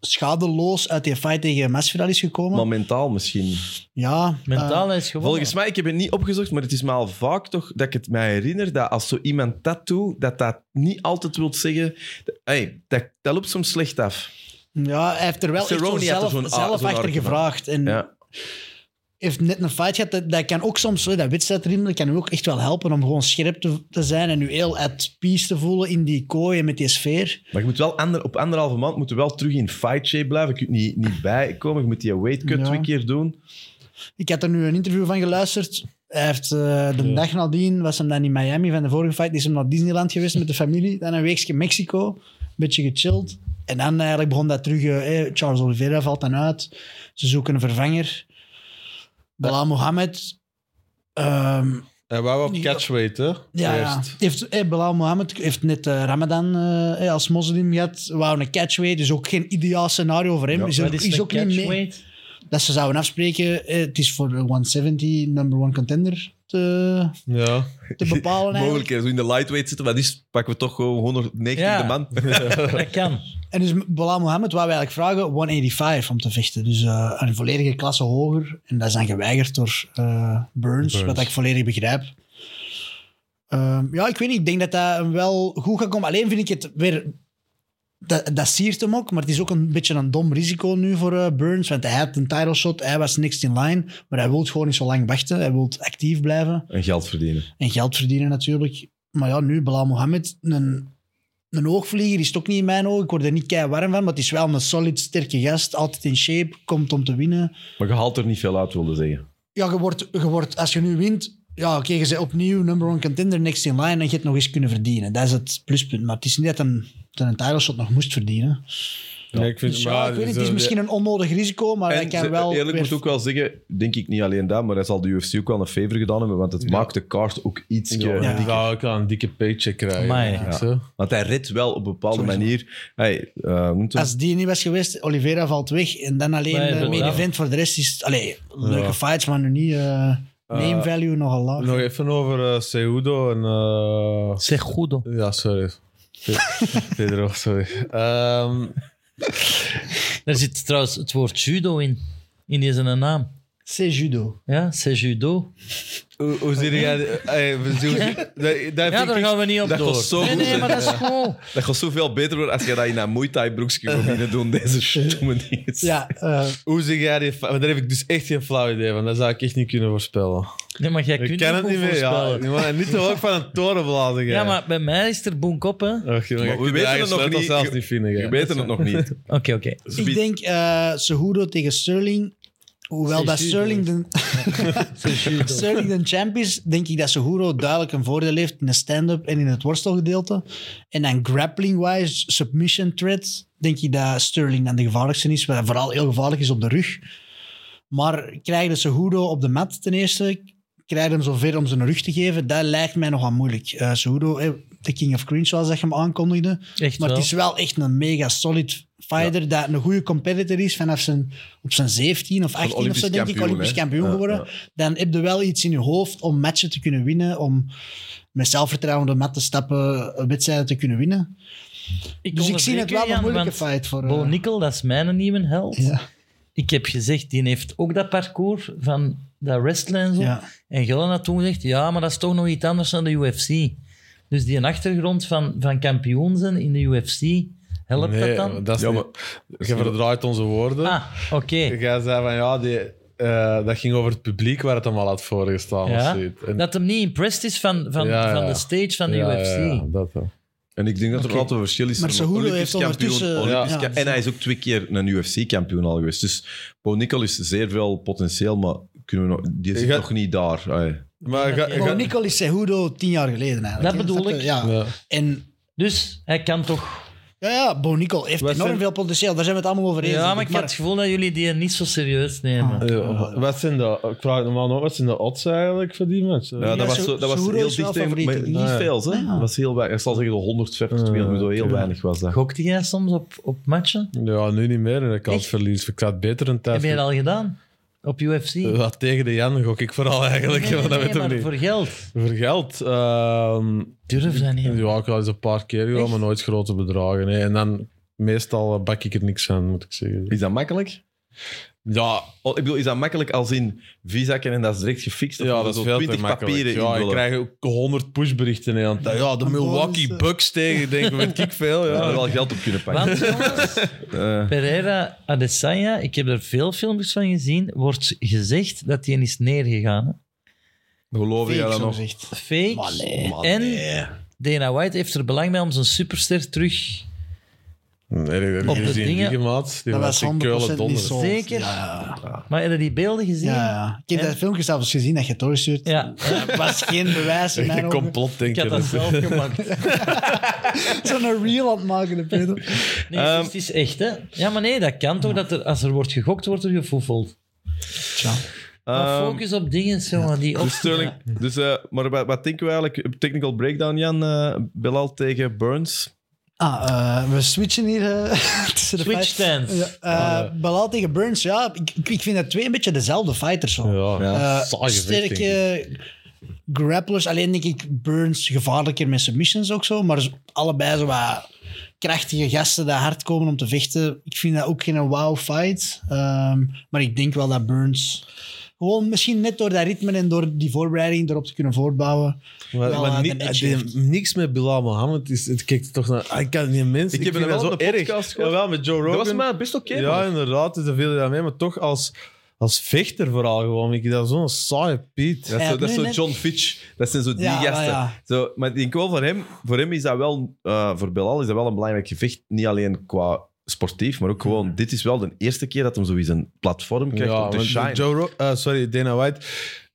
Speaker 4: schadeloos uit die fight tegen Masvidal is gekomen.
Speaker 1: Maar mentaal misschien.
Speaker 4: ja, eh,
Speaker 3: Mentaal
Speaker 4: Ah,
Speaker 3: is gewoon...
Speaker 1: Volgens mij, ik heb het niet opgezocht, maar het is me al vaak toch dat ik het mij herinner dat als zo iemand dat doet, dat dat niet altijd wil zeggen... Hey, dat, dat loopt soms slecht af.
Speaker 4: eh, ja, hij heeft er wel echt
Speaker 1: Cerrone
Speaker 4: zo
Speaker 1: had er
Speaker 4: zelf,
Speaker 1: zo'n a-
Speaker 4: zelf
Speaker 1: zo'n
Speaker 4: achter
Speaker 1: argument.
Speaker 4: gevraagd. En
Speaker 1: Ja.
Speaker 4: heeft net een fight gehad. Dat, dat kan ook soms, hè, dat wedstrijdriem, dat kan u ook echt wel helpen om gewoon scherp te, te zijn en u heel at peace te voelen in die kooi en met die sfeer.
Speaker 1: Maar je moet wel ander, op anderhalve maand moet je wel terug in fight shape blijven. Je kunt niet, niet bijkomen. Je moet die weight cut
Speaker 4: Ja.
Speaker 1: twee keer doen.
Speaker 4: Ik had er nu een interview van geluisterd. Hij heeft eh, de dag nadien, was hem dan in Miami van de vorige fight, is hem naar Disneyland geweest met de familie. Dan een weekje Mexico, een beetje gechilled. En dan eigenlijk begon dat terug, eh, eh, Charles Oliveira valt dan uit. Ze zoeken een vervanger. Bala Mohammed. ehm,
Speaker 2: En waar we op catchweight, hè?
Speaker 4: ja, ja.
Speaker 2: Eerst.
Speaker 4: Heeft, eh, Belal Mohammed heeft net eh, Ramadan eh, eh, als moslim gehad. Wou een catchway, dus ook geen ideaal scenario voor hem.
Speaker 1: Ja,
Speaker 4: is
Speaker 3: Wat
Speaker 4: er,
Speaker 3: is
Speaker 4: is,
Speaker 3: de
Speaker 4: ook niet mee
Speaker 3: catchweight?
Speaker 4: dat ze zouden afspreken. eh, het is voor de 170 number one contender te,
Speaker 2: Ja.
Speaker 4: te bepalen.
Speaker 1: Mogelijk
Speaker 4: eigenlijk.
Speaker 1: hè, zo in de lightweight zitten, maar die is- pakken we toch gewoon 190
Speaker 3: Ja.
Speaker 1: de man.
Speaker 3: Dat kan.
Speaker 4: En dus Belal Mohammed wou eigenlijk vragen 185 om te vechten. Dus eh, een volledige klasse hoger. En dat is dan geweigerd door eh, Burns,
Speaker 2: Burns.
Speaker 4: wat ik volledig begrijp. Ehm, ja, ik weet niet. Ik denk dat dat hem wel goed gaat komen. Alleen vind ik het weer dat, dat siert hem ook, maar het is ook een beetje een dom risico nu voor eh, Burns. Want hij had een title shot, hij was niks in line. Maar hij wil gewoon niet zo lang wachten. Hij wil actief blijven
Speaker 1: En geld verdienen.
Speaker 4: en geld verdienen natuurlijk. Maar ja, nu Belal Mohammed, een, een hoogvlieger, is het ook niet in mijn ogen. Ik word er niet kei warm van, maar het is wel een solid, sterke gast. Altijd in shape, komt om te winnen.
Speaker 1: Maar je haalt er niet veel uit, wilde zeggen.
Speaker 4: ja, je wordt, je wordt, als je nu wint, ja, oké, je bent opnieuw number one contender, next in line, en je hebt nog eens kunnen verdienen. Dat is het pluspunt. Maar het is niet dat een, dat een title shot nog moest verdienen.
Speaker 2: Nee, ik vind,
Speaker 4: Dus ja,
Speaker 2: maar,
Speaker 4: ik weet
Speaker 2: dus,
Speaker 4: niet, het is
Speaker 2: eh,
Speaker 4: misschien een onnodig risico, maar hij
Speaker 1: En
Speaker 4: kan
Speaker 1: ze-
Speaker 4: wel...
Speaker 1: eerlijk
Speaker 4: weer-
Speaker 1: moet ook wel zeggen, denk ik niet alleen dat, maar hij zal de UFC ook wel een favor gedaan hebben, want het maakt de kaart ook iets.
Speaker 2: Ja,
Speaker 4: Ja.
Speaker 2: die zou ook wel een dikke paycheck krijgen.
Speaker 3: Amai.
Speaker 2: denk ik
Speaker 1: Ja.
Speaker 2: zo.
Speaker 1: Want hij redt wel op een bepaalde
Speaker 4: Sowieso.
Speaker 1: manier. Hey, eh, hoe noemt het?
Speaker 4: Als die niet was geweest, Oliveira valt weg, en dan alleen
Speaker 3: Nee,
Speaker 4: de main
Speaker 3: inderdaad.
Speaker 4: event, voor de rest is... het- Allee, leuke fights, maar nu niet... eh, name value nogal laag.
Speaker 2: Nog even over eh, Cejudo en... eh,
Speaker 3: Zeg goed, hoor.
Speaker 2: Ja, sorry. Pedro, sorry. Ehm
Speaker 3: Daar zit trouwens het woord judo in. In deze naam.
Speaker 4: C'est judo.
Speaker 3: Ja, c'est judo.
Speaker 2: hoe, hoe zie jij... eh, hoe zie- hoe zie- dat- dat
Speaker 3: Ja,
Speaker 2: vind
Speaker 3: daar
Speaker 2: ik-
Speaker 3: gaan we niet op
Speaker 1: dat
Speaker 3: door.
Speaker 1: was zo
Speaker 3: nee,
Speaker 1: goed,
Speaker 3: nee,
Speaker 1: hè.
Speaker 3: maar dat is gewoon...
Speaker 1: Dat gaat zoveel beter worden als je dat in een Muay Thai broekje gaat binnen doen, deze stomme dingen.
Speaker 4: Ja, eh,
Speaker 2: Hoe zie jij die... fa- Want daar heb ik dus echt geen flauw idee van. Dat zou ik echt niet kunnen voorspellen.
Speaker 3: Nee, maar jij
Speaker 2: Ik
Speaker 3: kunt
Speaker 2: ken
Speaker 3: niet
Speaker 2: het niet
Speaker 3: goed
Speaker 2: meer, ja.
Speaker 3: voorspellen.
Speaker 2: Je mag niet te hoog van een toren blazen,
Speaker 3: Ja, maar bij mij is er boenk op, hè. Oké,
Speaker 1: Maar we weten het nog niet.
Speaker 2: zelfs niet vinden,
Speaker 1: Je
Speaker 2: jij.
Speaker 1: weet het nog niet.
Speaker 3: oké.
Speaker 4: ik denk eh Cejudo tegen Sterling. Hoewel
Speaker 3: C'est
Speaker 4: dat
Speaker 3: judo.
Speaker 4: Sterling de,
Speaker 3: C'est judo.
Speaker 4: Sterling de champ is, denk ik dat Seguro duidelijk een voordeel heeft in de stand-up en in het worstelgedeelte. En dan grappling-wise, submission threat, denk ik dat Sterling dan de gevaarlijkste is. Wat vooral heel gevaarlijk is op de rug. Maar krijg je Seguro op de mat ten eerste, krijg je hem zover om zijn rug te geven, dat lijkt mij nogal moeilijk. Eh Seguro, eh, de King of Cringe, zoals dat je hem aankondigde.
Speaker 3: Echt
Speaker 4: Maar
Speaker 3: wel.
Speaker 4: het is wel echt een mega solid fighter dat een goede competitor is vanaf zijn, op zijn 17 of 18 of
Speaker 1: Olympisch
Speaker 4: zo, denk ik,
Speaker 1: kampioen,
Speaker 4: Olympisch
Speaker 1: hè?
Speaker 4: kampioen
Speaker 1: Ja,
Speaker 4: geworden.
Speaker 1: ja.
Speaker 4: Dan heb je wel iets in je hoofd om matchen te kunnen winnen, om met zelfvertrouwen de mat te stappen, eh, wedstrijden te kunnen winnen. Dus ik zie
Speaker 3: onderbreek
Speaker 4: het
Speaker 3: u,
Speaker 4: wel een
Speaker 3: Jan,
Speaker 4: moeilijke
Speaker 3: want
Speaker 4: fight voor... eh,
Speaker 3: Bo Nikkel, dat is mijn nieuwe held.
Speaker 4: ja,
Speaker 3: Ik heb gezegd, die heeft ook dat parcours van dat wrestling en zo.
Speaker 4: ja.
Speaker 3: En Gillen had toen gezegd, ja, maar dat is toch nog iets anders dan de UFC. Dus die achtergrond van, van kampioen zijn in de UFC, helpt
Speaker 2: Nee,
Speaker 3: dat dan?
Speaker 2: dat is
Speaker 1: Ja,
Speaker 2: niet- Je verdraait onze woorden.
Speaker 3: Ah, oké.
Speaker 2: Jij zei van ja, die, eh, dat ging over het publiek waar het hem al had voorgestaan. of
Speaker 3: Ja,
Speaker 2: zoiets. En-
Speaker 3: dat hem niet impressed is van, van,
Speaker 2: Ja, ja.
Speaker 3: van de stage van de
Speaker 2: ja,
Speaker 3: UFC.
Speaker 2: Ja, ja, dat wel.
Speaker 1: En ik denk dat er altijd een verschil is.
Speaker 4: Maar
Speaker 1: tussen
Speaker 4: Cejudo
Speaker 1: Olympisch
Speaker 4: heeft
Speaker 1: kampioen,
Speaker 4: ondertussen-
Speaker 1: Olympisch
Speaker 4: ja,
Speaker 1: ka-
Speaker 4: ja.
Speaker 1: en hij is ook twee keer een UFC-kampioen al geweest. Dus Bo Nickel is zeer veel potentieel, maar kunnen we nog, die zit
Speaker 2: Ik ga-
Speaker 1: nog niet daar. Allee.
Speaker 2: Maar ga-
Speaker 3: Ja,
Speaker 2: ga-
Speaker 4: Bo Nicol is Cejudo tien jaar geleden eigenlijk.
Speaker 3: Dat
Speaker 4: hè.
Speaker 3: bedoel
Speaker 4: Snap je?
Speaker 3: ik.
Speaker 4: Ja.
Speaker 2: Ja.
Speaker 4: En
Speaker 3: Dus hij kan toch...
Speaker 4: ja, ja, Bo Nicol heeft
Speaker 2: Wat
Speaker 4: enorm
Speaker 2: zijn-
Speaker 4: veel potentieel, daar zijn we het allemaal over eens.
Speaker 3: Ja,
Speaker 4: denk
Speaker 3: maar Ah. ik heb het gevoel dat jullie die niet zo serieus nemen.
Speaker 2: Ja, wat zijn de, ik vraag het normaal nog, wat zijn de odds eigenlijk voor die match?
Speaker 1: Ja, dat
Speaker 4: Ja,
Speaker 1: was,
Speaker 4: Cejudo
Speaker 1: zo- dat was
Speaker 4: is
Speaker 1: heel
Speaker 4: wel
Speaker 1: dicht tegen,
Speaker 4: favoriet,
Speaker 1: maar
Speaker 4: denk
Speaker 1: niet
Speaker 4: ik. Ja.
Speaker 1: veel. Hè?
Speaker 4: Ja.
Speaker 1: Dat was heel weinig. Ik zal zeggen dat 150, 200, zo heel
Speaker 2: Ja.
Speaker 1: weinig was dat.
Speaker 3: Gokte jij soms op, op matchen?
Speaker 2: Ja, nu niet meer. En ik had
Speaker 3: Echt?
Speaker 2: verlies. Ik had beter een tijd.
Speaker 3: Heb je dat al gedaan? Op UFC? Nee,
Speaker 2: Wat tegen de Jan gok ik vooral eigenlijk.
Speaker 3: nee,
Speaker 2: want dat
Speaker 3: nee,
Speaker 2: weet ik
Speaker 3: maar
Speaker 2: niet.
Speaker 3: voor geld.
Speaker 2: Voor geld. ehm,
Speaker 3: Durf dat niet.
Speaker 2: Ja, ik had eens een paar keer gedaan,
Speaker 3: Echt?
Speaker 2: maar nooit grote bedragen. nee. En dan meestal eh, bak ik er niks aan, moet ik zeggen.
Speaker 1: Is dat makkelijk?
Speaker 2: Ja,
Speaker 1: Oh, ik bedoel, is dat makkelijk als in visakken en dat is direct gefixt? Of
Speaker 2: ja
Speaker 1: moet
Speaker 2: dat
Speaker 1: je
Speaker 2: is
Speaker 1: zo
Speaker 2: veel te
Speaker 1: 20
Speaker 2: makkelijk.
Speaker 1: papieren
Speaker 2: Ja, ik
Speaker 1: invullen?
Speaker 2: krijg ook 100 pushberichten. Hè, want, ja, de Milwaukee
Speaker 4: bonus,
Speaker 2: Bucks tegen, denk ik, weet ik veel.
Speaker 1: Ja, daar
Speaker 2: Ja.
Speaker 1: wel geld op kunnen pakken.
Speaker 3: Want jongens,
Speaker 1: Eh,
Speaker 3: Pereira Adesanya, ik heb er veel filmpjes van gezien, wordt gezegd dat hij is neergegaan. hè.
Speaker 1: geloof
Speaker 4: Fake,
Speaker 1: je dat
Speaker 4: zo
Speaker 1: nog?
Speaker 4: gezegd.
Speaker 3: Fake.
Speaker 4: Maar nee.
Speaker 1: Maar
Speaker 3: en
Speaker 1: nee.
Speaker 3: Dana White heeft er belang bij om zijn superster terug...
Speaker 2: Nee, dat heb
Speaker 3: Op
Speaker 2: ik
Speaker 3: de
Speaker 2: gezien.
Speaker 3: dingen-
Speaker 2: Die maat, die
Speaker 4: Dat
Speaker 2: was
Speaker 4: was
Speaker 2: in
Speaker 4: 100%
Speaker 2: Keulen
Speaker 4: niet
Speaker 2: donder.
Speaker 4: zo.
Speaker 3: Zeker?
Speaker 4: Ja,
Speaker 3: Maar heb je die beelden gezien?
Speaker 4: ja, ja. Ik heb
Speaker 3: En-
Speaker 4: dat filmpje zelfs gezien dat je het doorstuurt.
Speaker 3: Ja.
Speaker 4: Dat was geen bewijs in mijn
Speaker 2: Een
Speaker 4: ogen.
Speaker 2: complot,
Speaker 3: Ik
Speaker 2: denk
Speaker 3: had dat
Speaker 2: ik.
Speaker 3: zelf gemaakt.
Speaker 4: Zo'n reel aan het maken, de Pedro.
Speaker 3: Nee,
Speaker 1: Ehm.
Speaker 3: het is- het is echt, hè? Ja, maar nee, dat kan toch? Dat er, als er wordt gegokt, wordt er gefoefeld.
Speaker 4: Tja.
Speaker 3: Maar
Speaker 1: Ehm,
Speaker 3: focus op dingen, jongen, die op...
Speaker 1: Dus Sterling, dus, eh, maar wat, wat denken we eigenlijk? Op Technical breakdown, Jan. eh Belal tegen Burns.
Speaker 4: Ah, eh, we switchen hier eh, tussen de
Speaker 3: Switch
Speaker 4: fights.
Speaker 3: stance.
Speaker 4: Ja, eh, Belal tegen Burns, ja. Ik, ik- ik vind dat twee een beetje dezelfde fighters. Hoor.
Speaker 2: Ja,
Speaker 1: Ja.
Speaker 4: Eh,
Speaker 2: saai gevecht,
Speaker 4: sterke grapplers. Alleen denk ik Burns gevaarlijker met submissions ook zo. Maar allebei zo wat krachtige gasten die hard komen om te vechten. Ik vind dat ook geen wow fight. Ehm, maar ik denk wel dat Burns Gewoon misschien net door dat ritme en door die voorbereiding erop te kunnen voortbouwen.
Speaker 2: Maar,
Speaker 4: Wel,
Speaker 2: maar
Speaker 4: eh,
Speaker 2: ni-
Speaker 4: de match
Speaker 2: eh,
Speaker 4: heeft.
Speaker 2: niks met Bilal Mohammed. Is, het kijkt toch naar... Ah, Ik kan niet mensen.
Speaker 1: Ik heb
Speaker 2: vind
Speaker 1: hem
Speaker 2: dat
Speaker 1: wel op
Speaker 2: zo
Speaker 1: de
Speaker 2: erg.
Speaker 1: podcast gehoord.
Speaker 2: Jawel, met Joe Rogan.
Speaker 1: Dat was maar best oké.
Speaker 2: ja,
Speaker 1: man.
Speaker 2: inderdaad. Dus daar viel hij aan mee. Maar toch als, als vechter vooral gewoon. Ik dat is zo'n saaie Piet.
Speaker 1: Dat is, zo,
Speaker 4: Ja,
Speaker 1: dat is
Speaker 4: nee,
Speaker 1: zo
Speaker 4: nee.
Speaker 1: John Fitch. Dat zijn zo die
Speaker 4: Ja, maar
Speaker 1: gasten.
Speaker 4: ja.
Speaker 1: Zo, maar ik denk wel voor hem, voor hem is dat wel, eh, voor Belal is dat wel een belangrijk gevecht. Niet alleen qua sportief, maar ook gewoon, dit is wel de eerste keer dat hem zoiets een platform krijgt om te
Speaker 2: want
Speaker 1: shine.
Speaker 2: Joe Ro- eh, sorry, Dana White.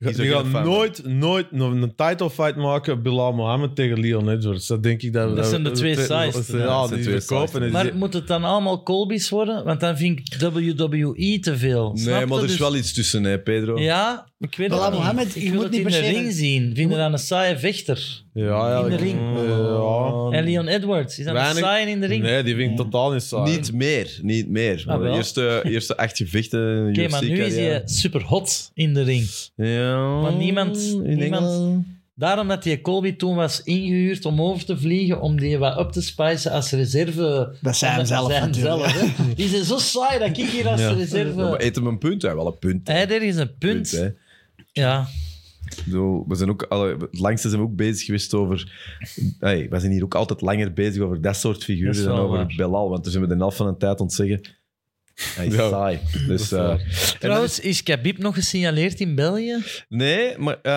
Speaker 1: ook
Speaker 2: Die
Speaker 1: geen
Speaker 2: gaat
Speaker 1: fan van.
Speaker 2: nooit, nooit nog een title fight maken. Bilal Mohammed tegen Leon Edwards. Dat denk ik. Dat,
Speaker 3: Dat zijn de twee sides,
Speaker 2: Ja,
Speaker 1: dat zijn
Speaker 2: die
Speaker 1: twee
Speaker 2: verkopen.
Speaker 1: sides.
Speaker 2: en
Speaker 3: Maar
Speaker 2: die-
Speaker 3: moet het dan allemaal Colby's worden? Want dan vind ik WWE te veel. Snap
Speaker 1: nee,
Speaker 3: je?
Speaker 1: maar er is
Speaker 3: Dus-
Speaker 1: wel iets tussen, hè, Pedro.
Speaker 3: Ja, ik weet
Speaker 4: Bilal
Speaker 3: het niet.
Speaker 4: Mohammed,
Speaker 3: ik
Speaker 4: je
Speaker 3: wil
Speaker 4: moet
Speaker 3: het
Speaker 4: niet
Speaker 3: in
Speaker 4: per
Speaker 3: de
Speaker 4: se-
Speaker 3: ring zien. Vind je dan een saaie vechter?
Speaker 2: ja, ja,
Speaker 3: in de
Speaker 2: ik- eh,
Speaker 3: ring.
Speaker 2: Ja.
Speaker 3: En Leon Edwards, is dat een
Speaker 2: Weinig-
Speaker 3: saaie in de ring?
Speaker 2: Nee, die vind ik totaal niet saai.
Speaker 1: Niet meer, niet meer.
Speaker 3: Ah,
Speaker 1: Maar
Speaker 3: wel.
Speaker 1: de eerste, eerste acht gevechten in
Speaker 3: Oké,
Speaker 1: de
Speaker 3: maar nu is hij
Speaker 1: UFC-carrière.
Speaker 3: super hot in de ring.
Speaker 1: Ja,
Speaker 3: Maar niemand-
Speaker 1: in
Speaker 3: niemand-
Speaker 1: Engeland.
Speaker 3: Daarom dat die Colby toen was ingehuurd om over te vliegen, om die wat up te spicen als reserve.
Speaker 4: Dat zijn hem
Speaker 3: Omdat-
Speaker 4: zelf
Speaker 3: zijn hem
Speaker 4: natuurlijk.
Speaker 3: zelf, hè. Die zijn zo saai dat ik hier als
Speaker 2: Ja.
Speaker 1: Ja, maar
Speaker 3: reserve...
Speaker 1: eet hem een punt, hij wel een punt.
Speaker 3: Hij, er is een
Speaker 1: punt,
Speaker 3: punt.
Speaker 1: hè.
Speaker 3: ja.
Speaker 1: Ik bedoel, we zijn ook, alle, het langste zijn we ook bezig geweest over. Hey, we zijn hier ook altijd langer bezig over dat soort figuren
Speaker 3: Dat is
Speaker 1: dan
Speaker 3: wel
Speaker 1: over
Speaker 3: waar.
Speaker 1: Belal. Want toen zijn we de helft van de tijd ontzeggen. Hij is
Speaker 2: Ja,
Speaker 1: saai. Dus, eh,
Speaker 3: Trouwens, is Khabib nog gesignaleerd in België?
Speaker 1: nee, maar, eh,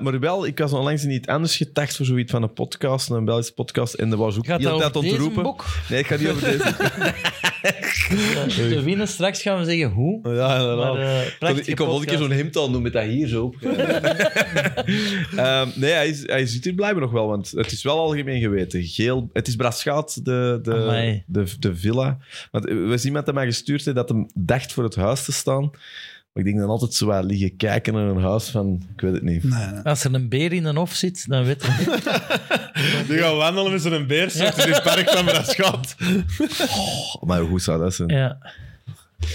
Speaker 1: maar wel, ik was onlangs in iets anders getacht voor zoiets van een podcast, een Belgische podcast. En daar was ook
Speaker 3: Gaat
Speaker 1: heel de
Speaker 3: dat
Speaker 1: tijd
Speaker 3: over deze
Speaker 1: ontroepen.
Speaker 3: boek?
Speaker 1: Nee, ik ga niet over deze.
Speaker 3: Te winnen, straks gaan we zeggen hoe.
Speaker 2: Ja, inderdaad.
Speaker 3: Maar, eh prachtige
Speaker 1: ik kon wel een keer
Speaker 3: podcast.
Speaker 1: zo'n hemtal doen met dat hier zo op. Ehm, nee, hij, is, hij zit hier blijkbaar nog wel, want het is wel algemeen geweten. Geel, het is Braschaat, de, de,
Speaker 3: Amai.
Speaker 1: de, de villa. Want er was iemand dat mij gestuurd heeft dat hem dacht voor het huis te staan. Maar ik denk dan altijd zo wat liggen kijken naar een huis van... Ik weet het niet.
Speaker 4: Nee, nee.
Speaker 3: Als er een beer in een hof zit, dan weet je.
Speaker 2: Die gaan wandelen met zo'n beer, zo, het is in het park van Braschat.
Speaker 1: Oh, maar hoe zou dat zijn?
Speaker 3: Ja.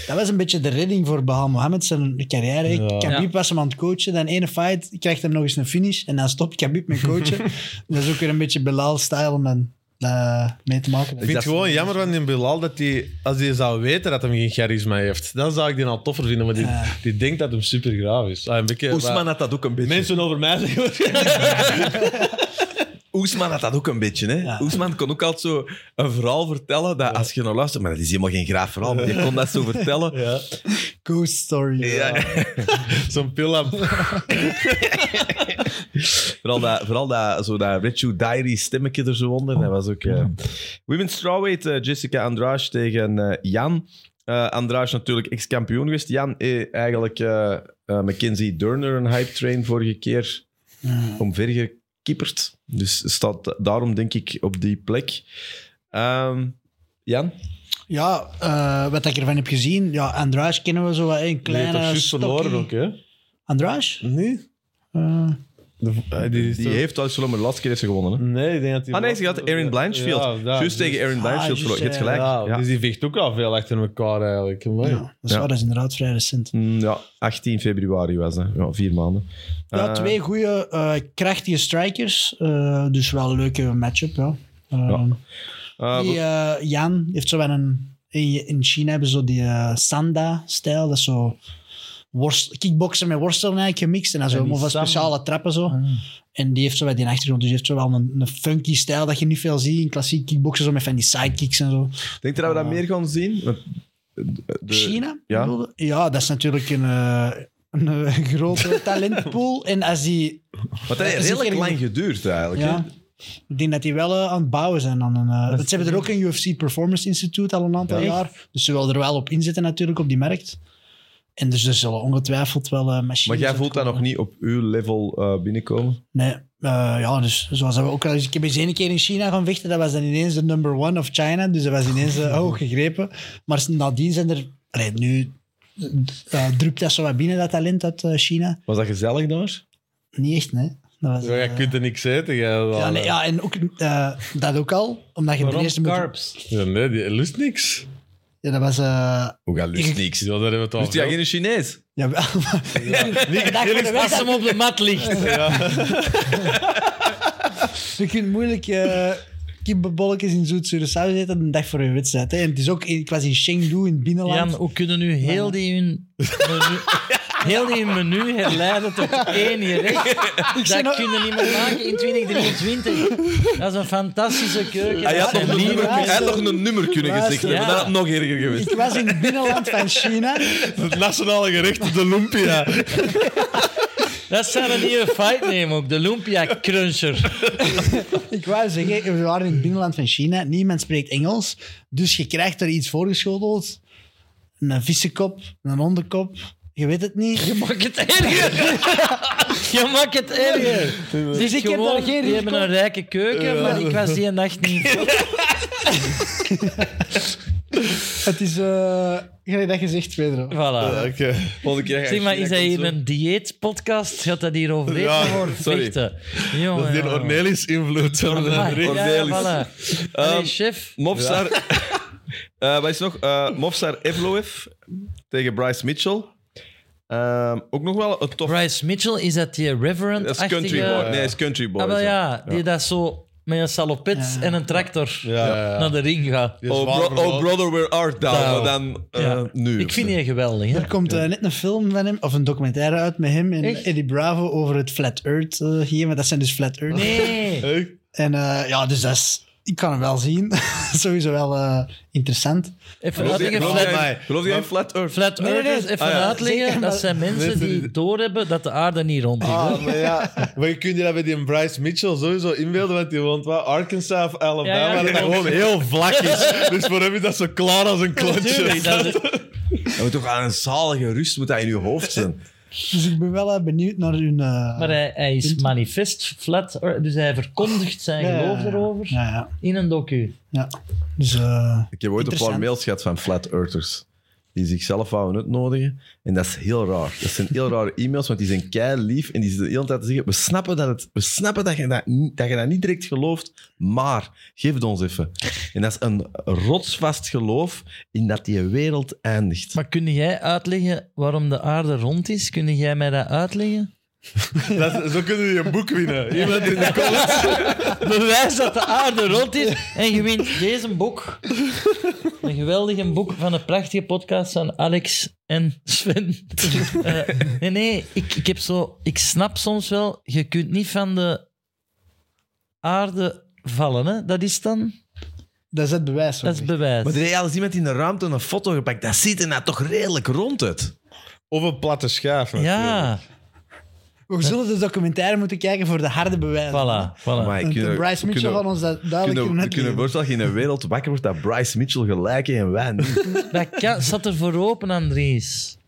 Speaker 4: Dat was een beetje de redding voor Baham Mohammed zijn carrière.
Speaker 2: Ja.
Speaker 4: Khabib was hem aan het coachen. Dan ene fight krijgt hem nog eens een finish. En dan stopt Khabib met coachen. dat is ook weer een beetje Belal-style om dan eh, mee te maken.
Speaker 2: Ik vind het gewoon jammer van die Bilal dat hij, als hij zou weten dat hij geen charisma heeft, dan zou ik die al toffer vinden. Maar die, die denkt dat hem super graaf is. Ah, een beetje,
Speaker 1: Oesman
Speaker 2: maar-
Speaker 1: had dat ook een beetje.
Speaker 2: mensen over mij zeggen.
Speaker 1: Oesman had dat ook een beetje. Hè?
Speaker 4: Ja.
Speaker 1: Oesman kon ook altijd zo een verhaal vertellen dat als je nou luistert... Maar dat is helemaal geen graaf verhaal, maar je kon dat zo vertellen.
Speaker 2: Ja.
Speaker 4: Ghost story.
Speaker 1: Ja.
Speaker 2: Zo'n pil aan.
Speaker 1: Vooral dat, vooral dat, zo dat Red Shoe Diary stemmetje er zo onder. Dat was ook... eh. Women's strawweight, eh, Jessica Andrade tegen eh, Jan. Eh Andrade natuurlijk ex-kampioen geweest. Jan eh, eigenlijk eh, eh, Mackenzie Durner een hype train vorige keer omver gekieperd. Dus staat daarom denk ik op die plek. Ehm, Jan?
Speaker 4: Ja, eh, wat ik ervan heb gezien. Ja, Andrage kennen we zo wat. hè, Een
Speaker 2: Die heeft toch
Speaker 4: kleine
Speaker 2: juist
Speaker 4: stokkie.
Speaker 2: verloren ook, hè?
Speaker 4: Andrage?
Speaker 2: Nee?
Speaker 4: Eh,
Speaker 2: die
Speaker 1: Die,
Speaker 2: is toch-
Speaker 1: heeft wel eens verloren, maar de laatste keer heeft ze gewonnen. Hè?
Speaker 2: Nee, ik denk dat hij...
Speaker 1: Ah nee, ze had Erin Blanchfield.
Speaker 2: Ja, daar,
Speaker 1: juist
Speaker 2: dus-
Speaker 1: tegen Erin Blanchfield.
Speaker 4: juist,
Speaker 1: verloren. je hebt
Speaker 4: ja.
Speaker 1: gelijk.
Speaker 2: Ja,
Speaker 1: Ja.
Speaker 2: Dus die vecht ook al veel achter elkaar eigenlijk. Mooi.
Speaker 4: ja, dat is,
Speaker 1: Ja.
Speaker 4: waar, dat is inderdaad vrij recent.
Speaker 1: Mm, ja, 18 februari was dat. Ja, vier maanden.
Speaker 4: Ja,
Speaker 1: Eh,
Speaker 4: twee goede, krachtige strikers. eh, dus wel een leuke matchup. Ja. Eh,
Speaker 1: Ja. eh,
Speaker 4: Die, eh, Jan heeft zo wel een. In in China hebben ze zo die eh, Sanda-stijl. Dat is zo. Worst, kickboksen met worstelen eigenlijk gemixt. En dan zo
Speaker 3: En die
Speaker 4: allemaal van
Speaker 3: Sanda- Ah,
Speaker 4: speciale trappen zo. En die heeft zo bij die achtergrond. Dus die heeft zo wel een, een funky stijl dat je niet veel ziet in klassiek kickboksen. Zo met van die sidekicks en zo.
Speaker 1: Denk je dat we dat meer gaan zien? Want eh, de-
Speaker 4: Ah. China?
Speaker 1: ja.
Speaker 4: bedoelde? ja, dat is natuurlijk een, eh, een eh, grote talentpool. En als die
Speaker 1: Want dat
Speaker 4: Ja,
Speaker 1: heeft
Speaker 4: is
Speaker 1: redelijk
Speaker 4: zeker-
Speaker 1: lang geduurd eigenlijk. hè?
Speaker 4: Ja. Ik denk dat die wel eh, aan het bouwen zijn. Aan een, eh, ze hebben er ook een UFC Performance Institute al een aantal
Speaker 1: Ja.
Speaker 4: jaar. Dus ze willen er wel op inzetten natuurlijk, op die markt. En dus er zullen ongetwijfeld wel eh, machines...
Speaker 1: Maar jij voelt dat
Speaker 4: uitkomen.
Speaker 1: nog niet op uw level eh, binnenkomen?
Speaker 4: Nee. eh, ja, dus zoals dat we ook al eens... Ik heb eens één keer in China gaan vechten. Dat was dan ineens de number one of China. Dus dat was ineens eh, hoog gegrepen. Maar nadien zijn er... Allee, nu eh, drupt dat zo wat binnen, dat talent uit eh, China.
Speaker 1: Was dat gezellig daar?
Speaker 4: Niet echt, nee. Dat was,
Speaker 2: Ja, jij
Speaker 4: eh,
Speaker 2: kunt er niks eten. jij wel.
Speaker 4: ja, nee, ja, en ook, eh, dat ook al. Omdat je de
Speaker 3: Waarom
Speaker 4: eerste moet...
Speaker 3: carbs?
Speaker 2: Ja, nee, die lust niks.
Speaker 4: Ja, dat was... eh,
Speaker 1: Hoe gaat lust
Speaker 4: Ik-
Speaker 1: niks?
Speaker 2: Ja, daar hebben we het al
Speaker 1: Lust jij
Speaker 2: over.
Speaker 1: geen Chinees?
Speaker 4: Ja, wel, maar- De dag van de
Speaker 3: Als
Speaker 4: wedstrijd,
Speaker 3: hem op de mat ligt.
Speaker 4: Je kunt moeilijk eh kippenbolletjes in zoetzure saus eten een dag voor je wedstrijd. Hè. En het is ook, ik was in Chengdu in het binnenland.
Speaker 3: Jan, hoe kunnen nu heel die hun menu, heel die menu herleiden tot één hier rechts. Dat
Speaker 4: nog-
Speaker 3: kunnen we niet meer maken in 2023. Dat is een fantastische
Speaker 4: Ah,
Speaker 3: keuken.
Speaker 1: Ah, Hij had,
Speaker 3: Dat
Speaker 1: nog
Speaker 3: zijn
Speaker 1: een
Speaker 3: nieuwe
Speaker 1: nummer,
Speaker 4: raar,
Speaker 1: hij had
Speaker 4: zo.
Speaker 1: nog een nummer kunnen
Speaker 4: Raar,
Speaker 1: gezegd
Speaker 4: zo.
Speaker 1: hebben. Dat had nog erger geweest.
Speaker 4: Ik was in het binnenland van China.
Speaker 2: Het nationale gerecht, de lumpia.
Speaker 3: Dat zou een nieuwe fight nemen ook, de Lumpia Cruncher.
Speaker 4: Ik wou zeggen, we waren in het binnenland van China. Niemand spreekt Engels. Dus je krijgt er iets voorgeschoteld. Een vissenkop, een hondenkop. Je weet het niet.
Speaker 3: Je maakt het erger. Je maakt het erger.
Speaker 4: Dus ik heb
Speaker 3: Gewoon,
Speaker 4: daar geen
Speaker 3: Die
Speaker 4: risico.
Speaker 3: hebben een rijke keuken, maar ik was die nacht niet.
Speaker 4: Het is... eh gelijk dat je zegt, Pedro.
Speaker 3: Voilà.
Speaker 1: Volgende keer ga ik
Speaker 3: Zeg
Speaker 1: China
Speaker 3: maar, is dat hier
Speaker 1: consumeren.
Speaker 3: een dieetpodcast? Gaat dat hier over eten
Speaker 2: Ja,
Speaker 3: worden?
Speaker 1: sorry.
Speaker 3: Vechten.
Speaker 2: Dat
Speaker 3: Jongen,
Speaker 2: is die
Speaker 3: jongen.
Speaker 2: Ornelis-invloed.
Speaker 3: Ja,
Speaker 1: Ornelis.
Speaker 3: ja, voilà. Allee,
Speaker 1: Ehm,
Speaker 3: chef.
Speaker 1: Mofsar. Eh, wat is nog? Eh Mofsar Evloev tegen Bryce Mitchell. Ehm, ook nog wel een tof.
Speaker 3: Bryce Mitchell, is dat die reverend
Speaker 1: Dat is country boy. Nee, dat is country boy.
Speaker 3: Ah, wel
Speaker 1: zo.
Speaker 3: ja, die dat zo met een salopet en een tractor
Speaker 2: Ja, ja, ja.
Speaker 3: naar de ring gaat.
Speaker 2: Die is
Speaker 1: Oh,
Speaker 2: zwaar
Speaker 1: bro-
Speaker 2: verloren.
Speaker 1: oh, brother, where art thou?
Speaker 3: Thou.
Speaker 1: Maar dan eh,
Speaker 3: Ja.
Speaker 1: nu.
Speaker 3: Ik vind die geweldig. Hè?
Speaker 4: Er komt eh, net een film van hem, of een documentaire uit met hem en
Speaker 3: Echt?
Speaker 4: Eddie Bravo over het Flat Earth eh, hier. Maar dat zijn dus Flat Earth.
Speaker 3: Nee.
Speaker 2: Echt?
Speaker 4: En eh, ja, dus dat is, ik kan hem wel zien. Sowieso wel eh, interessant.
Speaker 3: Even
Speaker 1: Geloof jij-
Speaker 3: uitleggen.
Speaker 1: geloof
Speaker 2: flat-
Speaker 3: Flat,
Speaker 1: jij- Geloof jij in Flat Earth?
Speaker 3: flat
Speaker 4: Nee, nee, nee.
Speaker 3: Earthers, even
Speaker 1: Ah, ja.
Speaker 3: uitleggen.
Speaker 4: Zeker,
Speaker 3: Dat
Speaker 4: maar-
Speaker 3: zijn mensen die doorhebben dat de aarde niet rond is. hè.
Speaker 2: Ah, maar ja. Maar je kunt je dat bij die Bryce Mitchell sowieso inbeelden, want die woont waar? Arkansas of Alabama,
Speaker 3: Ja, ja,
Speaker 2: dat dat
Speaker 3: klopt.
Speaker 2: gewoon heel vlak is. dus voor hem is dat zo klaar als een klontje.
Speaker 3: Tuurlijk, dat is-
Speaker 1: Dat moet toch aan een zalige rust moet dat in je hoofd zijn.
Speaker 4: Dus ik ben wel eh, benieuwd naar hun... eh,
Speaker 3: maar hij, hij is manifest, flat, earth, dus hij verkondigt zijn
Speaker 4: ja,
Speaker 3: geloof
Speaker 4: ja, ja.
Speaker 3: erover
Speaker 4: eh, Ja, ja.
Speaker 3: in een docu.
Speaker 4: ja. Dus eh,
Speaker 1: Ik heb ooit een paar
Speaker 4: Interessant.
Speaker 1: mails gehad van Flat Earthers. Die zichzelf wouden uitnodigen. En dat is heel raar. Dat zijn heel rare e-mails, want die zijn kei lief. En die zitten de hele tijd te zeggen: We snappen dat, het, we snappen dat, je, dat, niet- dat je dat niet direct gelooft, maar geef het ons even. En dat is een rotsvast geloof in dat die wereld eindigt.
Speaker 3: Maar kun jij uitleggen waarom de aarde rond is? Kun jij mij dat uitleggen?
Speaker 2: Dat is- zo kunnen die een boek winnen. Iemand in de
Speaker 3: Bewijs dat de aarde rond is en je wint deze boek. Een geweldig boek van een prachtige podcast van Alex en Sven. Eh, nee, nee, ik, ik heb zo... Ik snap soms wel, je kunt niet van de aarde vallen, hè? Dat is dan...
Speaker 4: dat is het bewijs.
Speaker 3: Dat is bewijs.
Speaker 1: Maar er heeft als iemand in de ruimte een foto gepakt. Dat ziet er nou toch redelijk rond uit.
Speaker 2: Of een platte schaaf.
Speaker 3: Ja,
Speaker 4: We zullen de documentaire moeten kijken voor de harde bewijzen.
Speaker 3: voilà. voilà.
Speaker 1: Maar
Speaker 4: Want eh,
Speaker 1: kunnen-
Speaker 4: Bryce Mitchell
Speaker 1: eh, kunnen-
Speaker 4: van ons dat duidelijk
Speaker 1: Kunnen,
Speaker 4: kunnen,
Speaker 1: we kunnen voorstellen dat je in een wereld wakker wordt dat Bryce Mitchell gelijk heeft en wij niet.
Speaker 3: Dat kan- zat er voor open, Andries.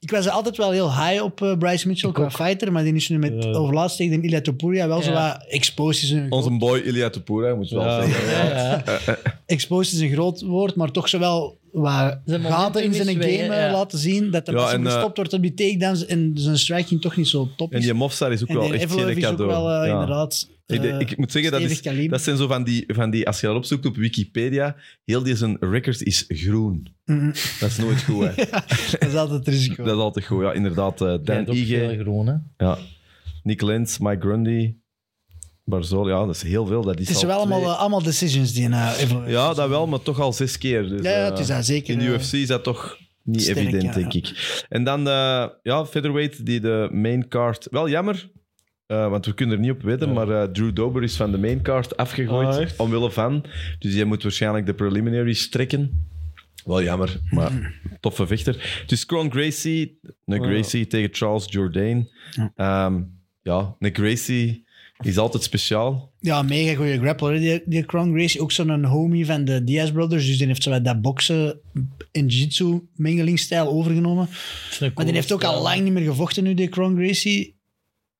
Speaker 4: Ik was altijd wel heel high op eh, Bryce Mitchell qua fighter, maar die is nu met overlast tegen Ilya Topuria wel
Speaker 3: Ja.
Speaker 4: zo wat exposed is een
Speaker 1: Onze boy Ilya Topoura, moet je wel
Speaker 2: Ja.
Speaker 1: zeggen.
Speaker 3: Ja, ja.
Speaker 4: exposed is een groot woord, maar toch zowel waar
Speaker 3: Zijn
Speaker 4: gaten in
Speaker 3: momentum
Speaker 4: zijn
Speaker 3: is
Speaker 4: game
Speaker 3: weg,
Speaker 4: eh,
Speaker 3: hè, ja.
Speaker 4: laten zien dat er
Speaker 1: Ja,
Speaker 4: pas
Speaker 1: en, eh,
Speaker 4: gestopt wordt op die takedowns en zijn striking toch niet zo top
Speaker 1: En
Speaker 4: is.
Speaker 1: die Mofsar is ook
Speaker 4: En
Speaker 1: wel
Speaker 4: die
Speaker 1: echt
Speaker 4: Evloev
Speaker 1: geen
Speaker 4: is ook
Speaker 1: cadeau.
Speaker 4: wel eh,
Speaker 1: Ja.
Speaker 4: inderdaad
Speaker 1: Ik, denk-
Speaker 4: eh,
Speaker 1: ik moet zeggen, dat,
Speaker 4: stevig
Speaker 1: is,
Speaker 4: kaliber.
Speaker 1: dat zijn zo van die, van die... Als je dat opzoekt op Wikipedia, heel die zijn record is groen.
Speaker 4: Mhm.
Speaker 1: Dat is nooit goed, hè.
Speaker 4: dat is altijd het risico.
Speaker 1: Dat is altijd goed, ja. Inderdaad, eh,
Speaker 3: Jij
Speaker 1: Dan
Speaker 3: hebt ook veel
Speaker 1: Ige,
Speaker 3: groen, hè?
Speaker 1: ja. Nick Lentz, Mike Grundy, Barzol. Ja, dat is heel veel. Dat is
Speaker 4: het is
Speaker 1: al
Speaker 4: wel allemaal,
Speaker 1: twee-
Speaker 4: eh, allemaal decisions die eh evolueert.
Speaker 1: Ja, dat wel, maar toch al zes keer. Dus,
Speaker 4: Ja, ja,
Speaker 1: eh,
Speaker 4: het is dat zeker.
Speaker 1: In de
Speaker 4: eh,
Speaker 1: UFC is dat toch niet
Speaker 4: sterk,
Speaker 1: evident,
Speaker 4: ja,
Speaker 1: denk
Speaker 4: ja.
Speaker 1: ik. En dan, eh, ja, featherweight, die de main card... Wel jammer, eh, want we kunnen er niet op wedden, maar eh, Drew Dober is van de main card afgegooid,
Speaker 2: Ah, echt?
Speaker 1: omwille van. Dus jij moet waarschijnlijk de preliminaries trekken. Wel jammer, maar toffe vechter. Dus Cron Gracie, een
Speaker 2: Ja.
Speaker 1: Gracie tegen Charles Jourdain. Ehm, ja, een Gracie is altijd speciaal.
Speaker 4: Ja, mega goede grappler. hè. Die, die Kron Gracie, ook zo'n homie van de Diaz Brothers. Dus die heeft zo wat dat boksen in jiu-jitsu mengelingstijl overgenomen. Maar die heeft ook al lang niet meer gevochten nu, die Kron Gracie.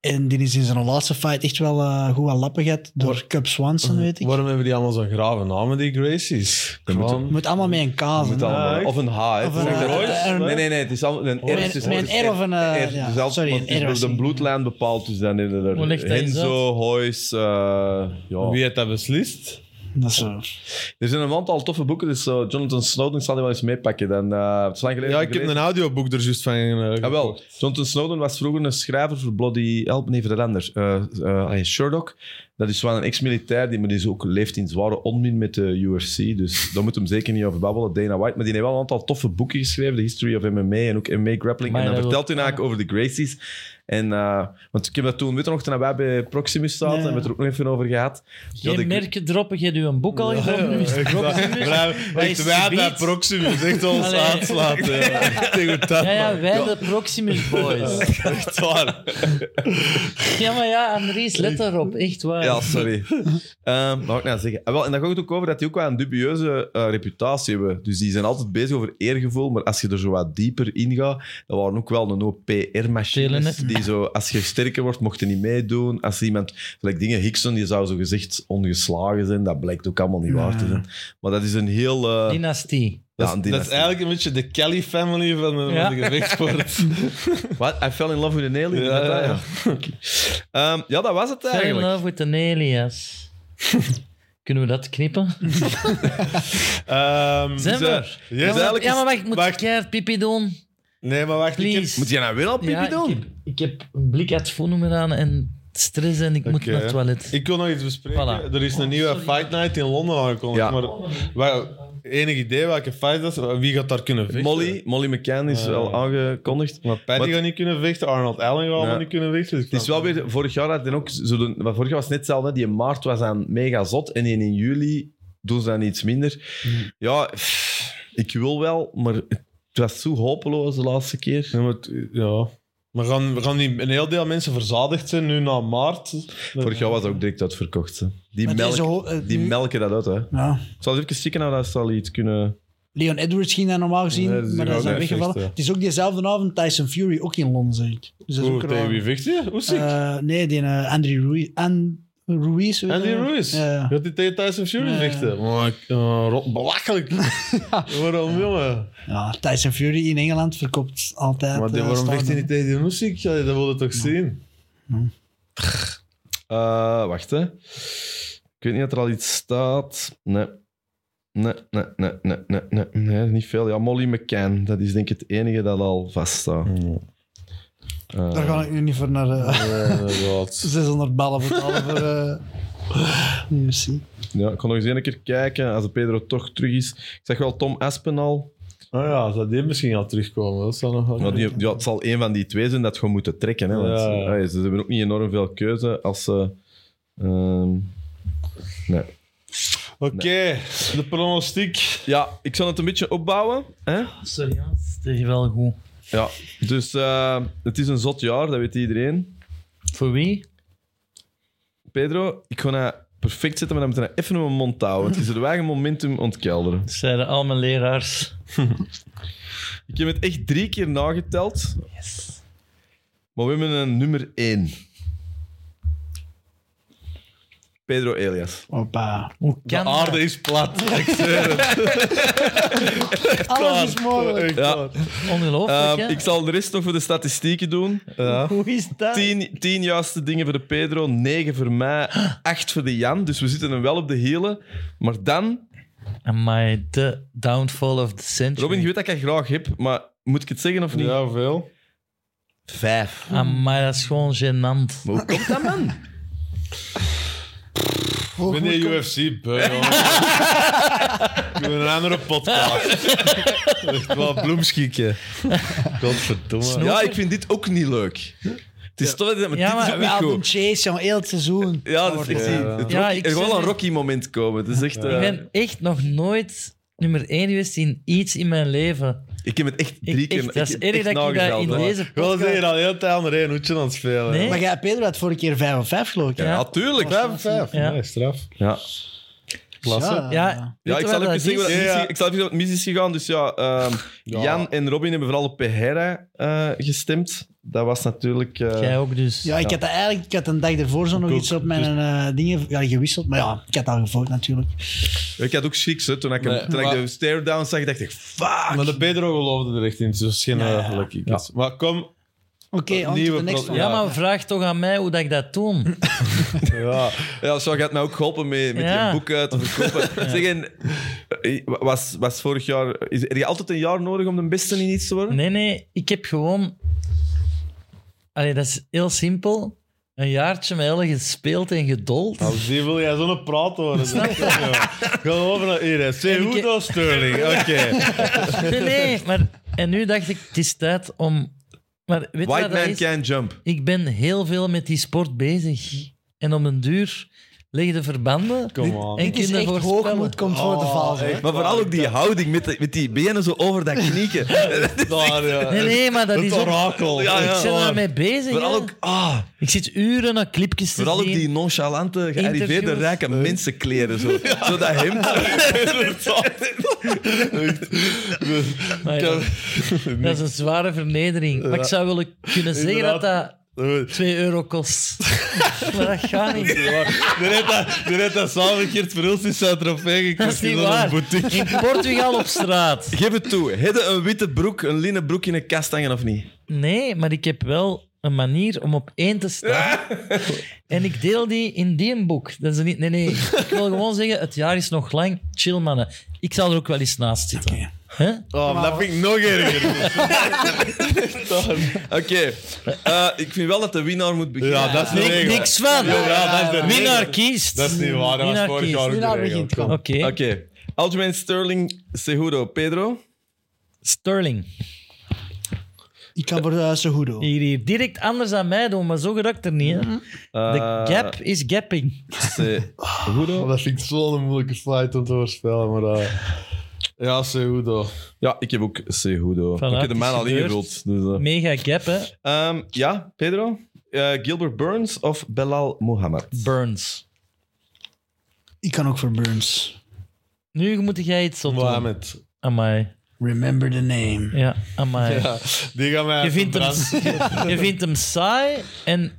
Speaker 4: En die is in zijn laatste fight echt wel eh, goed aan lappen gehad door Cup Swanson, weet ik.
Speaker 2: Waarom hebben die allemaal zo'n grave namen, die Gracies?
Speaker 1: Dat moet-
Speaker 2: Gewoon-
Speaker 4: Moet allemaal met een kaas.
Speaker 1: Moet
Speaker 4: hè.
Speaker 1: allemaal-
Speaker 2: echt?
Speaker 1: of een H. hè.
Speaker 4: Of een
Speaker 1: Zeg dat-
Speaker 4: H.
Speaker 2: Royce?
Speaker 1: Nee, nee, nee. Het is al een R.
Speaker 4: Met-
Speaker 1: het is-
Speaker 4: met
Speaker 1: het is
Speaker 4: een R of een, eh,
Speaker 1: R.
Speaker 4: ja,
Speaker 1: Dus zelfs-
Speaker 4: sorry,
Speaker 1: want
Speaker 4: een
Speaker 1: het is
Speaker 4: R
Speaker 1: door
Speaker 4: was
Speaker 1: de
Speaker 4: niet.
Speaker 1: bloedlijn bepaald. Dus dan hebben we
Speaker 3: Hoe
Speaker 1: er
Speaker 3: ligt dat eens
Speaker 1: Henzo, Hoys. eh, ja.
Speaker 2: Wie heeft dat beslist?
Speaker 4: Dat is zo.
Speaker 1: Er zijn een aantal toffe boeken. Dus eh, Jonathan Snowden zal die wel eens meepakken. Dan, eh, het is lang geleden
Speaker 2: Ja, ik heb
Speaker 1: gelezen.
Speaker 2: een audioboek er juist van. eh,
Speaker 1: Jawel, Jonathan Snowden was vroeger een schrijver voor Bloody... Help me even dat anders. Eh, eh, hij is Sherlock. Dat is wel een ex-militair, die, maar die is ook, leeft in zware onmin met de UFC. Dus daar moet hem zeker niet over babbelen, Dana White. Maar die heeft wel een aantal toffe boeken geschreven. The History of MMA en ook MMA Grappling.
Speaker 3: Maar
Speaker 1: en dan
Speaker 3: dat
Speaker 1: vertelt
Speaker 3: wil-
Speaker 1: hij eigenlijk over de Gracies. En, eh, want ik heb dat toen, weet je nog, toen wij bij Proximus zaten,
Speaker 4: Ja.
Speaker 1: hebben we het er ook nog even over gehad.
Speaker 3: Geen
Speaker 1: Dat ik-
Speaker 3: merken droppen, je hebt uw boek al gedropt. nu is het
Speaker 2: Ik wou-
Speaker 3: droppen.
Speaker 2: Blijf,
Speaker 3: Wat
Speaker 2: wij
Speaker 3: is
Speaker 2: wij
Speaker 3: het
Speaker 2: bij
Speaker 3: gebied?
Speaker 2: Proximus echt ons
Speaker 3: Allee.
Speaker 2: aanslaat. eh. Ja. Echt tegen dat,
Speaker 3: Ja, ja,
Speaker 2: man.
Speaker 3: wij de Proximus Boys.
Speaker 2: Echt waar.
Speaker 3: Ja, maar ja, Andries, let daarop. Echt waar.
Speaker 1: Ja, sorry. Ehm wat wou ik nou zeggen? Ah, wel, en daar gaat het ook over dat die ook wel een dubieuze eh, reputatie hebben. Dus die zijn altijd bezig over eergevoel, maar als je er zo wat dieper in gaat, dan waren ook wel een hoop PR-machines.
Speaker 3: Telenet.
Speaker 1: Die zo, als je sterker wordt, mocht je niet meedoen. Als iemand, gelijk dingen, Hickson, die zou zo gezegd ongeslagen zijn, dat blijkt ook allemaal niet waar te zijn. Maar dat is een heel... eh,
Speaker 3: Dynastie.
Speaker 1: ja, een
Speaker 2: Dat is
Speaker 1: dynastie.
Speaker 2: eigenlijk een beetje de Kelly family van de,
Speaker 3: Ja.
Speaker 2: van de gevechtsport.
Speaker 1: What? I fell in love with an alien? Ja,
Speaker 2: Ja,
Speaker 1: ja.
Speaker 2: ja, ja.
Speaker 1: Oké. Ehm, ja dat was het
Speaker 3: Fell in
Speaker 1: eigenlijk.
Speaker 3: love with an alias. Kunnen we dat knippen?
Speaker 2: Ehm,
Speaker 3: Zijn we
Speaker 1: eh,
Speaker 3: er?
Speaker 2: yes.
Speaker 3: Ja, maar,
Speaker 1: eigenlijk
Speaker 3: ja,
Speaker 1: is-
Speaker 3: maar wacht, ik moet
Speaker 2: wacht.
Speaker 3: keihard pipi doen.
Speaker 2: Nee, maar wacht. Ik heb-
Speaker 3: Please.
Speaker 1: Moet jij nou weer al pipi
Speaker 3: Ja, ik
Speaker 1: doen?
Speaker 3: heb- Ik heb een blik uit het voornoemen aan en stress en ik moet
Speaker 2: Oké.
Speaker 3: naar het toilet.
Speaker 2: Ik wil nog iets bespreken.
Speaker 3: Voilà. Oh,
Speaker 2: Er is een nieuwe Fight Night in Londen aangekomen.
Speaker 1: Ja.
Speaker 2: Maar wa- enig idee welke fight dat is? Wie gaat daar kunnen vechten?
Speaker 1: Molly, Molly McCann is
Speaker 2: Eh.
Speaker 1: wel aangekondigd.
Speaker 2: Maar Patty
Speaker 1: Wat-
Speaker 2: gaat niet kunnen vechten. Arnold Allen gaat allemaal
Speaker 1: Ja.
Speaker 2: niet kunnen vechten. dus
Speaker 1: Het is wel weer, vorig jaar had hij ook, zo doen- maar vorig jaar was het net hetzelfde, hè. die in maart was aan mega zot en die in juli doen ze dan iets minder.
Speaker 4: Mm.
Speaker 1: Ja, pff, ik wil wel, maar het was zo hopeloos de laatste keer.
Speaker 2: Ja, maar, het- ja. maar gaan, gaan die een heel deel mensen verzadigd zijn nu na maart?
Speaker 1: Vorig jaar was het ook direct uitverkocht. hè. Die,
Speaker 4: Maar het is zo,
Speaker 1: melk,
Speaker 4: eh,
Speaker 1: die
Speaker 4: nu-
Speaker 1: melken dat uit. Hè. Ik
Speaker 4: Ja.
Speaker 1: zal eens even kijken of dat zal iets kunnen...
Speaker 4: Leon Edwards ging daar normaal gezien,
Speaker 2: Nee, dat is
Speaker 4: maar
Speaker 2: ook
Speaker 4: dat is dan
Speaker 2: echt
Speaker 4: weggevallen.
Speaker 2: slecht, hè.
Speaker 4: Het is ook diezelfde avond Tyson Fury, ook in Londen, zeg ik. Dus dat is
Speaker 2: Oeh,
Speaker 4: ook raar.
Speaker 2: tegen wie vecht je? Oesik?
Speaker 4: Eh, nee, die eh, Andy Ruiz. An- Ruiz weet
Speaker 2: Andy
Speaker 4: je?
Speaker 2: Ruiz?
Speaker 4: Ja.
Speaker 2: Gaat die tegen Tyson Fury
Speaker 4: Ja.
Speaker 2: vechten? Maar, eh, rot- belachelijk. Waarom, jongen?
Speaker 4: ja, Tyson Fury in Engeland verkoopt altijd.
Speaker 2: Maar die-
Speaker 4: eh,
Speaker 2: waarom
Speaker 4: stadion.
Speaker 2: vecht hij niet tegen die Oesik? Ja, dat wilde toch zien?
Speaker 1: Eh, wacht, hè. Ik weet niet of er al iets staat. Nee. Nee, nee, nee, nee, nee, nee, nee, niet veel. Ja, Molly McCann, dat is denk ik het enige dat al vaststaat. Eh,
Speaker 4: Daar ga ik nu niet voor naar eh,
Speaker 2: Ja, inderdaad.
Speaker 4: 600 ballen betalen voor eh UFC.
Speaker 1: Ja, ik kon nog eens één keer kijken als de Pedro toch terug is. Ik zeg wel Tom Aspen al.
Speaker 2: Oh ja, zou die misschien al terugkomen? Dat zou nog wel
Speaker 1: Maar die, ja, het zal één van die twee zijn dat gewoon moeten trekken. Hè, want,
Speaker 2: Ja, ja.
Speaker 1: eh, ze hebben ook niet enorm veel keuze als ze. ehm, nee.
Speaker 2: Oké, de pronostiek.
Speaker 1: Ja, ik zal het een beetje opbouwen. Hè?
Speaker 3: Sorry, ja, het is tegen wel goed.
Speaker 1: Ja, dus eh, het is een zot jaar, dat weet iedereen.
Speaker 3: Voor wie?
Speaker 1: Pedro, ik ga het perfect zetten, maar dan moeten we even een mond houden. want Het is het eigen momentum ontkelderen.
Speaker 3: Dat zeiden al mijn leraars.
Speaker 1: Ik heb het echt drie keer nageteld,
Speaker 3: Yes.
Speaker 1: maar we hebben een nummer één. Pedro Elias.
Speaker 4: Hoppa.
Speaker 3: Hoe
Speaker 2: De
Speaker 3: kan
Speaker 2: aarde
Speaker 3: dat?
Speaker 2: is plat. Ik zweer het.
Speaker 4: Alles is mogelijk.
Speaker 2: Echt
Speaker 1: Ja.
Speaker 2: waar.
Speaker 1: Ehm,
Speaker 3: Ongelooflijk, hè?
Speaker 1: ik zal de rest nog voor de statistieken doen.
Speaker 3: Hoe is dat?
Speaker 1: Tien, tien juiste dingen voor de Pedro, negen voor mij, acht voor de Jan. Dus we zitten hem wel op de hielen. Maar dan,
Speaker 3: Amai, de downfall of the century.
Speaker 1: Robin, je weet dat ik dat graag heb, maar moet ik het zeggen of niet?
Speaker 2: Ja, hoeveel?
Speaker 1: Vijf.
Speaker 3: Amai, dat is gewoon gênant.
Speaker 1: Maar hoe komt dat, man?
Speaker 4: Hoe
Speaker 2: Ik ben
Speaker 4: goed
Speaker 2: de
Speaker 4: komt-
Speaker 2: UFC beu, jongen. Ik doe een andere podcast. Echt wel bloemschikken. Godverdomme.
Speaker 1: Ja, ik vind dit ook niet leuk. Het is toch dat maar
Speaker 3: Ja,
Speaker 1: dit is
Speaker 3: maar
Speaker 1: ook niet
Speaker 4: Wel
Speaker 1: goed.
Speaker 4: een chase, jongen, heel het seizoen.
Speaker 1: Ja, dat is echt...
Speaker 2: Ja, ja.
Speaker 1: het
Speaker 3: Ja,
Speaker 1: Rocky-
Speaker 3: ik
Speaker 1: er gaat wel
Speaker 3: zeg-
Speaker 1: een Rocky-moment komen. Het is echt... eh,
Speaker 3: Ik ben echt nog nooit nummer 1 geweest in iets in mijn leven.
Speaker 1: ik heb het echt
Speaker 3: Ik-
Speaker 1: drie keer...
Speaker 3: echt,
Speaker 1: ik
Speaker 3: dat is
Speaker 1: heb
Speaker 3: erg
Speaker 1: echt
Speaker 3: dat ik dat
Speaker 1: nageteld,
Speaker 3: in
Speaker 1: hoor.
Speaker 3: deze
Speaker 2: Wel
Speaker 3: podcast-
Speaker 2: zijn hier al heel tijd onder één hoedje aan het spelen.
Speaker 3: Nee.
Speaker 4: Maar jij, Pedro had vorige keer 5 of 5 geloof ik. hè?
Speaker 1: Ja, tuurlijk.
Speaker 2: Vijf, vijf.
Speaker 3: Ja.
Speaker 2: Nee, straf.
Speaker 1: Ja.
Speaker 2: Klasse.
Speaker 3: Ja, weet
Speaker 1: Ja,
Speaker 3: je
Speaker 1: ik
Speaker 3: wat
Speaker 1: zal,
Speaker 3: dat
Speaker 1: even
Speaker 3: is?
Speaker 1: zeggen wat
Speaker 2: Ja,
Speaker 1: mis
Speaker 2: ja.
Speaker 1: is- ik zal even zeggen wat mis is gegaan. Dus ja, ehm,
Speaker 2: Ja.
Speaker 1: Jan en Robin hebben vooral op Pereira eh, gestemd. Dat was natuurlijk... eh,
Speaker 3: Jij ook dus.
Speaker 4: Ja, ik had dat eigenlijk ik had een dag ervoor zo nog
Speaker 2: ook.
Speaker 4: iets op mijn
Speaker 1: Dus-
Speaker 4: eh, dingen ja, gewisseld. Maar ja, ik had al gevoerd natuurlijk.
Speaker 1: Ik had ook schrik, hè, toen ik, hem-
Speaker 2: Nee,
Speaker 1: toen
Speaker 2: maar-
Speaker 1: ik de stare-down zag, dacht ik, fuck!
Speaker 2: Maar de Pedro geloofde er echt in, dus geen
Speaker 4: Ah, Ja, ja, ja.
Speaker 2: gelukkig. is. Maar kom,
Speaker 4: Oké,
Speaker 2: Nieuwe
Speaker 4: on to the next
Speaker 2: pro-
Speaker 4: one.
Speaker 3: Ja, maar vraag toch aan mij hoe dat ik dat doe.
Speaker 2: ja.
Speaker 1: Ja, zo gaat mij ook geholpen mee, met
Speaker 3: Ja.
Speaker 1: die boeken te verkopen. Zeg, en, eh, was, was vorig jaar... Is, heb je altijd een jaar nodig om de beste in iets te worden?
Speaker 3: Nee, nee, ik heb gewoon... Allee, dat is heel simpel. een jaartje met Ellen gespeeld en gedold.
Speaker 1: Oh,
Speaker 2: Nou, zie, wil jij zo'n praat horen? Snap Ga over naar hier. hè. Segundo Sterling. Oké.
Speaker 3: Nee, nee, maar... En nu dacht ik, het is tijd om... Maar weet je wat
Speaker 1: White
Speaker 3: dat
Speaker 1: man
Speaker 3: is?
Speaker 1: can jump.
Speaker 3: Ik ben heel veel met die sport bezig. En om een duur liggen de verbanden.
Speaker 2: Come on.
Speaker 3: En
Speaker 4: Het is
Speaker 3: kinderen
Speaker 4: echt
Speaker 3: voorspellen.
Speaker 4: hoogmoed komt voor de
Speaker 1: Oh,
Speaker 4: val. hè.
Speaker 1: Maar vooral ook die houding met, de- met die benen zo over dat knieken.
Speaker 2: Daar, ja.
Speaker 3: Nee, nee, maar dat
Speaker 2: Het
Speaker 3: is ook...
Speaker 2: orakel.
Speaker 1: Ja, ja.
Speaker 3: ik ben daarmee bezig.
Speaker 1: vooral
Speaker 3: hè.
Speaker 1: ook, ah,
Speaker 3: Ik zit uren naar clipjes te
Speaker 1: vooral ook
Speaker 3: zien.
Speaker 1: die nonchalante, gearriveerde,
Speaker 3: Interviews.
Speaker 1: rijke mensenkleren. Zo, zo dat hemd.
Speaker 3: Maar ja, dat is een zware vernedering. Maar ik zou willen kunnen zeggen dat
Speaker 2: Inderdaad.
Speaker 3: dat 2 euro kost. maar dat gaat niet.
Speaker 2: Er heeft dat- er heeft dat samen Geert Verhulst in Saint-Tropez
Speaker 3: Dat
Speaker 2: gekocht
Speaker 3: is
Speaker 2: in
Speaker 3: niet
Speaker 2: zo'n
Speaker 3: waar.
Speaker 2: boutique.
Speaker 3: In Portugal op straat.
Speaker 1: Geef het toe. Hebben een witte broek, een linnen broek in een kast hangen of niet?
Speaker 3: Nee, maar ik heb wel een manier om op één te staan. En ik deel die in die boek. Dat is niet, nee, nee. Ik wil gewoon zeggen, het jaar is nog lang. Chill, mannen. Ik zal er ook wel eens naast zitten. Hè?
Speaker 2: Oh, maar dat vind ik nog erger.
Speaker 1: Oké. Eh, ik vind wel dat de winnaar moet beginnen.
Speaker 2: Ja, dat is de
Speaker 3: Nik-
Speaker 2: regel.
Speaker 3: niks van.
Speaker 2: Ja, dat is de
Speaker 3: Winnaar
Speaker 2: regel.
Speaker 3: kiest.
Speaker 2: Dat is niet waar, dat was
Speaker 3: Winnaar
Speaker 2: vorig
Speaker 3: kiest.
Speaker 2: jaar ook
Speaker 4: Winnaar
Speaker 2: de regel.
Speaker 4: begint
Speaker 2: Kom.
Speaker 4: gewoon.
Speaker 3: Oké.
Speaker 1: Oké. Aljamain Sterling, Seguro, Pedro.
Speaker 3: Sterling.
Speaker 4: Ik kan voor uh, Segudo.
Speaker 3: Hier, hier. Direct anders aan mij doen, maar zo geraakt er niet. Hè? De
Speaker 1: Eh,
Speaker 3: gap is gapping.
Speaker 1: Seguro.
Speaker 2: Oh, dat vind ik zo'n moeilijke slide om te voorspellen, maar... eh, ja, Seudo.
Speaker 1: Ja, ik heb ook Segudo. ik heb
Speaker 3: het
Speaker 1: de
Speaker 3: is
Speaker 1: man al
Speaker 3: gebeurd.
Speaker 1: ingevuld. Dus, eh.
Speaker 3: Mega gap, hè?
Speaker 1: Ehm, ja, Pedro. Eh, Gilbert Burns of Belal Mohammed?
Speaker 3: Burns.
Speaker 4: Ik kan ook voor Burns.
Speaker 3: Nu moet jij iets op doen.
Speaker 2: Mohamed.
Speaker 3: Amai.
Speaker 4: Remember the name.
Speaker 3: Ja, amai.
Speaker 2: Ja, die gaan mij
Speaker 3: Je, vindt hem,
Speaker 2: verbranden.
Speaker 3: je vindt hem saai en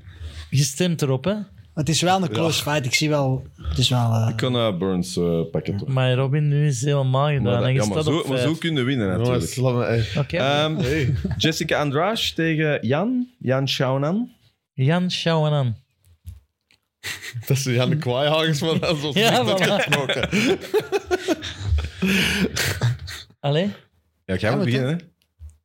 Speaker 3: je stemt erop, hè?
Speaker 4: Het is wel een close fight. Ik zie wel... Het is wel... eh,
Speaker 1: Ik kan eh, Burns eh, pakken toch?
Speaker 3: Maar Robin, nu is het helemaal gedaan.
Speaker 1: Maar, dat-
Speaker 3: en je
Speaker 1: ja, maar
Speaker 3: staat
Speaker 1: zo,
Speaker 3: op
Speaker 1: maar zo
Speaker 3: vijf.
Speaker 1: kun je winnen
Speaker 2: Jongens,
Speaker 1: natuurlijk.
Speaker 2: laat me echt...
Speaker 3: Oké.
Speaker 1: Ehm,
Speaker 2: Hey.
Speaker 1: Jessica Andrade tegen Jan. Jan Schaunan.
Speaker 3: Jan Schouwenan.
Speaker 2: eh, Dat is Jan de Kwaaihagens van dat is ons
Speaker 3: Ja,
Speaker 2: niet
Speaker 3: voilà.
Speaker 2: gesproken.
Speaker 3: Allee,
Speaker 1: Ja, jij moet beginnen. hè.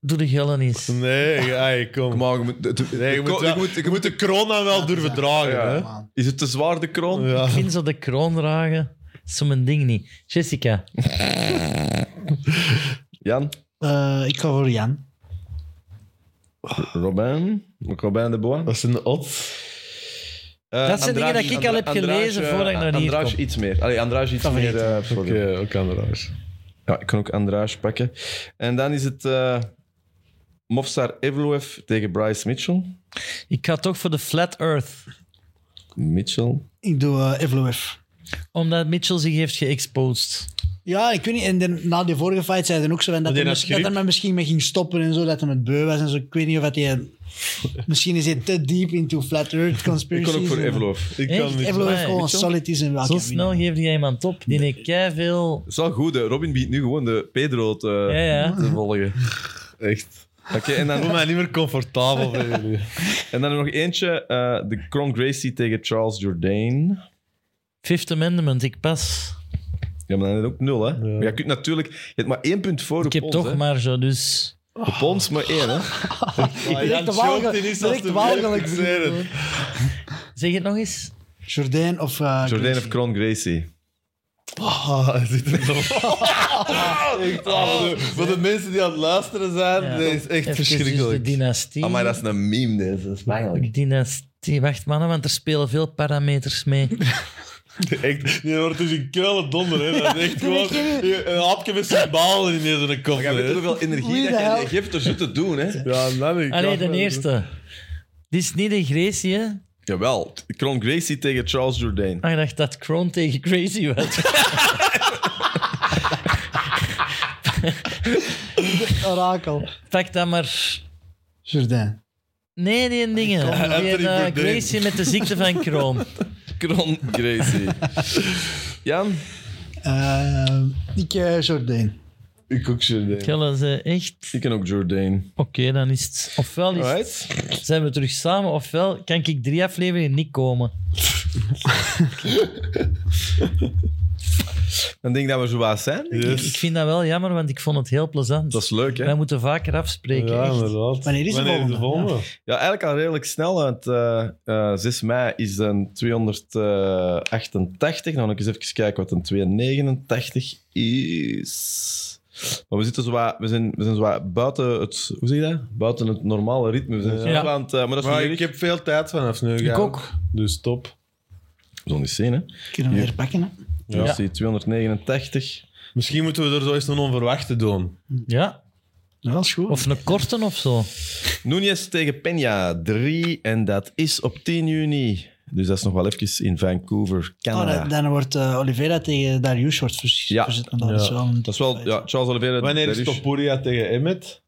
Speaker 3: doe de gillen eens.
Speaker 2: Nee, hey, kom.
Speaker 1: Maar je moet, de- de-
Speaker 2: Nee, je,
Speaker 1: de-
Speaker 2: moet,
Speaker 1: ko-
Speaker 2: wel-
Speaker 1: je moet-
Speaker 2: je moet de corona wel durven dragen.
Speaker 1: Ja. Is het te zwaar, de kroon?
Speaker 2: Hè? Ja.
Speaker 3: Ik vind zo de kroon dragen. Dat is zo mijn ding niet. Jessica,
Speaker 1: Jan.
Speaker 4: eh, ik ga voor Jan.
Speaker 1: Robin. Robin de Bois.
Speaker 2: Dat is een odds.
Speaker 1: Eh,
Speaker 3: Dat zijn dingen
Speaker 1: Andrade-
Speaker 3: dat ik al heb
Speaker 1: Andrade-
Speaker 3: gelezen
Speaker 1: Andrade,
Speaker 3: voordat ik naar
Speaker 1: eh,
Speaker 3: hier
Speaker 1: Andrade
Speaker 3: kom.
Speaker 1: iets meer. Allee, Andrade iets
Speaker 4: Favoriet.
Speaker 1: meer. eh, voor
Speaker 2: Oké,
Speaker 1: de-
Speaker 2: ook aan de raars.
Speaker 1: Ja, ik kan ook Andrage pakken. En dan is het eh Mofsar Evloev tegen Bryce Mitchell.
Speaker 3: ik ga toch voor de Flat Earth.
Speaker 1: Mitchell.
Speaker 4: Ik doe eh Evloev.
Speaker 3: Omdat Mitchell zich heeft geëxposed.
Speaker 4: Ja, ik weet niet. En dan- na die vorige fight zeiden ook zo van dat,
Speaker 2: die
Speaker 4: hij,
Speaker 2: had
Speaker 4: mis-
Speaker 2: griep.
Speaker 4: dat hij me misschien mee ging stoppen en zo. Dat hij het beu was en zo. Ik weet niet of dat hij... Misschien is hij te deep into flat earth
Speaker 1: Ik
Speaker 4: conspiracies.
Speaker 1: kon ook voor
Speaker 4: en-
Speaker 1: Evloev.
Speaker 2: Ik
Speaker 3: Echt?
Speaker 2: kan niet.
Speaker 4: Evloev
Speaker 3: Ja,
Speaker 4: gewoon
Speaker 3: Mitchell.
Speaker 4: solid is en wel
Speaker 3: Zo
Speaker 4: kan winnen.
Speaker 3: snel geeft hij iemand op. Die heeft veel.
Speaker 1: Het is wel goed, hè. Robin begint nu gewoon de Pedro te,
Speaker 3: Ja, ja.
Speaker 1: te volgen.
Speaker 2: Echt.
Speaker 1: Oké, en,
Speaker 2: Ik voel
Speaker 1: dan,
Speaker 2: mij niet meer comfortabel bij jullie.
Speaker 1: en dan nog eentje. eh, de Kron Gracie tegen Charles Jourdain.
Speaker 3: Fifth Amendment, ik pas.
Speaker 1: Ja, maar dan heb je ook nul, hè. Maar je kunt natuurlijk... Je hebt maar één punt voor
Speaker 3: Ik heb
Speaker 1: op ons,
Speaker 3: toch
Speaker 1: hè.
Speaker 3: marge, dus.
Speaker 1: Op ons maar één, hè.
Speaker 2: Maar
Speaker 4: direct
Speaker 2: Jan
Speaker 4: de
Speaker 2: choked
Speaker 4: walgel-
Speaker 2: in iets als
Speaker 4: direct
Speaker 2: de
Speaker 4: walgelijk
Speaker 2: weer. Ik zei het.
Speaker 3: Zeg het nog eens.
Speaker 4: Jourdain of... eh
Speaker 1: Jourdain of
Speaker 4: Gracie.
Speaker 1: Kron Gracie.
Speaker 2: Ah, hij zit er nog. Echt, ah, voor de- Voor de mensen die aan het luisteren zijn,
Speaker 3: Ja.
Speaker 2: dit is echt
Speaker 3: Even
Speaker 2: verschrikkelijk.
Speaker 3: Dus de dynastie.
Speaker 1: Amai, dat is een meme, deze. Dat is bangelijk.
Speaker 3: Dynastie. Wacht, mannen, want er spelen veel parameters mee.
Speaker 2: Echt, je hoort dus een kuilen donder. Hè. Dat is echt gewoon een hapje met zijn bal in deze
Speaker 1: Maar
Speaker 2: kop.
Speaker 1: je weet hoeveel
Speaker 4: Wie
Speaker 1: energie
Speaker 4: de
Speaker 1: dat
Speaker 4: hel?
Speaker 1: je geeft door zo te doen, hè.
Speaker 2: Ja, dan ik.
Speaker 3: Allee, de eerste. Dit is niet de Gracie, hè?
Speaker 1: Jawel. Kron Gracie tegen Charles Jourdain.
Speaker 3: Ah, ik dacht dat Kroon tegen Gracie was.
Speaker 4: Orakel.
Speaker 3: Pak dat maar.
Speaker 4: Jourdain.
Speaker 3: Nee, die dingen. Die,
Speaker 2: Anthony
Speaker 3: eh,
Speaker 2: Bourdain.
Speaker 3: Gracie met de ziekte van Kroon.
Speaker 1: Kron Gracie. Jan?
Speaker 4: Eh, ik eh, Jourdain.
Speaker 2: Ik ook zo. nee.
Speaker 3: Kellen ze echt.
Speaker 1: Ik ken ook Jourdain.
Speaker 3: Oké, dan is het. Ofwel is het-
Speaker 1: Alright.
Speaker 3: zijn we terug samen, ofwel kan ik drie afleveringen niet komen.
Speaker 1: Dan denk ik dat we zo wat zijn. denk ik.
Speaker 2: Yes.
Speaker 3: Ik, ik vind dat wel jammer, want ik vond het heel plezant.
Speaker 1: Dus- Dat is leuk, hè?
Speaker 3: Wij moeten vaker afspreken.
Speaker 2: Ja,
Speaker 3: echt.
Speaker 2: inderdaad.
Speaker 4: Wanneer is de volgende?
Speaker 1: Ja, eigenlijk al redelijk snel. Want eh, eh, 6 mei is een 288. Nou, ik eens even kijken wat een 289 is. Maar we, zitten zo wat, we, zijn, we zijn zo wat buiten het... Hoe zeg je dat? Buiten het normale ritme. We zijn zo
Speaker 3: Ja.
Speaker 1: wat aan het, eh, maar dat is
Speaker 2: Maar
Speaker 1: niet
Speaker 2: ik heb veel tijd vanaf nu.
Speaker 4: Ik
Speaker 2: ja.
Speaker 4: ook.
Speaker 2: Dus top.
Speaker 1: Zo'n niet zien, hè?
Speaker 4: Kunnen we
Speaker 1: Ja.
Speaker 4: weer pakken, hè?
Speaker 1: Ja.
Speaker 3: Ja.
Speaker 1: Dus die 289.
Speaker 2: Misschien moeten we er zo eens een onverwachte doen.
Speaker 3: Ja,
Speaker 4: Ja, dat is goed.
Speaker 3: of een korte of zo.
Speaker 1: Núñez tegen Peña, 3. En dat is op 10 juni. Dus dat is nog wel even in Vancouver,
Speaker 4: Oh,
Speaker 1: Canada.
Speaker 4: dan, dan wordt eh, Oliveira tegen Darius wordt vers
Speaker 1: Ja.
Speaker 4: verzet. En dat is wel een-
Speaker 1: Dat is wel... Ja, Charles Oliveira...
Speaker 2: Wanneer
Speaker 1: dat
Speaker 2: is Topuria tegen Emmet?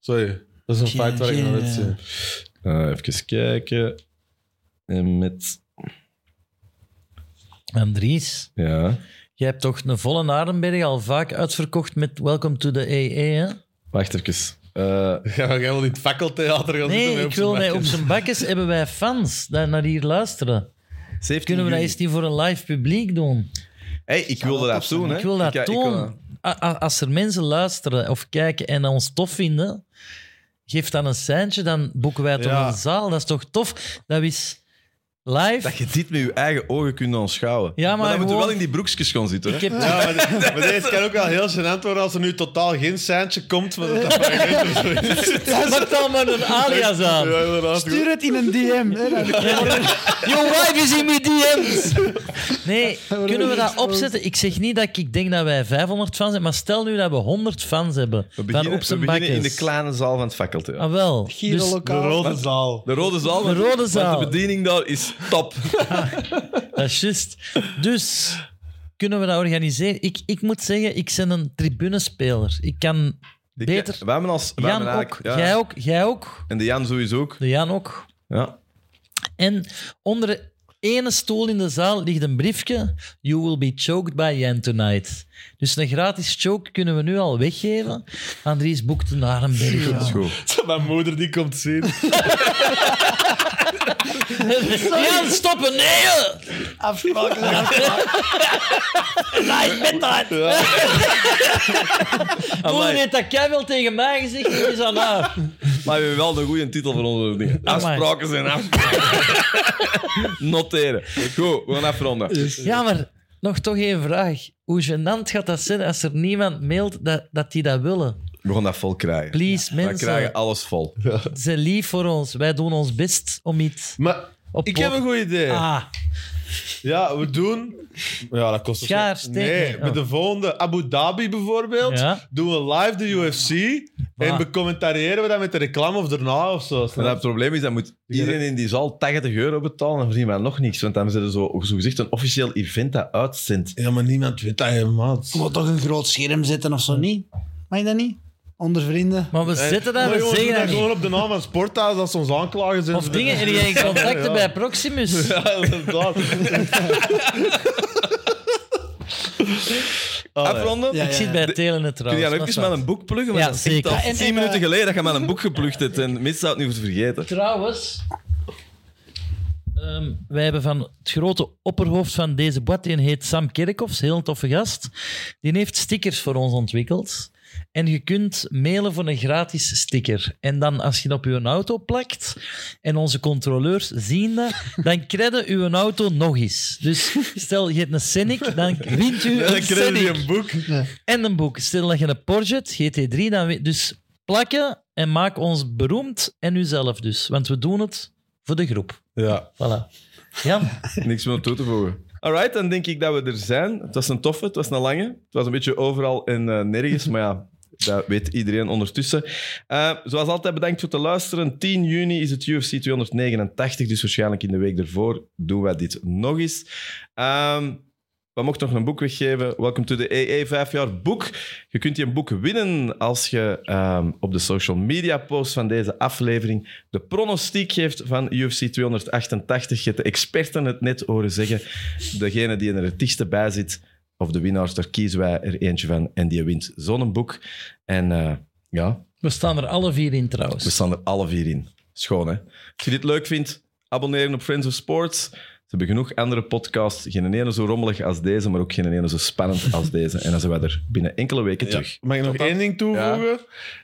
Speaker 2: Sorry. Dat is een
Speaker 4: Geen-
Speaker 2: fight waar ik nog
Speaker 4: geen,
Speaker 2: net
Speaker 4: eh,
Speaker 2: zie.
Speaker 1: Eh, even kijken. En met...
Speaker 3: Andries,
Speaker 1: Ja.
Speaker 3: jij hebt toch een volle Arenberg al vaak uitverkocht met Welcome to the AA, hè?
Speaker 1: Wacht even. Eh,
Speaker 2: Ga jij wel in het fakkeltheater gaan zitten?
Speaker 3: Nee,
Speaker 2: met
Speaker 3: ik wil nee,
Speaker 2: bakken?
Speaker 3: op zijn bakkes hebben wij fans die naar hier luisteren.
Speaker 1: 17
Speaker 3: Kunnen we dat
Speaker 1: juni.
Speaker 3: eens niet voor een live publiek doen?
Speaker 1: Hey, ik wilde
Speaker 4: wel
Speaker 1: dat
Speaker 4: tof
Speaker 1: doen, hè.
Speaker 3: Ik wil dat
Speaker 1: ik
Speaker 3: tonen.
Speaker 1: wil-
Speaker 3: A- a- Als er mensen luisteren of kijken en ons tof vinden, geef dan een seintje, dan boeken wij toch
Speaker 2: Ja.
Speaker 3: een zaal. Dat is toch tof? Dat is live.
Speaker 1: Dat je dit met je eigen ogen kunt aanschouwen.
Speaker 3: Ja, maar
Speaker 1: dan moet je
Speaker 3: gewoon-
Speaker 1: wel in die broekjes gaan zitten, hè.
Speaker 3: Ik heb
Speaker 2: Ja, maar, de- maar deze kan ook wel heel gênant worden als er nu totaal geen seintje komt. Maar dat dat
Speaker 3: Pak dan maar een alias aan.
Speaker 2: Ja, inderdaad.
Speaker 4: Stuur het in een DM. Hè, dan-
Speaker 3: Your wife is in my DM's. Nee, kunnen we dat
Speaker 4: gesproken.
Speaker 3: opzetten? Ik zeg niet dat ik denk dat wij 500 fans hebben, maar stel nu dat we 100 fans hebben.
Speaker 1: We
Speaker 3: dan
Speaker 1: beginnen,
Speaker 3: op
Speaker 1: we
Speaker 3: zijn
Speaker 1: beginnen in
Speaker 3: bakjes.
Speaker 1: de kleine zaal van het faculty.
Speaker 3: Ah, wel.
Speaker 4: Giro
Speaker 3: Dus
Speaker 2: De
Speaker 4: lokaal.
Speaker 2: rode zaal.
Speaker 1: De rode zaal.
Speaker 3: De rode
Speaker 1: want
Speaker 3: zaal.
Speaker 1: de bediening daar is top.
Speaker 3: Dat is Eh, juist. Dus kunnen we dat organiseren? Ik, ik moet zeggen, ik ben een tribunespeler. Ik kan
Speaker 1: Die
Speaker 3: beter.
Speaker 1: ke- We hebben als... We hebben
Speaker 3: Jan ook,
Speaker 1: eigenlijk- ja.
Speaker 3: jij ook, jij ook,
Speaker 1: En de Jan sowieso ook.
Speaker 3: de Jan ook.
Speaker 1: Ja.
Speaker 3: En onder ene stoel in de zaal ligt een briefje. You will be choked by Jan tonight. Dus een gratis choke kunnen we nu al weggeven. Andries boekt een Arenberg.
Speaker 1: Dat is goed.
Speaker 2: Mijn moeder die komt zien.
Speaker 3: Jan, stoppen! Nee!
Speaker 4: Afgesproken.
Speaker 3: Live met dat! Moeder heeft dat jij wel tegen mij gezegd, dat is aan haar.
Speaker 1: Maar we hebben wel de goede titel voor onze dingen.
Speaker 3: Amai.
Speaker 1: Afspraken zijn afspraken. Noteren. Goed, we gaan afronden.
Speaker 3: Ja, maar nog toch één vraag. Hoe gênant gaat dat zijn als er niemand mailt dat, dat die dat willen?
Speaker 1: We gaan dat vol krijgen.
Speaker 3: Please,
Speaker 1: We
Speaker 3: mensen.
Speaker 1: krijgen alles vol.
Speaker 3: Ze lief voor ons. Wij doen ons best om iets
Speaker 2: Maar
Speaker 3: op
Speaker 2: ik heb een goed idee.
Speaker 3: Ah,
Speaker 2: Ja, we doen... Ja, dat kost... ons-
Speaker 3: Schaar, steek.
Speaker 2: Nee, met de volgende Abu Dhabi bijvoorbeeld
Speaker 3: Ja.
Speaker 2: doen we live de UFC en
Speaker 3: Waar?
Speaker 2: becommentariëren we dat met de reclame of daarna of zo.
Speaker 1: Maar het probleem is, dat moet iedereen in die zaal 80 euro betalen en verdienen we nog niks. Want dan zitten zo, zo gezegd een officieel event dat uitzendt.
Speaker 2: Ja, maar niemand weet dat helemaal.
Speaker 4: Moet toch een groot scherm zetten of zo, niet? Mag je dat niet? Onder vrienden.
Speaker 3: maar we zitten daar, we
Speaker 2: jongens, doe
Speaker 3: zeggen
Speaker 2: dat
Speaker 3: dat niet.
Speaker 2: gewoon op de naam van Sporthuis als ze ons aanklagen. Zijn
Speaker 3: Of dingen, en jij contacten bij Proximus.
Speaker 2: Ja, inderdaad.
Speaker 1: Afronden?
Speaker 4: Ja,
Speaker 3: Ik zit bij Telenet
Speaker 1: Kun je
Speaker 3: trouwens.
Speaker 1: dat ook eens met een boek pluggen? Want
Speaker 3: Ja,
Speaker 1: dat is echt
Speaker 3: zeker.
Speaker 1: al
Speaker 3: Ja, en-
Speaker 1: 10
Speaker 4: en,
Speaker 1: minuten
Speaker 4: eh,
Speaker 1: geleden dat je met een boek geplukt hebt en mensen zou het niet moeten vergeten.
Speaker 3: Trouwens, ehm, wij hebben van het grote opperhoofd van deze boot, die heet Sam Kerkhoffs, heel toffe gast. Die heeft stickers voor ons ontwikkeld. En je kunt mailen voor een gratis sticker. En dan, als je dat op je auto plakt en onze controleurs zien dat, dan krijgen je auto nog eens. Dus stel, je hebt een Scenic, dan wint
Speaker 2: Dan
Speaker 3: u een
Speaker 2: krijgen
Speaker 3: Scenic.
Speaker 2: jullie een boek.
Speaker 3: En een boek. Stel dat je een Porsche hebt, GT3, dan we- dus plakken en maak ons beroemd en uzelf dus. Want we doen het voor de groep.
Speaker 2: Ja.
Speaker 3: Voilà. Jan,
Speaker 1: Niks meer om toe te voegen. Alright, dan denk ik dat we er zijn. Het was een toffe, het was een lange. Het was een beetje overal en eh, nergens, maar ja, dat weet iedereen ondertussen. Eh, zoals altijd, bedankt voor het luisteren. 10 juni is het UFC 289, dus waarschijnlijk in de week ervoor doen wij dit nog eens. Ehm, we mochten nog een boek weggeven. Welcome to the EE 5 jaar boek. Je kunt je een boek winnen als je ehm, op de social media post van deze aflevering de pronostiek geeft van UFC 288. Je hebt de experten het net horen zeggen. Degene die er het dichtste bij zit, of de winnaars, daar kiezen wij er eentje van. En die wint zo'n boek. En eh, ja,
Speaker 3: we staan er alle vier in
Speaker 1: we
Speaker 3: trouwens.
Speaker 1: staan er alle vier in. Schoon, hè? Als je dit leuk vindt, abonneren op Friends of Sports. Ze hebben genoeg andere podcasts. Geen ene zo rommelig als deze, maar ook geen ene zo spannend als deze. En dan zijn wij er binnen enkele weken terug.
Speaker 2: Mag ik nog één ding toevoegen?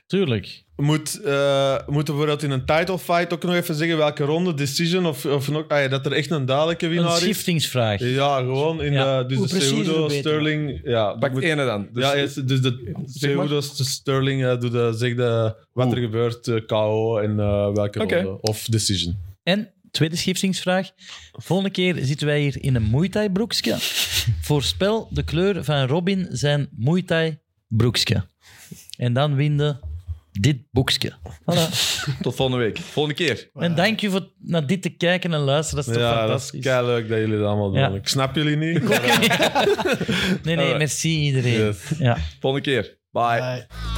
Speaker 3: Tuurlijk.
Speaker 2: Moet, eh, moeten we bijvoorbeeld in een title fight ook nog even zeggen welke ronde, decision of, of nog, ah ja, dat er echt een duidelijke
Speaker 3: Een
Speaker 2: winnaar is?
Speaker 3: schiftingsvraag.
Speaker 2: Ja, gewoon. In
Speaker 3: Ja.
Speaker 2: De, dus
Speaker 4: Hoe
Speaker 2: de
Speaker 4: preciezer, hoe
Speaker 2: Seudo,
Speaker 4: beter.
Speaker 2: Sterling. Ja,
Speaker 1: Pak
Speaker 2: moet-
Speaker 1: de ene dan. Dus
Speaker 2: ja, yes, dus de
Speaker 1: Zeg maar.
Speaker 2: Seudo, Sterling eh, doet de, zegt de, wat er gebeurt, eh, KO en eh, welke
Speaker 1: Oké.
Speaker 2: ronde. Of decision.
Speaker 3: En, tweede schiftingsvraag. Volgende keer zitten wij hier in een Muay Thai broekje. Voorspel de kleur van Robin zijn Muay Thai broekje. En dan winnen dit boekje. Voilà.
Speaker 1: Tot volgende week. Volgende keer.
Speaker 3: En dank je voor naar dit te kijken en luisteren. Dat is toch
Speaker 2: Ja, dat is
Speaker 3: fantastisch.
Speaker 2: kei leuk dat jullie dat allemaal doen.
Speaker 3: Ja.
Speaker 2: Ik snap jullie niet. maar, eh,
Speaker 3: nee, nee, merci iedereen.
Speaker 2: yes.
Speaker 3: Ja.
Speaker 1: Volgende keer. Bye.
Speaker 4: Bye.